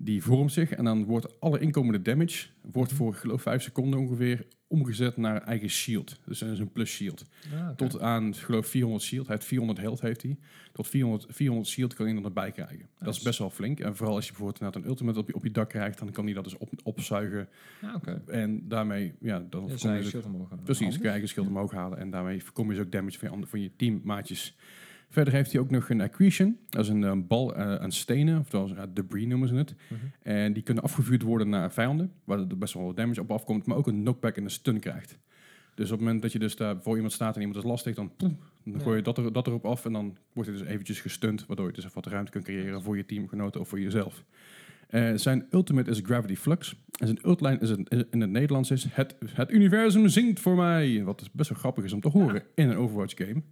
Die vormt zich en dan wordt alle inkomende damage, wordt voor geloof 5 seconden ongeveer, omgezet naar eigen shield. Dus dat is een plus shield.
Ah, oké.
Tot aan, geloof 400 shield. Hij heeft 400 health, heeft hij. Tot 400, 400 shield kan hij dan erbij krijgen. Dat is
Nice.
best wel flink. En vooral als je bijvoorbeeld inderdaad een ultimate op je, op je dak krijgt, dan kan hij dat dus op, opzuigen.
Ah, oké.
En daarmee, ja, dan
Dus
voorkom je
hij
dus ook-
schild omhoog gaan.
precies,
Handig.
kan je eigen schild omhoog halen. En daarmee voorkom je dus ook damage van je, ander- van je teammaatjes. Verder heeft hij ook nog een accretion. Dat is een eh, bal eh, aan stenen, oftewel eh, debris noemen ze het.
Mhm.
En die kunnen afgevuurd worden naar vijanden, waar er best wel wat damage op afkomt, maar ook een knockback en een stun krijgt. Dus op het moment dat je dus daar voor iemand staat en iemand is lastig, dan, ploem, dan
Ja.
gooi je dat, er, dat erop af en dan wordt hij dus eventjes gestunt, waardoor je dus even wat ruimte kunt creëren voor je teamgenoten of voor jezelf. Eh, zijn ultimate is Gravity Flux. En zijn ultline is een- in het Nederlands is het, het universum zingt voor mij. Wat dus best wel grappig is om te horen in een Overwatch game.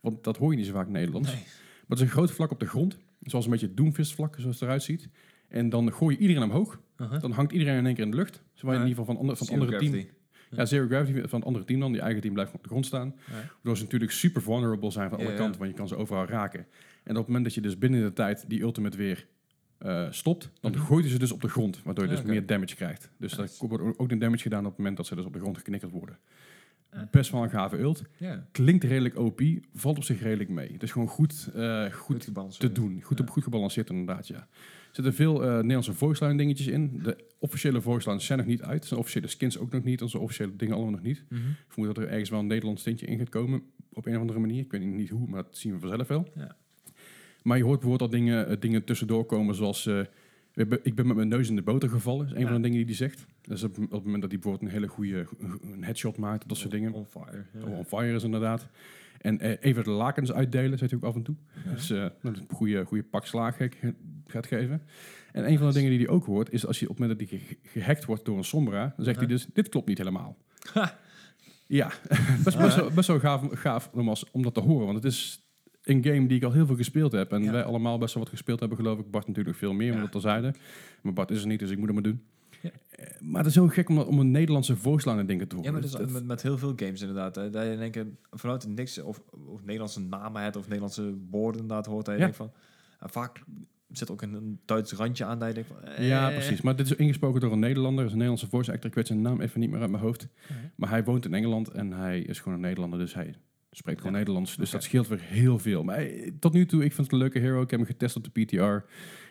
Want dat hoor je niet zo vaak in het Nederlands.
Nee.
Maar het is een groot vlak op de grond. Zoals een beetje Doomfist vlak, zoals het eruit ziet. En dan gooi je iedereen omhoog.
Aha.
Dan hangt iedereen in één keer in de lucht. Zowel in
Ja.
ieder geval van, ander, van het
Zero
andere team.
gravity.
Ja, zero gravity van het andere team dan. Die eigen team blijft op de grond staan.
Ja.
Waardoor ze natuurlijk super vulnerable zijn van alle
Ja, ja.
kanten. Want je kan ze overal raken. En op het moment dat je dus binnen de tijd die ultimate weer eh, stopt. Dan
Mhm.
gooit je ze dus op de grond. Waardoor je
Ja,
dus
oké.
meer damage krijgt. Dus daar
Nice.
wordt ook een damage gedaan op het moment dat ze dus op de grond geknikkerd worden.
Ah.
Best wel een gave ult.
Ja.
Klinkt redelijk OP. Valt op zich redelijk mee. Het is gewoon goed, eh, goed
Goed gebalanceerd.
te doen. Goed, op, goed gebalanceerd inderdaad, ja. Er zitten veel eh, Nederlandse voice line dingetjes in. De officiële voice lines zijn nog niet uit. Zijn officiële skins ook nog niet. Onze officiële dingen allemaal nog niet.
Mhm.
Ik vermoed dat er ergens wel een Nederlands tintje in gaat komen. Op een of andere manier. Ik weet niet hoe, maar dat zien we vanzelf wel.
Ja.
Maar je hoort bijvoorbeeld al dingen, eh, dingen tussendoor komen zoals... eh, ik ben- ik ben met mijn neus in de boter gevallen. is een
Ja.
van de dingen die hij zegt. Dus op, op het moment dat hij bijvoorbeeld een hele goede een headshot maakt. Dat soort dingen.
On fire. Ja.
Of on fire is inderdaad. En eh, even de lakens uitdelen, zegt hij ook af en toe.
Ja.
Dus eh, dat een goede, goede pak slaag ge- ge- gaat geven. En een van de dingen die hij ook hoort, is als je op het moment dat hij ge- gehackt wordt door een Sombra, dan zegt hij
Aha.
dus, dit klopt niet helemaal.
Ha.
Ja, best, best, wel, best wel gaaf, gaaf nogmaals, om dat te horen. Want het is een game die ik al heel veel gespeeld heb. En
Ja.
wij allemaal best wel wat gespeeld hebben, geloof ik. Bart natuurlijk veel meer,
Ja.
omdat dat zeiden. Maar Bart is er niet, dus ik moet hem maar doen.
Ja.
Eh, Maar het is heel gek om, dat- om een Nederlandse voiceline dingen te horen.
Ja, maar dat
Dus
is
dat-
met, met heel veel games inderdaad. Hè, dat je denk ik vanuit het niks of, of Nederlandse namen hebt of Nederlandse woorden inderdaad hoort. Dat je
Ja.
denkt van, en vaak zit ook een, een Duits randje aan dat je denkt van... eh,
Ja, precies. Maar dit is ingesproken door een Nederlander. Dat is een Nederlandse voice actor. Ik weet zijn naam even niet meer uit mijn hoofd.
Mhm.
Maar hij woont in Engeland en hij is gewoon een Nederlander. Dus hij spreekt gewoon
Ja.
Nederlands. Dus dat
Oké.
scheelt weer heel veel. Maar eh, tot nu toe, ik vind het een leuke hero. Ik heb hem getest op de PTR.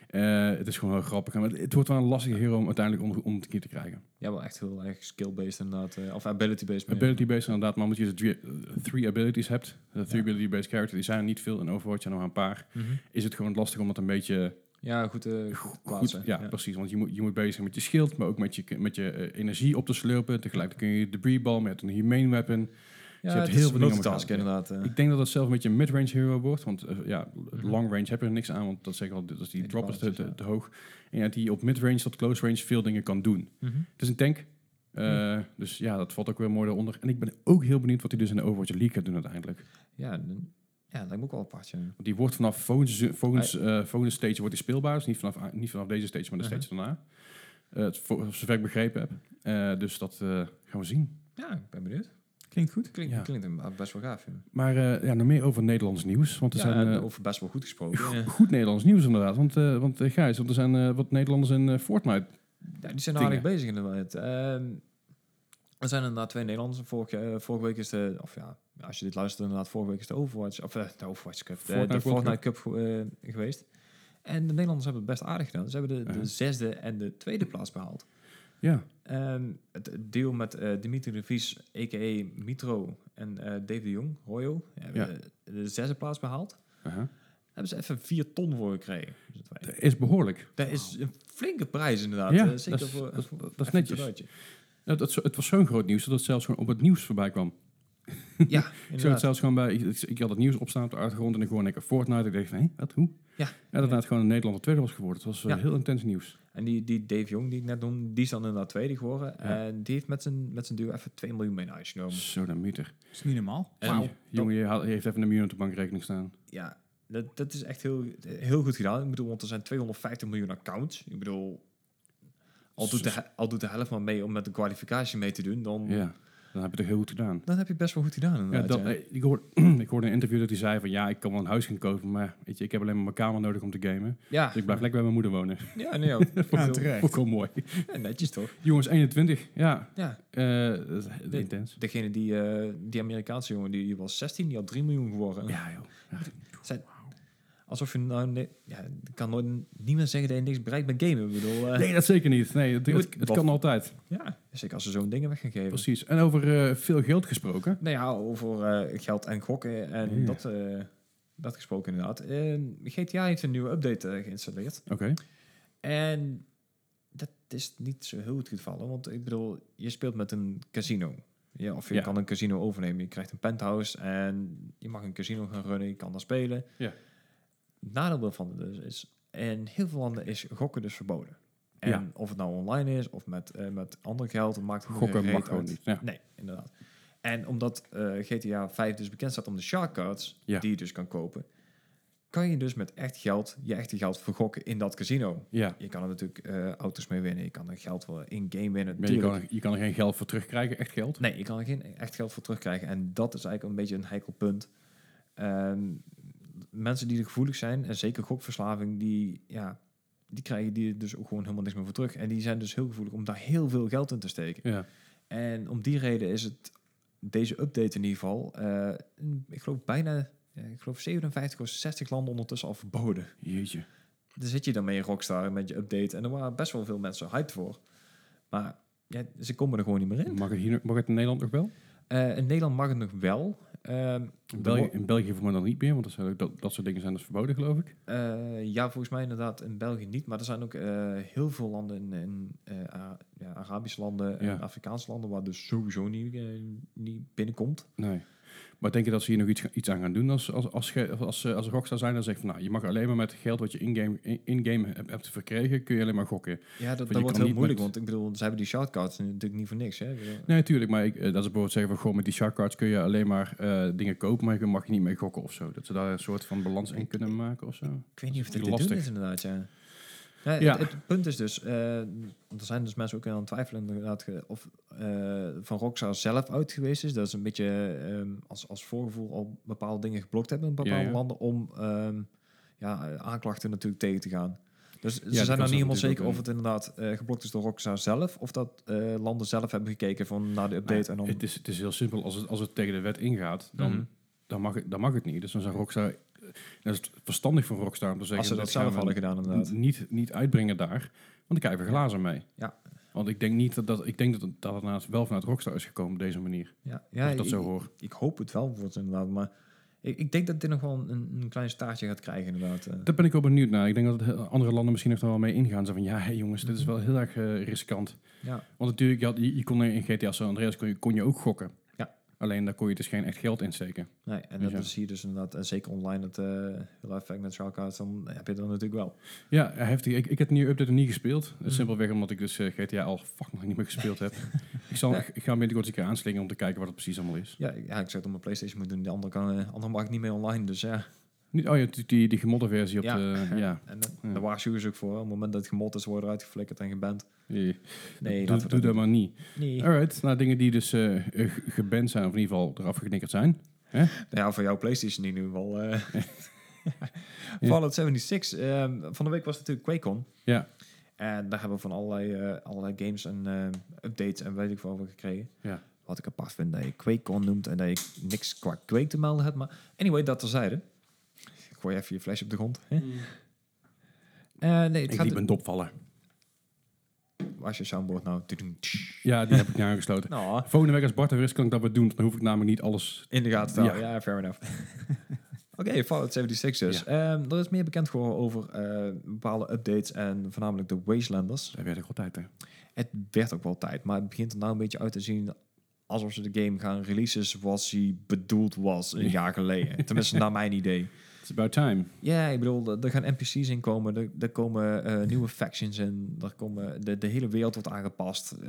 Eh, het is gewoon heel grappig. Maar het- het wordt wel een lastige hero om uiteindelijk om, om het keer te krijgen.
Ja, wel echt heel erg skill-based inderdaad. eh, of ability-based. meer.
Ability-based inderdaad. Maar omdat je dus drie, eh, three abilities hebt. De three
Ja.
ability-based character. Die zijn er niet veel in Overwatch. Er zijn er maar een paar.
Mhm.
Is het gewoon lastig om dat een beetje...
Ja, goed, eh goed te plaatsen.
Goed, ja, Dus precies. Want je moet, je moet bezig zijn met je schild, maar ook met je, met je eh, energie op te slurpen. Tegelijk kun je je debrisbal met een humane weapon.
Ja,
hebt
het
heel
is
veel dingen om
multitask
elkaar-
inderdaad. eh.
Ik denk dat dat zelf een beetje een midrange hero wordt. Want eh, ja,
Mhm.
long range heb je er niks aan, want dat zeg ik al, dat is die
Nee, die
drop is te,
balletjes,
te,
ja.
te hoog. En ja, die op midrange tot close range veel dingen kan doen.
Mhm.
Het is een tank. eh, Dus ja, dat valt ook weer mooi eronder. En ik ben ook heel benieuwd wat hij dus in de Overwatch League gaat doen uiteindelijk.
Ja, dan- ja, dat lijkt me ook wel apart. Ja.
Want die wordt vanaf volgend seizoen- volgend, eh, volgende stage wordt die speelbaar. Dus niet vanaf, niet vanaf deze stage, maar de
Mhm.
stage daarna. Eh, het- voor- zover ik begrepen heb. Eh, dus dat eh, gaan we zien.
Ja, ik ben benieuwd.
Klinkt goed.
Klinkt,
Ja.
klinkt inderdaad best wel gaaf. Ja.
Maar eh, ja, nog meer over Nederlands nieuws. Want er
Ja,
zijn
en
eh,
over best wel goed gesproken. Ja.
goed Nederlands nieuws inderdaad. Want, eh want eh, Gijs, want er zijn eh, wat Nederlanders in eh, Fortnite.
Ja, die zijn aardig bezig inderdaad. Ehm, er zijn inderdaad twee Nederlanders. Vorige, eh, vorige week is de, of ja, als je dit luistert, inderdaad, vorige week is de Overwatch, of eh, de Overwatch Cup, de- de,
Fortnite World
Fortnite Cup ge- eh, geweest. En de Nederlanders hebben het best aardig gedaan. Ze hebben de,
Ja.
de zesde en de tweede plaats behaald.
Ja,
Ehm, het deal met eh Dimitri de Vries, a.k.a. Mitro, en eh Dave de Jong, Royo, hebben de zesde plaats behaald.
Aha.
Daar hebben ze even vier ton voor gekregen. Dus dat wij-
dat is behoorlijk.
Dat is een flinke prijs inderdaad.
Ja,
Eh,
dat
zeker
is-
voor,
dat is-
voor-
dat is
even een
netjes.
cadeautje.
Het, het, het was zo'n groot nieuws dat het zelfs gewoon op het nieuws voorbij kwam.
Ja,
Ik zou het
inderdaad.
zelfs gewoon bij... Ik, ik had het nieuws opstaan op de achtergrond en ik hoorde lekker Fortnite. Ik dacht van, hé, wat, hoe?
Ja.
En dat het gewoon in Nederland de tweede was geworden. Het was eh,
Ja.
heel intens nieuws.
En die, die Dave Jong die ik net noemde, die is dan inderdaad tweede geworden.
Ja.
En die heeft met zijn, met zijn duo even 2 miljoen mee naar huis genomen.
Zo dan mieter.
Dat is niet normaal. Oh,
En,
Wauw.
Jongen, je, haalt- je heeft even een miljoen op de bankrekening staan.
Ja, dat, dat is echt heel, heel goed gedaan. Ik bedoel, want er zijn 250 miljoen accounts. Ik bedoel, al doet de, he- al doet de helft maar mee om met de kwalificatie mee te doen, dan,
Ja, dan heb je het heel goed gedaan.
dan heb je het best wel goed gedaan.
Ja,
inderdaad,
dat,
ja.
eh, ik, hoorde, ik hoorde een interview dat hij zei van ja, ik kan wel een huis gaan kopen, maar weet je, ik heb alleen maar mijn kamer nodig om te gamen.
ja,
Dus ik blijf lekker bij mijn moeder wonen.
ja, nee, ook. Ik bedoel,
terecht.
Ook wel mooi.
ja, netjes toch?
Jongens, 21. Ja,
Ja,
eh, dat is heel
Nee.
intens.
degene die, eh, die Amerikaanse jongen, die, die was 16, die had 3 miljoen geworden.
Ja, joh.
Zijn- alsof je nou, nee, ja, ik kan nooit niet meer zeggen dat je niks bereikt bij gamen. Ik bedoel, eh,
Nee, dat zeker niet. Nee, het, het, het kan altijd.
ja, zeker Dus als ze zo'n dingen weg gaan geven.
Precies. En over eh, veel geld gesproken.
Nou ja, over eh, geld en gokken en
Ja.
dat, eh, dat gesproken inderdaad. Eh, GTA heeft een nieuwe update eh, geïnstalleerd.
Oké.
En dat is niet zo heel goed gevallen. Want ik bedoel, je speelt met een casino. Ja, of je
Ja.
kan een casino overnemen. Je krijgt een penthouse en je mag een casino gaan runnen. Je kan daar spelen.
Ja.
Nadeel daarvan dus is... In heel veel landen is gokken dus verboden. En
Ja.
of het nou online is of met, eh, met ander geld... het maakt geen
Gokken
reet
mag gewoon
uit.
niet. Ja.
Nee, inderdaad. En omdat eh, GTA 5 dus bekend staat om de Shark Cards,
Ja.
die je dus kan kopen, kan je dus met echt geld, je echte geld, vergokken in dat casino.
ja.
Je kan er natuurlijk eh, auto's mee winnen, je kan er geld voor in-game winnen.
Maar je,
tuurlijk.
kan, je kan er geen geld voor terugkrijgen, echt geld.
Nee, je kan er geen echt geld voor terugkrijgen. En dat is eigenlijk een beetje een heikel punt. Ehm, mensen die er gevoelig zijn, en zeker gokverslaving, die, ja, die krijgen die dus ook gewoon helemaal niks meer voor terug. En die zijn dus heel gevoelig om daar heel veel geld in te steken.
Ja.
En om die reden is het deze update in ieder geval, eh, ik geloof bijna, ja, ik geloof 57 of 60 landen ondertussen al verboden.
Jeetje.
Dan zit je dan mee in Rockstar met je update en er waren best wel veel mensen hyped voor. Maar ja, ze komen er gewoon niet meer in.
Mag het, hier, mag het in Nederland nog wel?
Eh, in Nederland mag het nog wel. Ehm,
In België, in België voor mij dan niet meer, want dat, zou- dat, dat soort dingen zijn dus verboden, geloof ik.
eh, ja, volgens mij inderdaad in België niet. Maar er zijn ook eh, heel veel landen in, in eh, Ara- ja, Arabische landen en
Ja.
Afrikaanse landen waar dus sowieso niet, eh, niet binnenkomt.
Nee. Maar denk je dat ze hier nog iets, iets aan gaan doen als, als, als, ge- als, eh, als Rockstar zijn? Dan zegt van, nou, je mag alleen maar met het geld wat je in-game in- in-game hebt, hebt verkregen, kun je alleen maar gokken.
Ja, dat,
je
dat
kan
wordt heel
niet
moeilijk,
met-
want ik bedoel, ze hebben die shoutcards natuurlijk niet voor niks. Hè? Ik bedoel,
Nee, natuurlijk, maar ik, eh, dat ze bijvoorbeeld zeggen van, goh, met die shark cards kun je alleen maar eh, dingen kopen, maar je mag je niet mee gokken of zo. Dat ze daar een soort van balans in kunnen maken of zo.
Ik weet niet of
Dat
dit
is
te doen
lastig.
is inderdaad, ja. Ja,
Ja.
Het, het punt is dus, eh, er zijn dus mensen ook aan het twijfelen inderdaad, ge- of eh, van Rockstar zelf uit geweest is. Dat ze een beetje ehm, als, als voorgevoel al bepaalde dingen geblokt hebben in bepaalde
Ja, ja.
landen om ehm, ja, eh, aanklachten natuurlijk tegen te gaan. Dus
dat
ze
kan
zijn
zo
nog niet helemaal
natuurlijk
zeker
ook,
of het inderdaad eh, geblokt is door Rockstar zelf, of dat eh, landen zelf hebben gekeken van naar de update en dan...
Het is, het is heel simpel, als het, als het tegen de wet ingaat, dan,
Mhm.
dan, mag het, dan mag het niet. Dus dan zijn Rockstar... Dan is het verstandig van Rockstar om te zeggen...
als ze dat
gaan
zelf
we
hadden gedaan inderdaad.
niet, niet uitbrengen daar. Want dan krijg je weer glazen mee.
Ja.
Want ik denk niet dat, dat ik denk dat het dat het naast wel vanuit Rockstar is gekomen op deze manier.
Ja,
Ja,
ja,
als ik dat
ik-
zo hoor.
ik hoop het wel wordt inderdaad, maar ik, ik denk dat dit nog wel een, een klein staartje gaat krijgen inderdaad. eh.
Daar ben ik wel benieuwd naar. Ik denk dat heel- andere landen misschien nog daar wel mee ingaan. Zo van, ja, hé, jongens, dit is wel heel erg eh, riskant.
Mhm. Ja.
Want natuurlijk, je, had, je, je kon in GTA San Andreas kon je, kon je ook gokken.
Ja.
Alleen daar kon je dus geen echt geld in steken.
Nee, en
Dus
dat
ja.
is hier dus inderdaad, en zeker online, dat eh heel effect met Sharkouts, dan heb je dat natuurlijk wel.
Ja, heftig. Ik, ik heb de nieuwe update nog niet gespeeld.
Hmm.
Simpelweg omdat ik dus eh, GTA al fucking lang niet meer gespeeld heb. ik, zal, ik ga hem binnenkort eens een keer aanslingen om te kijken wat het precies allemaal is.
Ja, ik- ja ik zou het op mijn Playstation moeten doen, de andere, kan, eh, andere mag ik niet meer online, dus ja.
Niet, oh ja, die, die, die gemodde versie op
Ja.
de... Ja.
En dan,
Ja.
daar waarschuwen ze ook voor, hè. op het moment dat het gemot is, worden eruit geflikkerd en geband.
Nee,
Nee,
doe,
laten we
doe dat maar niet.
Nee.
Alright, nou dingen die dus eh, eh, ge- geband zijn, of in ieder geval eraf geknikkerd zijn.
Nou ja, voor jouw Playstation in ieder geval. eh. Fallout 76. ehm, van de week was natuurlijk QuakeCon.
Ja.
En daar hebben we van allerlei, eh, allerlei games en eh, updates en weet ik veel over gekregen.
Ja.
Wat ik apart vind dat je QuakeCon noemt en dat je niks qua Quake te melden hebt. Maar anyway, dat terzijde. Ik gooi even je flesje op de grond. Hè? Eh, nee, het
Ik
gaat...
liep een dop vallen.
Waar is je soundboard nou? Tudoem, tsch.
Ja, die heb ik niet aangesloten.
Nou,
Volgende week als Bart er weer is, kan ik dat weer doen. Dan hoef ik namelijk niet alles...
in de gaten te houden.
Ja.
Ja, fair enough. Oké, Fallout 76 dus. Ehm, er is meer bekend geworden over eh, bepaalde updates en voornamelijk de Wastelanders.
Daar werd ik altijd, hè.
Het werd ook wel tijd, maar het begint er nou een beetje uit te zien alsof ze de game gaan releasen zoals hij bedoeld was een jaar geleden. Tenminste, naar mijn idee.
It's about time.
Ja, ik bedoel, er- er gaan NPC's in komen, er, er komen eh, nieuwe factions in, er komen, de, de hele wereld wordt aangepast, eh,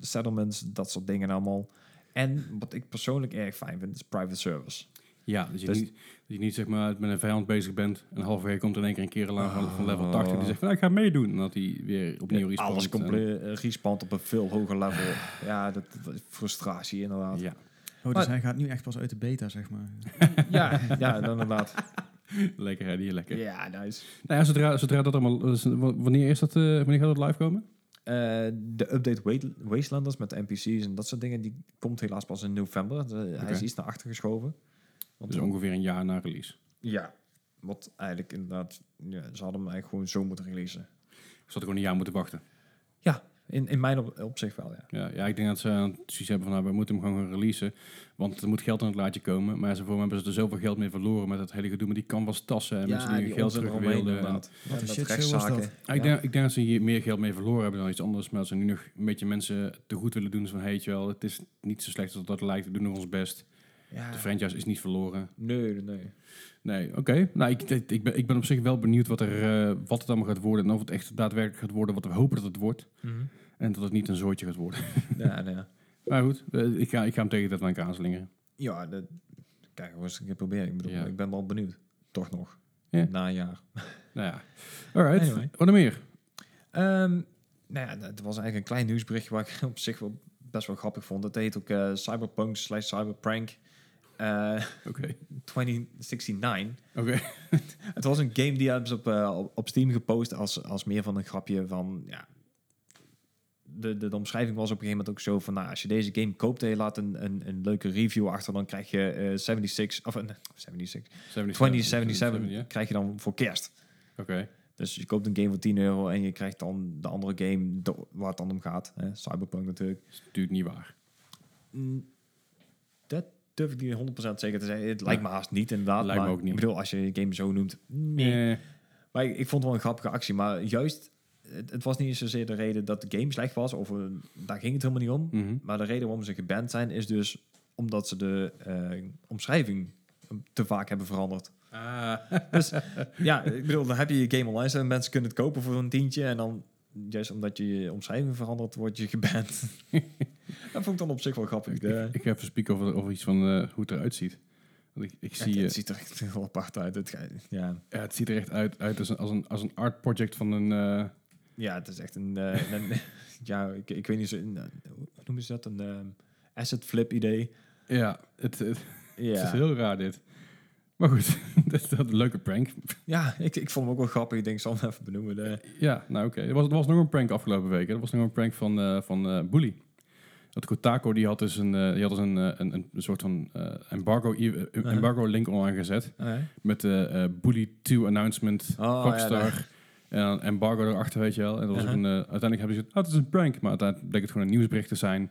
settlements, dat soort dingen allemaal. En wat ik persoonlijk erg fijn vind, is private service.
Ja, dat je,
Dus-
niet, dat je niet zeg maar met een vijand bezig bent en halverwege komt in één keer een kerel aan van- van level
Oh.
80 die zegt van nou, ik ga meedoen. En dat hij weer opnieuw respawnt.
Alles
En-
compleet eh, respawnt op een veel hoger level. ja, dat, dat is frustratie inderdaad.
Ja,
Oh, dus
Maar-
hij gaat nu echt pas uit de beta, zeg maar.
Ja, ja inderdaad.
lekker hè, die lekker.
Ja, nice.
Nou ja, zodra, zodra dat allemaal... eh, w- wanneer, is dat, eh, wanneer gaat dat live komen?
Eh, de update Wait- Wastelanders met de NPC's en dat soort dingen, die komt helaas pas in november. De- Hij is
Oké.
iets naar achter geschoven. Want
Dus ongeveer een jaar na release.
Ja, wat eigenlijk inderdaad, ja, ze hadden hem eigenlijk gewoon zo moeten releasen.
Dus dat ik gewoon een jaar moeten wachten.
In, in mijn op, opzicht wel, ja.
Ja, ja, ik denk dat ze eh, precies hebben van nou, we moeten hem gewoon gaan releasen. Want er moet geld aan het laadje komen. Maar ze voor mij hebben ze er zoveel geld mee verloren met dat hele gedoe met die canvas tassen. En mensen die hun geld terug wilden. en-
Wat
Ja,
een
dat
shit show was
rechtszaken.
dat.
Ja, Ik, denk, ik denk dat ze hier meer geld mee verloren hebben dan iets anders. Maar dat ze nu nog een beetje mensen te goed willen doen. Dus van, heet je wel, het is niet zo slecht als dat lijkt. We doen nog ons best.
Ja.
De franchise is niet verloren.
Nee, nee, nee.
Nee, oké. Nou, ik, ik, ik ben, ik ben op zich wel benieuwd wat, er, eh, wat het allemaal gaat worden. En of het echt daadwerkelijk gaat worden wat we hopen dat het wordt. En dat het niet een zoortje gaat worden.
ja, nee.
Maar goed, eh, ik, ga, ik ga hem tegen dat aan elkaar slingeren.
ja dat, kijk, we eens een keer proberen. Ik bedoel,
Ja.
ik ben wel benieuwd. Toch nog.
Ja.
Na een jaar.
Nou ja. Alright.
Anyway.
Wat dan meer?
Ehm, nou ja, dat was eigenlijk een klein nieuwsberichtje waar ik op zich wel best wel grappig vond. Dat heet ook eh, Cyberpunk slash Cyberprank eh,
Oké.
2069.
Oké.
Het was een game die hebben ze op, eh, op- op Steam gepost als, als meer van een grapje van... Ja, de, de, de omschrijving was op een gegeven moment ook zo van... Nou, als je deze game koopt en je laat een, een, een leuke review achter... dan krijg je eh 76... Of eh, nee, 76... 2077
ja.
krijg je dan voor kerst.
Oké.
Dus je koopt een game voor 10 euro... en je krijgt dan de andere game do- waar het dan om gaat. Hè? Cyberpunk natuurlijk.
Dat is natuurlijk niet waar.
Mm, Dat durf ik niet 100% zeker te zeggen. Het lijkt me haast niet inderdaad.
Lijkt me
maar
ook niet.
Ik bedoel, als je je game zo noemt... Nee.
Eh,
Maar ik, ik vond het wel een grappige actie. Maar juist, het, het was niet eens zozeer de reden dat de game slecht was. Of eh, daar ging het helemaal niet om.
mhm.
Maar de reden waarom ze geband zijn is dus omdat ze de eh, omschrijving te vaak hebben veranderd.
Ah.
Dus ja, ik bedoel, dan heb je je game online staan. Mensen kunnen het kopen voor een tientje. En dan, juist omdat je je omschrijving verandert, word je geband. dat vond ik dan op zich wel grappig. De,
Ik ga even spieken over, over iets van eh, hoe het eruit ziet. Want ik, ik
ja,
zie, eh,
het ziet er echt heel apart uit. Het, ge- ja.
ja, het ziet er echt uit, uit als, een, als, een, als een art project van een... eh,
ja, het is echt een... eh, een- ja, ik, ik weet niet zo... een, eh, hoe noemen ze dat? Een ehm, asset flip idee.
ja, het, het, het
Ja,
is heel raar dit. Maar goed, dat is dat een leuke prank.
ja ik, ik vond hem ook wel grappig. Ik denk, ik zal hem even benoemen. De,
Ja, nou oké. Er, was, er was nog een prank afgelopen week. hè. Er was nog een prank van, eh van eh, Bully. Dat Kotako die had dus een, eh, die had dus een, eh, een, een soort van eh, embargo, eh,
Uh-huh.
embargo link online gezet. Met de eh, Bully 2 announcement,
Oh,
Rockstar.
ja,
en dan embargo erachter, weet je wel. En dat was ook
Uh-huh.
een, eh, uiteindelijk hebben ze gezegd, ah, het is een prank. Maar uiteindelijk bleek het gewoon een nieuwsbericht te zijn.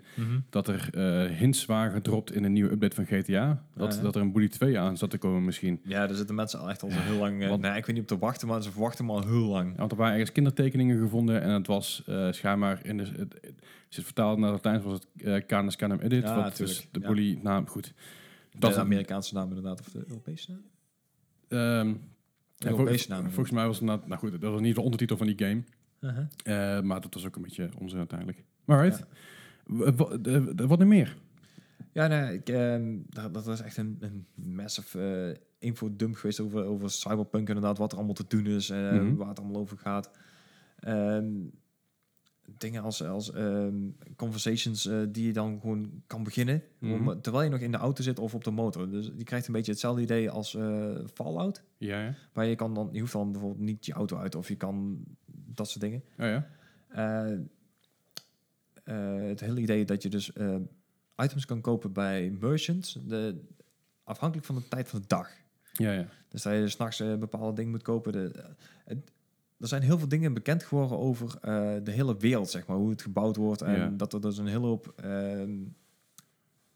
Dat er eh, hints waren gedropt in een nieuwe update van GTA. Dat,
Ah, ja.
dat er een Bully 2 aan zat te komen misschien.
ja, daar zitten mensen al echt al zo heel lang... eh,
Want-
nee, ik weet niet op te wachten, maar ze verwachten hem al heel lang.
Want er waren ergens kindertekeningen gevonden. En het was eh, schijnbaar, in de, het, het, als je het vertaald naar het Latijn, was het eh Canis Canem Edit.
Ja,
wat dus
tuurlijk,
de
ja.
Bully, nou goed.
Dat
Dat-
is de Amerikaanse naam inderdaad, of de Europese naam?
Ehm, ja, vol-
Europese naam.
volgens mij was het, nou, nou goed, dat was niet de ondertitel van die game.
Uh-huh.
Eh, maar dat was ook een beetje onzin uiteindelijk. Alright. W- wa- de- de- Wat nog meer?
Ja, nee, ik, ehm, dat, dat was echt een, een massive eh, infodump geweest over, over cyberpunk inderdaad. Wat er allemaal te doen is, eh,
Mhm.
waar het allemaal over gaat. Ehm, dingen als, als ehm, conversations eh, die je dan gewoon kan beginnen.
Mhm.
om- terwijl je nog in de auto zit of op de motor. Dus je krijgt een beetje hetzelfde idee als eh, Fallout.
Ja, ja.
Maar je, kan dan, je hoeft dan bijvoorbeeld niet je auto uit of je kan dat soort dingen.
Oh ja.
Eh, eh, het hele idee dat je dus eh, items kan kopen bij merchants, de, afhankelijk van de tijd van de dag.
Ja, ja.
Dus dat je s'nachts een bepaalde dingen moet kopen. De, eh, het- er zijn heel veel dingen bekend geworden over eh, de hele wereld, zeg maar, hoe het gebouwd wordt. En
Ja.
dat er dus een hele hoop ehm,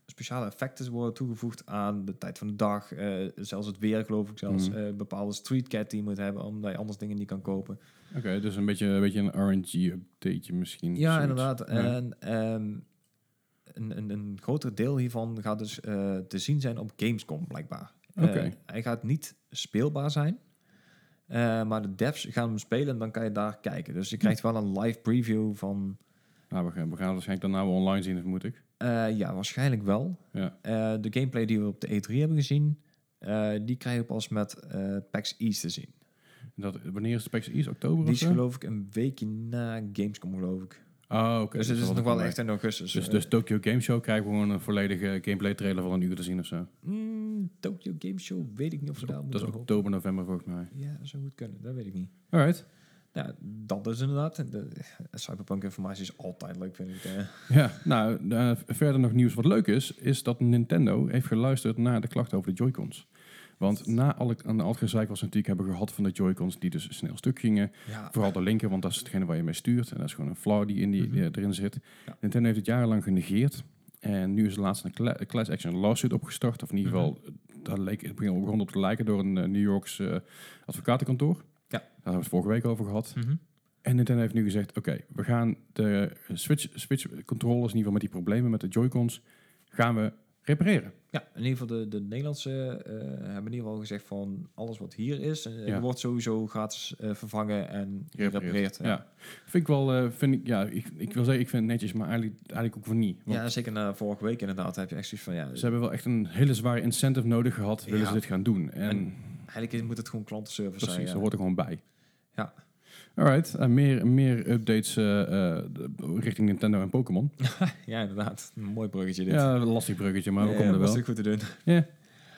speciale effecten worden toegevoegd aan de tijd van de dag. eh, zelfs het weer, geloof ik, zelfs
Mhm.
eh, bepaalde streetcat die je moet hebben, omdat je anders dingen niet kan kopen.
Oké, dus een beetje, een beetje een RNG-updateje misschien.
Ja,
zoiets.
inderdaad.
Ja.
En ehm, een, een, een groter deel hiervan gaat dus eh, te zien zijn op Gamescom, blijkbaar.
Oké.
Eh, hij gaat niet speelbaar zijn. eh, maar de devs gaan hem spelen en dan kan je daar kijken. Dus je krijgt wel een live preview van...
Nou, we gaan, we gaan waarschijnlijk daarna wel online zien, vermoed ik.
eh, ja, waarschijnlijk wel.
Ja.
Eh, de gameplay die we op de E3 hebben gezien... eh, die krijg je pas met eh, PAX East te zien.
En Dat, wanneer is de PAX East? Oktober
Die
of
is
zo?
geloof ik een weekje na Gamescom, geloof ik.
Oh, eh? oké. dat
dus het is
zal
nog
er
wel
bij.
echt in augustus.
Dus,
Eh,
dus Tokyo Game Show krijgen we gewoon een volledige gameplay trailer van een uur te zien of zo.
mm, Tokyo Game Show, weet ik niet of ze daar
Dat is
moeten hopen.
oktober, november volgens mij.
Ja, dat zou goed kunnen. Dat weet ik niet.
Alright.
Ja, dat is inderdaad. De, eh, cyberpunk informatie is altijd leuk, vind ik. eh.
Ja, nou, eh, verder nog nieuws wat leuk is, is dat Nintendo heeft geluisterd naar de klachten over de Joy-Cons. Want na alle, aan al het gezeik wat ze natuurlijk hebben gehad van de Joy-Cons, die dus snel stuk gingen,
Ja.
Vooral de linker, want dat is hetgene waar je mee stuurt. En dat is gewoon een flaw die, in die
Mhm.
eh, erin zit.
Ja.
Nintendo heeft het jarenlang genegeerd. En nu is er laatst een cla- een class action lawsuit opgestart. Of in
Mhm.
ieder geval, dat leek, het begon begon op te lijken door een eh, New Yorks eh, advocatenkantoor.
Ja.
Daar hebben we het vorige week over gehad.
Mhm.
En Nintendo heeft nu gezegd, oké, we gaan de Switch, Switch controllers, in ieder geval met die problemen met de Joy-Cons, gaan we repareren.
ja, in ieder geval de, de Nederlandse eh, hebben in ieder geval gezegd van alles wat hier is, eh,
Ja.
wordt sowieso gratis eh, vervangen en gerepareerd.
Ja. Vind ik wel, eh, vind ik, ja, ik, ik wil zeggen, ik vind het netjes, maar eigenlijk, eigenlijk ook wel niet. Want
Ja, zeker na vorige week inderdaad heb je echt zoiets van, ja,
Ze hebben wel echt een hele zware incentive nodig gehad, willen
Ja.
ze dit gaan doen. En,
En eigenlijk moet het gewoon klantenservice
precies, dat
zijn. ja.
hoort er gewoon bij.
Ja.
Alright, en meer, meer updates eh, eh, de- richting Nintendo en Pokémon.
Ja, inderdaad. Een mooi bruggetje dit.
Ja, lastig bruggetje, maar we
Ja,
komen er
was
wel.
natuurlijk goed te doen.
Ja.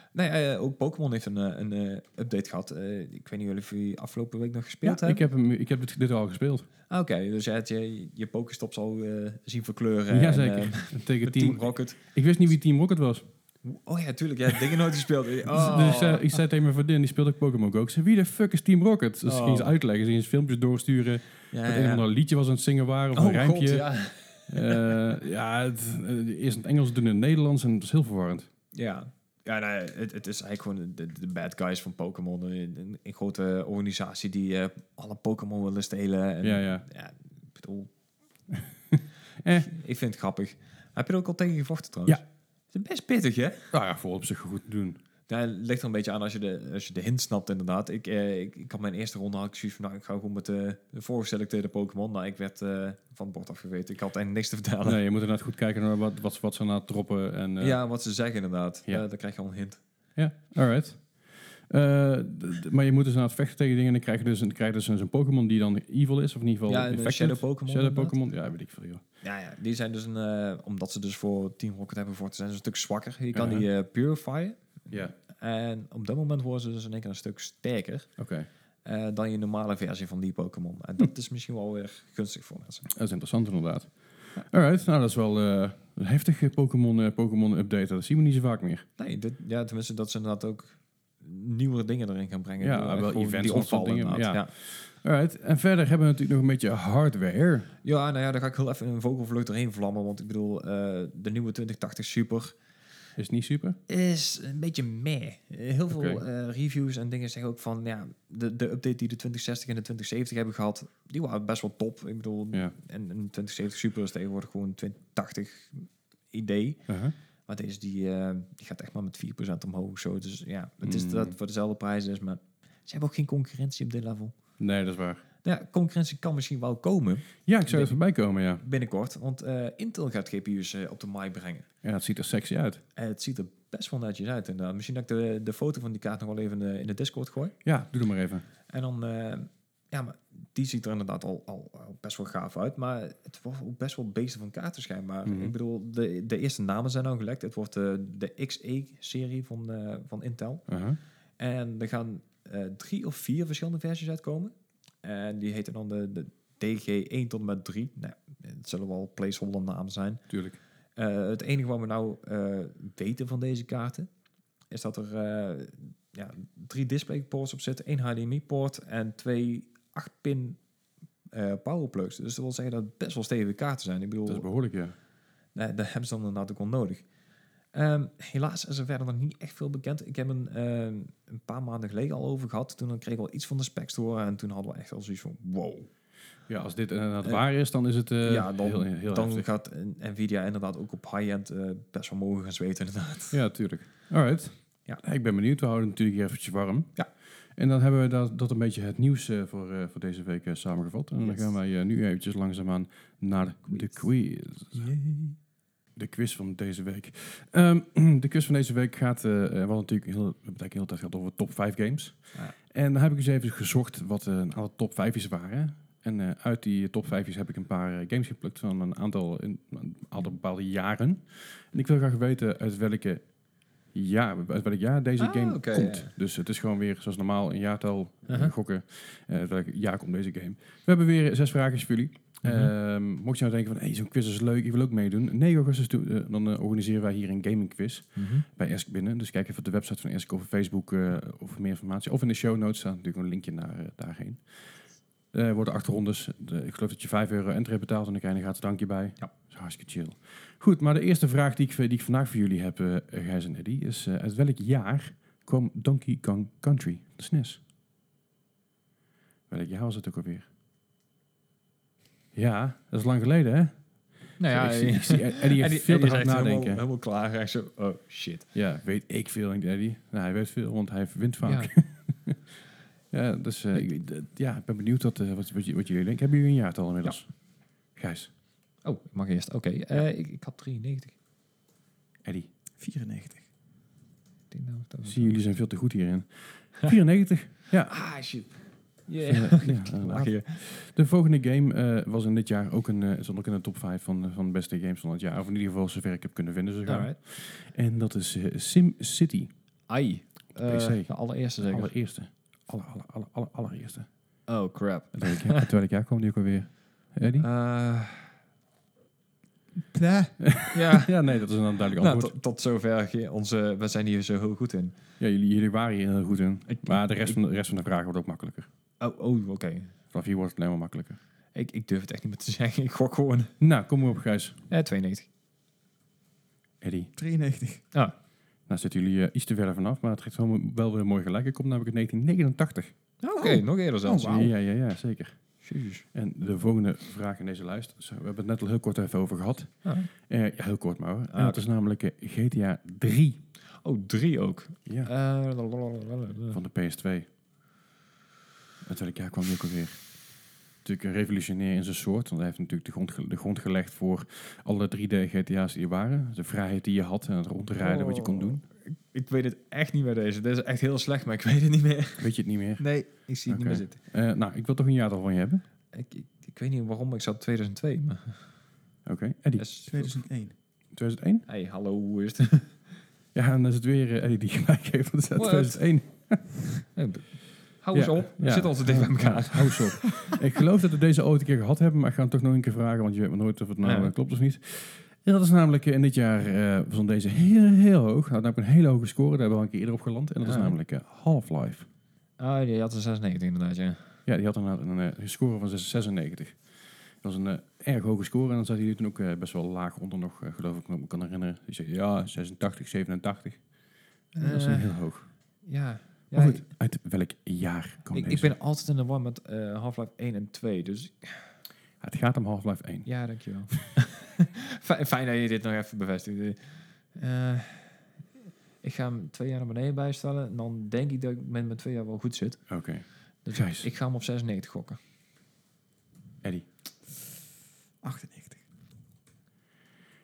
Nee, eh, ook Pokémon heeft een, eh, een eh, update gehad. Eh, ik weet niet of jullie afgelopen week nog gespeeld
Ja,
hebben.
ik heb, hem, ik heb dit, dit al gespeeld.
Ah, Oké, dus je had je, je Pokestops al eh, zien verkleuren.
Jazeker.
En, eh,
Tegen
met
team,
Team Rocket.
Ik wist niet wie Team Rocket was.
Oh ja, tuurlijk. Jij hebt dingen nooit gespeeld.
Dus-
Oh.
Dus eh, ik zei tegen mijn vriendin, die speelde ook Pokémon Go. Ik zei, wie de fuck is Team Rocket? Dus
Oh.
ging ze uitleggen. Ze ging ze filmpjes doorsturen.
ja,
Dat
ja,
een of
ja.
ander liedje was aan het zingen waren. Of
Oh,
een rijmpje.
God, ja.
Eh, ja, het, eh, eerst in het Engels, toen in het Nederlands. En dat is heel verwarrend.
Ja, ja nee, het, het is eigenlijk gewoon de, de bad guys van Pokémon. Een, een- een grote organisatie die eh, alle Pokémon willen stelen. En,
Ja, ja.
ik bedoel...
Eh.
Ik vind het grappig. Heb je er ook al tegen gevochten trouwens?
Ja.
Het is best pittig, hè?
Nou ja, voor op zich goed te doen.
Ja, Nou, het ligt er een beetje aan als je de, als je de hint snapt, inderdaad. Ik, eh, ik, ik had mijn eerste ronde had ik zoiets van, nou, ik ga gewoon met de voorgeselecteerde Pokémon. Nou, ik werd eh, van het bord afgeweten. Ik had eigenlijk niks te vertellen.
Nee, je moet inderdaad goed kijken naar wat, wat, wat ze aan het droppen. En, eh,
Ja, wat ze zeggen inderdaad.
Ja.
Ja. dan krijg je al een hint.
ja, alright. Eh, d- d- maar je moet dus aan het vechten tegen dingen. En dan krijg je dus, dan krijg je dus een Pokémon die dan evil is. Of in ieder geval
Ja, een
infected.
Shadow Pokémon
Shadow
inderdaad.
Pokémon, ja, weet ik veel. Joh.
Ja, ja, die zijn dus een... eh, omdat ze dus voor Team Rocket hebben gevochten, zijn ze een stuk zwakker. Je kan
Ja.
die eh purifyen.
Ja,
En op dat moment worden ze dus in één keer een stuk sterker
oké.
eh, dan je normale versie van die Pokémon. En
Hm.
dat is misschien wel weer gunstig voor mensen.
Dat is interessant inderdaad. Alright, nou dat is wel eh, een heftige Pokémon eh, Pokémon update. Dat zien we niet zo vaak meer.
Nee, dit, ja, tenminste dat ze inderdaad ook nieuwere dingen erin gaan brengen.
Ja,
Ik bedoel,
wel
gewoon
events
die
en dat soort
opvallen
dingen,
inderdaad.
Alright, en verder hebben we natuurlijk nog een beetje hardware.
Ja. ja, nou ja, daar ga ik heel even een vogelvlucht erheen vlammen. Want ik bedoel, eh, de nieuwe 2080 Super
Is niet super?
is een beetje meh. Eh, Heel veel
Oké.
eh, reviews en dingen zeggen ook van, ja, de, de update die de 2060 en de 2070 hebben gehad, die waren best wel top. Ik bedoel,
Ja.
en een 2070 Super is tegenwoordig gewoon een 2080 idee.
Uh-huh.
Maar deze die, eh, die gaat echt maar met 4% omhoog. Zo. Dus ja, het is
Mm.
dat het voor dezelfde prijs is, maar ze hebben ook geen concurrentie op dit level.
Nee, dat is waar.
Nou Ja, concurrentie kan misschien wel komen
Ja, ik zou er voorbij komen, ja.
binnenkort, want eh, Intel gaat GPU's eh, op de markt brengen.
Ja, het ziet er sexy uit.
Eh, het ziet er best wel netjes uit inderdaad. Misschien dat ik de, de foto van die kaart nog wel even eh, in de Discord gooi.
Ja, doe het maar even.
En dan, eh, ja, maar die ziet er inderdaad al, al, al best wel gaaf uit. Maar het wordt ook best wel beesten van kaarten schijnbaar.
Mhm.
Ik bedoel, de, de eerste namen zijn al gelekt. Het wordt eh, de XE-serie van, eh, van Intel.
Uh-huh.
En er gaan eh, drie of vier verschillende versies uitkomen. En die heten dan de, de DG1 tot en met 3. Nou, het zullen wel placeholder namen zijn.
Tuurlijk.
Eh, het enige wat we nou eh, weten van deze kaarten... is dat er eh, ja, drie displayports op zitten. één HDMI-poort en twee 8-pin eh, powerplugs. Dus dat wil zeggen dat het best wel stevige kaarten zijn. Ik bedoel,
Dat is behoorlijk, ja.
Nee, dat hebben ze dan inderdaad ook wel nodig. Ehm, helaas is er verder nog niet echt veel bekend. Ik heb een, ehm, een paar maanden geleden al over gehad. Toen kreeg ik al iets van de specs te horen. En toen hadden we echt al zoiets van, wow.
Ja, als dit inderdaad
Eh,
waar is, dan is het eh,
ja, dan,
heel, heel
dan
heftig.
gaat eh, Nvidia inderdaad ook op high-end eh, best wel mogen gaan zweten inderdaad.
Ja, tuurlijk. Alright.
Ja.
Ja. Ik ben benieuwd. We houden het natuurlijk hier eventjes warm.
Ja.
En dan hebben we dat, dat een beetje het nieuws eh, voor, eh, voor deze week eh, samengevat. En dan
Yes.
gaan wij eh, nu eventjes langzaamaan naar de quiz. De quiz van deze week. Ehm, de quiz van deze week gaat, eh eh, we hadden natuurlijk heel, we hebben het eigenlijk de hele tijd gehad over top 5 games.
Ja.
En daar heb ik eens even gezocht wat eh, een aantal top 5's waren. En eh, uit die top 5's heb ik een paar eh, games geplukt van een aantal, in, een aantal bepaalde jaren. En ik wil graag weten uit welke jaar, uit welk jaar deze
Ah,
game
oké,
komt.
ja.
Dus het is gewoon weer zoals normaal een jaartal eh,
Uh-huh.
gokken. eh, uit welk jaar komt deze game? We hebben weer zes vragen voor jullie.
Mhm.
Ehm, mocht je nou denken van, hey, zo'n quiz is leuk, ik wil ook meedoen. 9 augustus toe- eh, dan eh, organiseren wij hier een gaming quiz bij Esk binnen. Dus kijk even op de website van Esk of op Facebook eh, of voor meer informatie. Of in de show notes staat natuurlijk een linkje naar eh, daarheen. Eh worden acht rondes. De- ik geloof dat je 5 euro entree betaalt en dan krijg je een gratis drankje bij.
Ja.
Dat is hartstikke chill. Goed, maar de eerste vraag die ik, die ik vandaag voor jullie heb, eh Gijs en Eddie, is eh, uit welk jaar kwam Donkey Kong Country, de SNES? Welk jaar was het ook alweer? Ja, dat is lang geleden, hè?
Nou
ik, zie, ik zie Eddie heeft veel te
is
hard
echt
nadenken.
Helemaal, helemaal klaar. Hij is zo, oh shit.
Ja, weet ik veel, denkt Eddie. Nou, hij weet veel, want hij wint vaak. Ja, dus eh, ik, d- ja, ik ben benieuwd wat, eh, wat, wat, je- wat jullie denken. Hebben jullie een jaartal inmiddels? Gijs,
Oh, ik mag eerst. Oké, eh, ik, ik had 93. Ik
Eddie,
94.
denk nou dat we-
zie jullie zijn veel te goed hierin. 94.
Ah, shit.
Eh,
Yeah.
ja, inderdaad.
je.
de volgende game eh, was in dit jaar ook een, eh stond ook in de top 5 van, eh, van de beste games van het jaar. Of in ieder geval zover ik heb kunnen vinden. Zo gauw.
Alright.
En dat is eh, Sim City.
Ai. Eh,
PC.
de allereerste
De
zeker.
allereerste. Aller, aller, aller, aller, allereerste.
Oh, crap.
Uit welk jaar- uit welk jaar kwam die ook alweer? Eddie?
Eh,
Pleh.
ja.
ja, nee, dat is een duidelijk
Nou,
antwoord.
tot, tot zover. ge- Onze, we zijn hier zo heel goed in.
Ja, jullie, jullie waren hier heel goed in.
Ik-
Maar de rest, van de, rest van de vragen wordt ook makkelijker.
Oh, oh oké.
Vanaf hier wordt het alleen maar makkelijker.
Ik, ik durf het echt niet meer te zeggen. Ik gok gewoon.
Nou, kom maar op, Gijs.
Eh, 92.
Eddie.
93.
Nou zitten jullie eh, iets te ver vanaf, maar het geeft wel, wel weer mooi gelijk. Ik kom namelijk in 1989.
Oké, nog eerder zelfs.
Oh, wauw.
Ja, ja, ja, zeker.
Jezus.
En de volgende vraag in deze lijst. Zo, we hebben het net al heel kort even over gehad.
Ah.
Eh, ja, heel kort maar hoor. En
Ah,
dat is namelijk eh, GTA 3
Oh, drie ook.
ja,
Eh, lalalala.
van de PS2. Uit welk jaar kwam die ook alweer? Natuurlijk een revolutionair in zijn soort. Want hij heeft natuurlijk de grond, ge- de grond gelegd voor alle 3D-GTA's die er waren. De vrijheid die je had en het rondrijden wat je kon doen.
Ik weet het echt niet meer deze. Dit is echt heel slecht, maar ik weet het niet meer.
Weet je het niet meer?
Nee, ik zie
het niet meer
zitten.
Eh, nou, ik wil toch een jaartal van je hebben.
Ik, ik, ik weet niet waarom, ik zat 2002. Maar
Oké. Eddie,
Dat is-
2001.
2001?
Hey, hallo, hoe is het?
Ja, en dan is het weer eh, Eddie die gelijk heeft. Want het staat
What?
2001.
Hey, b- Hou eens
Ja,
op, we
ja.
zitten al te dicht bij elkaar.
Ja, hou eens op. ik geloof dat we deze ooit een keer gehad hebben, maar ik ga hem toch nog een keer vragen, want je weet maar nooit of het nou
Nee.
eh, klopt of niet. En dat is namelijk eh, in dit jaar eh was dan deze heel, heel hoog. Hij had namelijk een hele hoge score, daar hebben we al een keer eerder op geland. En dat is
Ja.
namelijk eh, Half-Life.
Ah, je had een 96 inderdaad, ja.
Ja, die had inderdaad een, eh, score van 96. Dat was een eh, erg hoge score en dan zat hij er toen ook eh, best wel laag onder nog, eh, geloof ik, me me kan herinneren. Die zei, ja, 86, 87. dat is een
Eh,
heel hoog.
Ja, ja
Maar goed, uit welk jaar kwam
ik,
deze?
ik ben altijd in de war met eh, Half-Life 1 en 2, dus
Ah, Het gaat om Half-Life 1.
ja, dankjewel. fijn, fijn dat je dit nog even bevestigt. Eh, ik ga hem twee jaar naar beneden bijstellen en dan denk ik dat ik met mijn twee jaar wel goed zit.
Oké.
Dus
Gijs.
ik ga hem op 96 gokken.
Eddie,
98.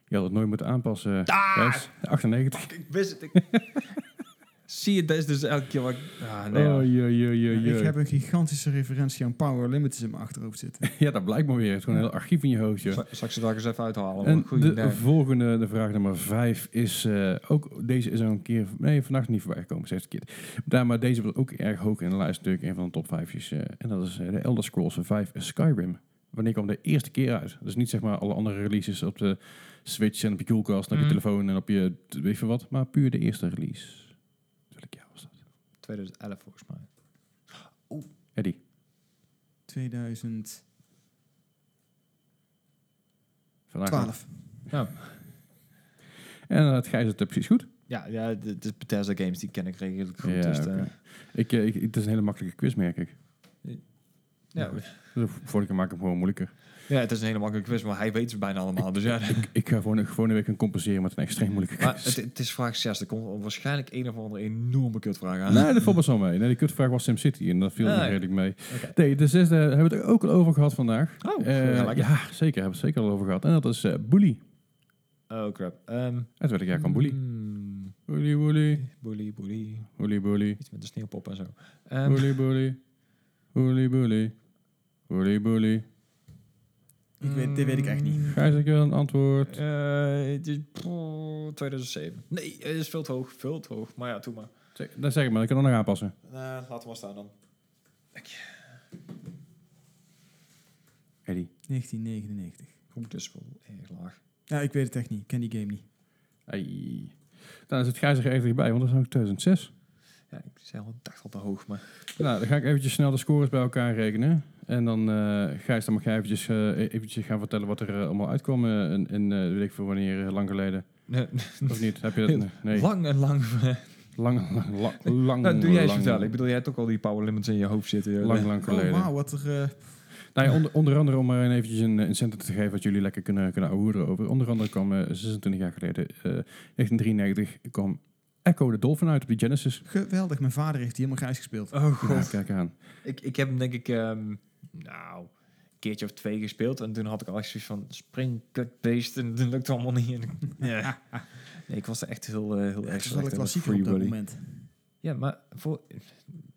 je had het nooit moeten aanpassen. Gijs, 98.
Ik wist het. Ik... Zie je, dat is dus elke keer wat... ik- Ah, nee, ja.
Oh, jee, jee, jee,
Ik
jee.
heb een gigantische referentie aan Power Limits in mijn achterhoofd zitten.
Ja, dat blijkt maar weer. Het is gewoon een heel archief in je hoofdje.
Zal zal ik ze daar eens even uithalen?
En
Goed,
de volgende, de vraag nummer vijf, is eh, ook... Deze is al een keer... Nee, vannacht niet voorbij gekomen, zegt het keer. Daar, maar deze was ook erg hoog in de lijst. Natuurlijk een van de top vijfjes. eh, en dat is eh, de Elder Scrolls 5 Skyrim. Wanneer kwam de eerste keer uit? Dus niet zeg maar alle andere releases op de Switch en op je Coolcast...
Mhm.
en op je
Mm.
telefoon en op je... t- weet je wat. Maar puur de eerste release. Welk jaar was dat?
2011 volgens mij.
Eddie.
2012.
Vandaag
Ja,
En dat Gijs het eh, precies goed.
ja, ja het het is Bethesda Games, die ken ik redelijk goed.
Ja,
dus, eh,
oké. Ik, eh, ik- het is een hele makkelijke quiz, merk ik.
Ja,
Dus Vorige keer maak ik hem gewoon moeilijker.
ja, het is een hele makkelijke quiz, maar hij weet het bijna allemaal. Dus ja,
Ik ga gewoon, gewoon een week gaan compenseren met een extreem moeilijke
maar het,
quiz.
het is vraag 6. Er komt waarschijnlijk een of andere enorme kutvraag aan.
Nee, dat valt best wel mee. Nee, de kutvraag was SimCity en dat viel
Ah,
me
ja.
redelijk mee.
Oké.
Nee, de zesde hebben we het ook al over gehad vandaag.
Oh,
Eh,
ja, lekker.
ja, zeker. Hebben we het zeker al over gehad. En dat is eh Bully.
Oh, crap. Ehm
Het werd ik jaar kan Bully.
mm,
Bully, Bully.
Bully, bully.
Bully, Bully.
Iets met de sneeuwpop en zo. Ehm,
Bully, Bully. Bully, Bully. Bully, Bully.
Ik weet- dit weet ik echt niet.
Gijs, ik wil een antwoord.
Eh, het is- poeh, 2007. Nee, het is veel te hoog. Veel te hoog. Maar ja, doe maar.
Zeg- Dat zeg ik maar, ik kan er nog aanpassen.
Nou, laten we maar staan dan.
Eddie.
1999.
Goed, dus wel erg laag.
Ja, ik weet het echt niet. Ik ken die game niet.
Ei. Nou, Dan is het Gijs er echt dichtbij, want dat is ook 2006.
Ja, ik zei al, ik dacht al te hoog, maar...
Nou, dan ga ik eventjes snel de scores bij elkaar rekenen. En dan, eh Gijs, dan mag jij eventjes, eh, eventjes gaan vertellen wat er eh, allemaal uitkwam eh, in, in eh, weet ik veel wanneer, eh, lang geleden. Of niet? Heb je dat? Nee. nee.
Lang en lang.
Lang, lang, lang, lang.
Nou, doe jij eens
lang-
vertellen. Ik eh, bedoel, jij hebt ook al die power limits in je hoofd zitten. joh.
Lang, lang
Oh,
geleden.
wauw, wat er... eh,
Nou ja, onder, onder andere, om er eventjes een incentive te geven wat jullie lekker kunnen, kunnen ouwehoeren over. Onder andere kwam eh, 26 jaar geleden, eh 1993, kwam Echo de Dolphin uit op de Genesis.
geweldig. Mijn vader heeft die helemaal grijs gespeeld.
Oh god.
Ja, kijk aan.
Ik, ik heb hem denk ik, ehm, nou, een keertje of twee gespeeld. En toen had ik al echt zoiets van, spring, kut, beest. En dat lukt allemaal niet. En, ja. Nee, ik was er echt heel, eh, heel
Ja,
erg
het was wel
slecht
een
in,
klassieker
Free
op dat
Willy.
moment.
Ja, maar voor,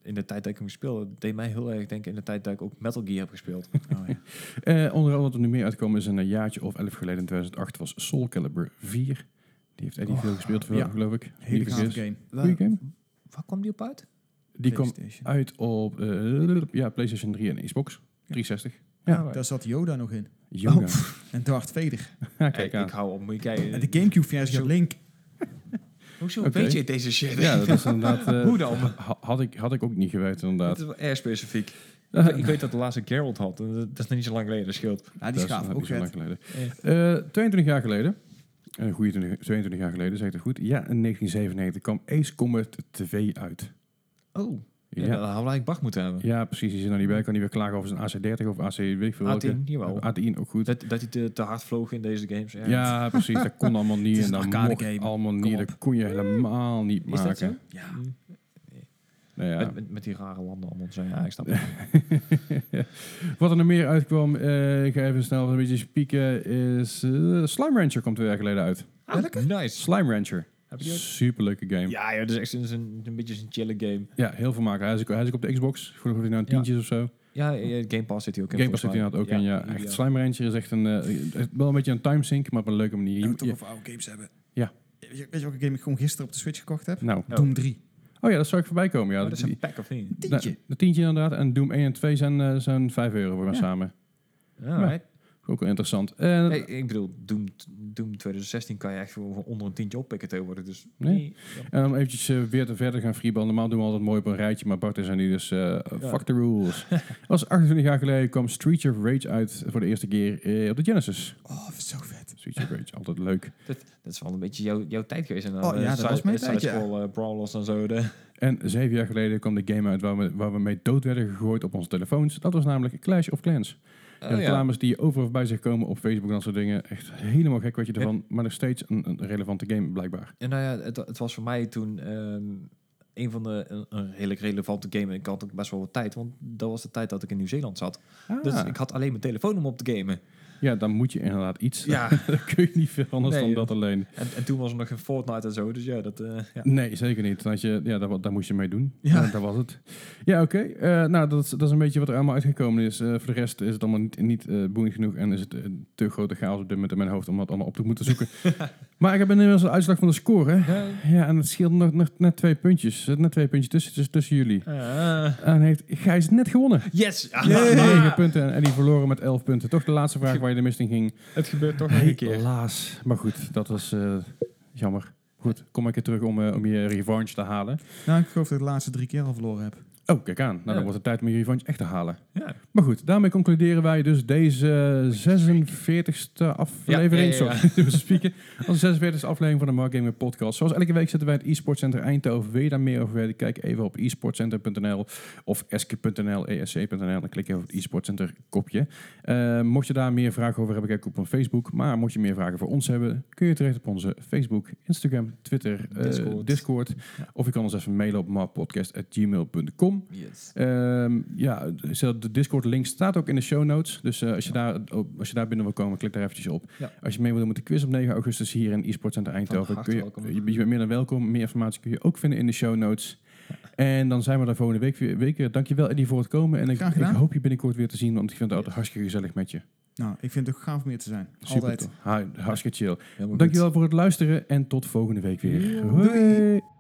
in de tijd dat ik hem speelde, deed mij heel erg denken in de tijd dat ik ook Metal Gear heb gespeeld.
Oh, ja.
Eh, onder andere wat er nu meer uitkwam is een eh, jaartje of elf geleden, in 2008, was Soul Calibur 4. Die heeft Eddie
Oh,
veel gespeeld,
ja.
geloof ik.
Hele
Niet
gave
vergis.
game.
Goeie game.
Waar kwam die op uit?
Die kwam
PlayStation.
uit op eh, ja, PlayStation 3 en Xbox 360. Ja.
Ah, right.
Daar zat Yoda nog in.
Yoga.
En Darth Vader.
Ja,
Hey,
kijk aan.
ik hou op, moet je kijken.
En de Gamecube-versie had
Zo-
Link. Ah,
Hoezo
Oké.
weet je deze shit?
Ja, dat is inderdaad... eh,
Hoe dan?
ha- had, ik, had ik ook niet geweten,
Dat
inderdaad.
is wel erg specifiek. ik, weet- ik weet dat de laatste Geralt had. en Dat dat is nog niet zo lang geleden, dat scheelt.
Ja, die schaaf
Dat
ook
is nog niet
vet.
zo lang geleden. Eh, 22 jaar geleden. Een goede 20 22 jaar geleden, zegt het goed. Ja, in 1997 kwam Ace Combat 2 uit.
Oh, ja,
Ja,
dan hadden we eigenlijk Bach moeten hebben.
ja precies. Die zit er niet bij. Kan niet weer klagen over zijn AC30 of AC, weet ik veel welke.
A10, jawel.
A10, ook goed.
Dat, dat hij te, te hard vloog in deze games. Ja,
Ja, precies. Dat kon allemaal niet.
Het is
en
een
dat
arcade
mocht
game.
allemaal
Kom
niet.
op.
Dat kon je helemaal niet
Is
maken.
dat zo?
Ja.
Nou ja.
Met, met, met die rare landen allemaal zijn. Ja, ik snap het.
Wat er nog meer uitkwam, eh, ik ga even snel een beetje spieken, is eh, Slime Rancher komt twee jaar geleden uit.
Ah, Nice.
Slime Rancher.
Heb je die ook?
Superleuke game. Ja,
Ja, ja, dat is echt een, een, een beetje een chille game.
heel veel maken. Hij is, ook, hij is ook op de Xbox. Ik geloof dat hij nou een
Ja.
tientje is of zo.
Ja, ja, Game Pass zit hij ook in.
Game Pass zit
volgens
inderdaad
mij.
ook in. Ja.
die,
Echt, Slime Rancher is echt een, eh, echt wel een beetje een timesink, maar op een leuke manier. Je
Je moet
moet-
toch
je-
over oude games hebben.
Ja.
Weet je, weet je welke game ik gewoon gisteren op de Switch gekocht heb?
nou,
Oh.
Doom 3.
oh ja, dat zou ik voorbij komen. Ja.
Oh, dat is
Die-
een pack of niet.
nou,
Tientje.
een tientje inderdaad. En Doom 1 en 2 zijn, eh, zijn 5 euro voor mij
Ja.
samen.
Alright.
Ook wel interessant. Eh,
Hey, ik bedoel, Doom, Doom 2016 kan je echt gewoon voor onder een tientje oppikken tegenwoordig. Dus
Nee.
Ja.
En om eventjes eh, weer te verder gaan freeballen. Normaal doen we altijd mooi op een rijtje, maar Bart is er nu dus eh, fuck the rules. was 28 jaar geleden kwam Street of Rage uit voor de eerste keer eh, op de Genesis.
Oh, zo vet.
Street of Rage, altijd leuk.
Dat, dat is wel een beetje jouw jouw tijd geweest. En dan,
Oh,
eh,
ja, dat
side-
was mijn tijd, ja.
side-scroll, eh, brawlers en zo. De,
En zeven jaar geleden kwam de game uit waar we, waar we mee dood werden gegooid op onze telefoons. Dat was namelijk Clash of Clans. De
Oh, ja.
reclames die je over of bij zich komen op Facebook en dat soort dingen. Echt helemaal gek wat je ervan, maar nog steeds een, een relevante game blijkbaar.
En nou ja, het, het was voor mij toen ehm, een van de een, een redelijk relevante game. En ik had ook best wel wat tijd, want dat was de tijd dat ik in Nieuw-Zeeland zat. Dus
Ah.
ik had alleen mijn telefoon om op te gamen.
Ja, dan moet je inderdaad iets.
Ja.
Dan kun je niet veel anders
Nee,
dan
joh.
dat alleen.
En, en toen was er nog geen Fortnite en zo. Dus ja, dat... eh, ja.
Nee, zeker niet. Dat je, ja, daar, wa- daar moest je mee doen.
Ja.
Ja. dat was het. Ja, oké. Eh, nou, dat is, dat is een beetje wat er allemaal uitgekomen is. Eh, voor de rest is het allemaal niet, niet eh, boeiend genoeg en is het eh, te grote chaos op dit moment in mijn hoofd om dat allemaal op te moeten zoeken. maar ik heb inmiddels een uitslag van de score. Hè?
Ja.
Ja, en het scheelt nog, nog net twee puntjes. Er zitten net twee puntjes tussen, tussen, tussen jullie.
Eh,
En heeft Gijs net gewonnen.
yes! Ah,
9 punten en Eddie verloren met 11 punten. Toch de laatste vraag waar je de mist in ging.
Het gebeurt toch nog een keer.
Helaas. Maar goed, dat was eh, jammer. Goed, kom ik keer terug om, eh, om je revanche te halen.
Nou, ik geloof dat ik de laatste drie keer al verloren heb.
Oh, kijk aan. Nou,
Ja.
dan wordt het tijd om je revanche echt te halen.
Ja.
Maar goed, daarmee concluderen wij dus deze 46e aflevering.
Ja, ja, ja, ja.
Sorry, we spieken. Onze 46e aflevering van de Mark Gaming Podcast. Zoals elke week zitten wij in het e-sport center Eindhoven. Wil je daar meer over weten? Kijk even op e-sportcenter.nl of eske.nl, esc.nl. Dan klik je op het e-sport center kopje. Eh, mocht je daar meer vragen over hebben, kijk op ons Facebook. Maar mocht je meer vragen voor ons hebben, kun je terecht op onze Facebook, Instagram, Twitter, eh, Discord.
Discord.
Of je kan ons even mailen op marpodcast.gmail.com.
Oh.
Yes.
Ehm, ja, zo, de Discord-link staat ook in de show notes. Dus eh, als, je daar, op- als je daar binnen wil komen, klik daar eventjes op.
Ja.
Als je mee wil doen met de quiz op 9 augustus hier in eSports Center Eindhoven,
harte
kun je,
welkom.
je, bent- je bent meer dan welkom. Meer informatie kun je ook vinden in de show notes. En dan zijn we daar volgende week weer. Week weer. Dankjewel Eddie voor het komen. En ik,
Graag
ik
gedaan.
hoop je binnenkort weer te zien, want ik vind het altijd hartstikke gezellig met je.
Nou, ik vind het ook gaaf om hier te zijn.
Super
Altijd.
tof. Ha- Hartstikke chill.
Helemaal goed.
Dankjewel voor het luisteren en tot volgende week weer.
Yo.
Hoi.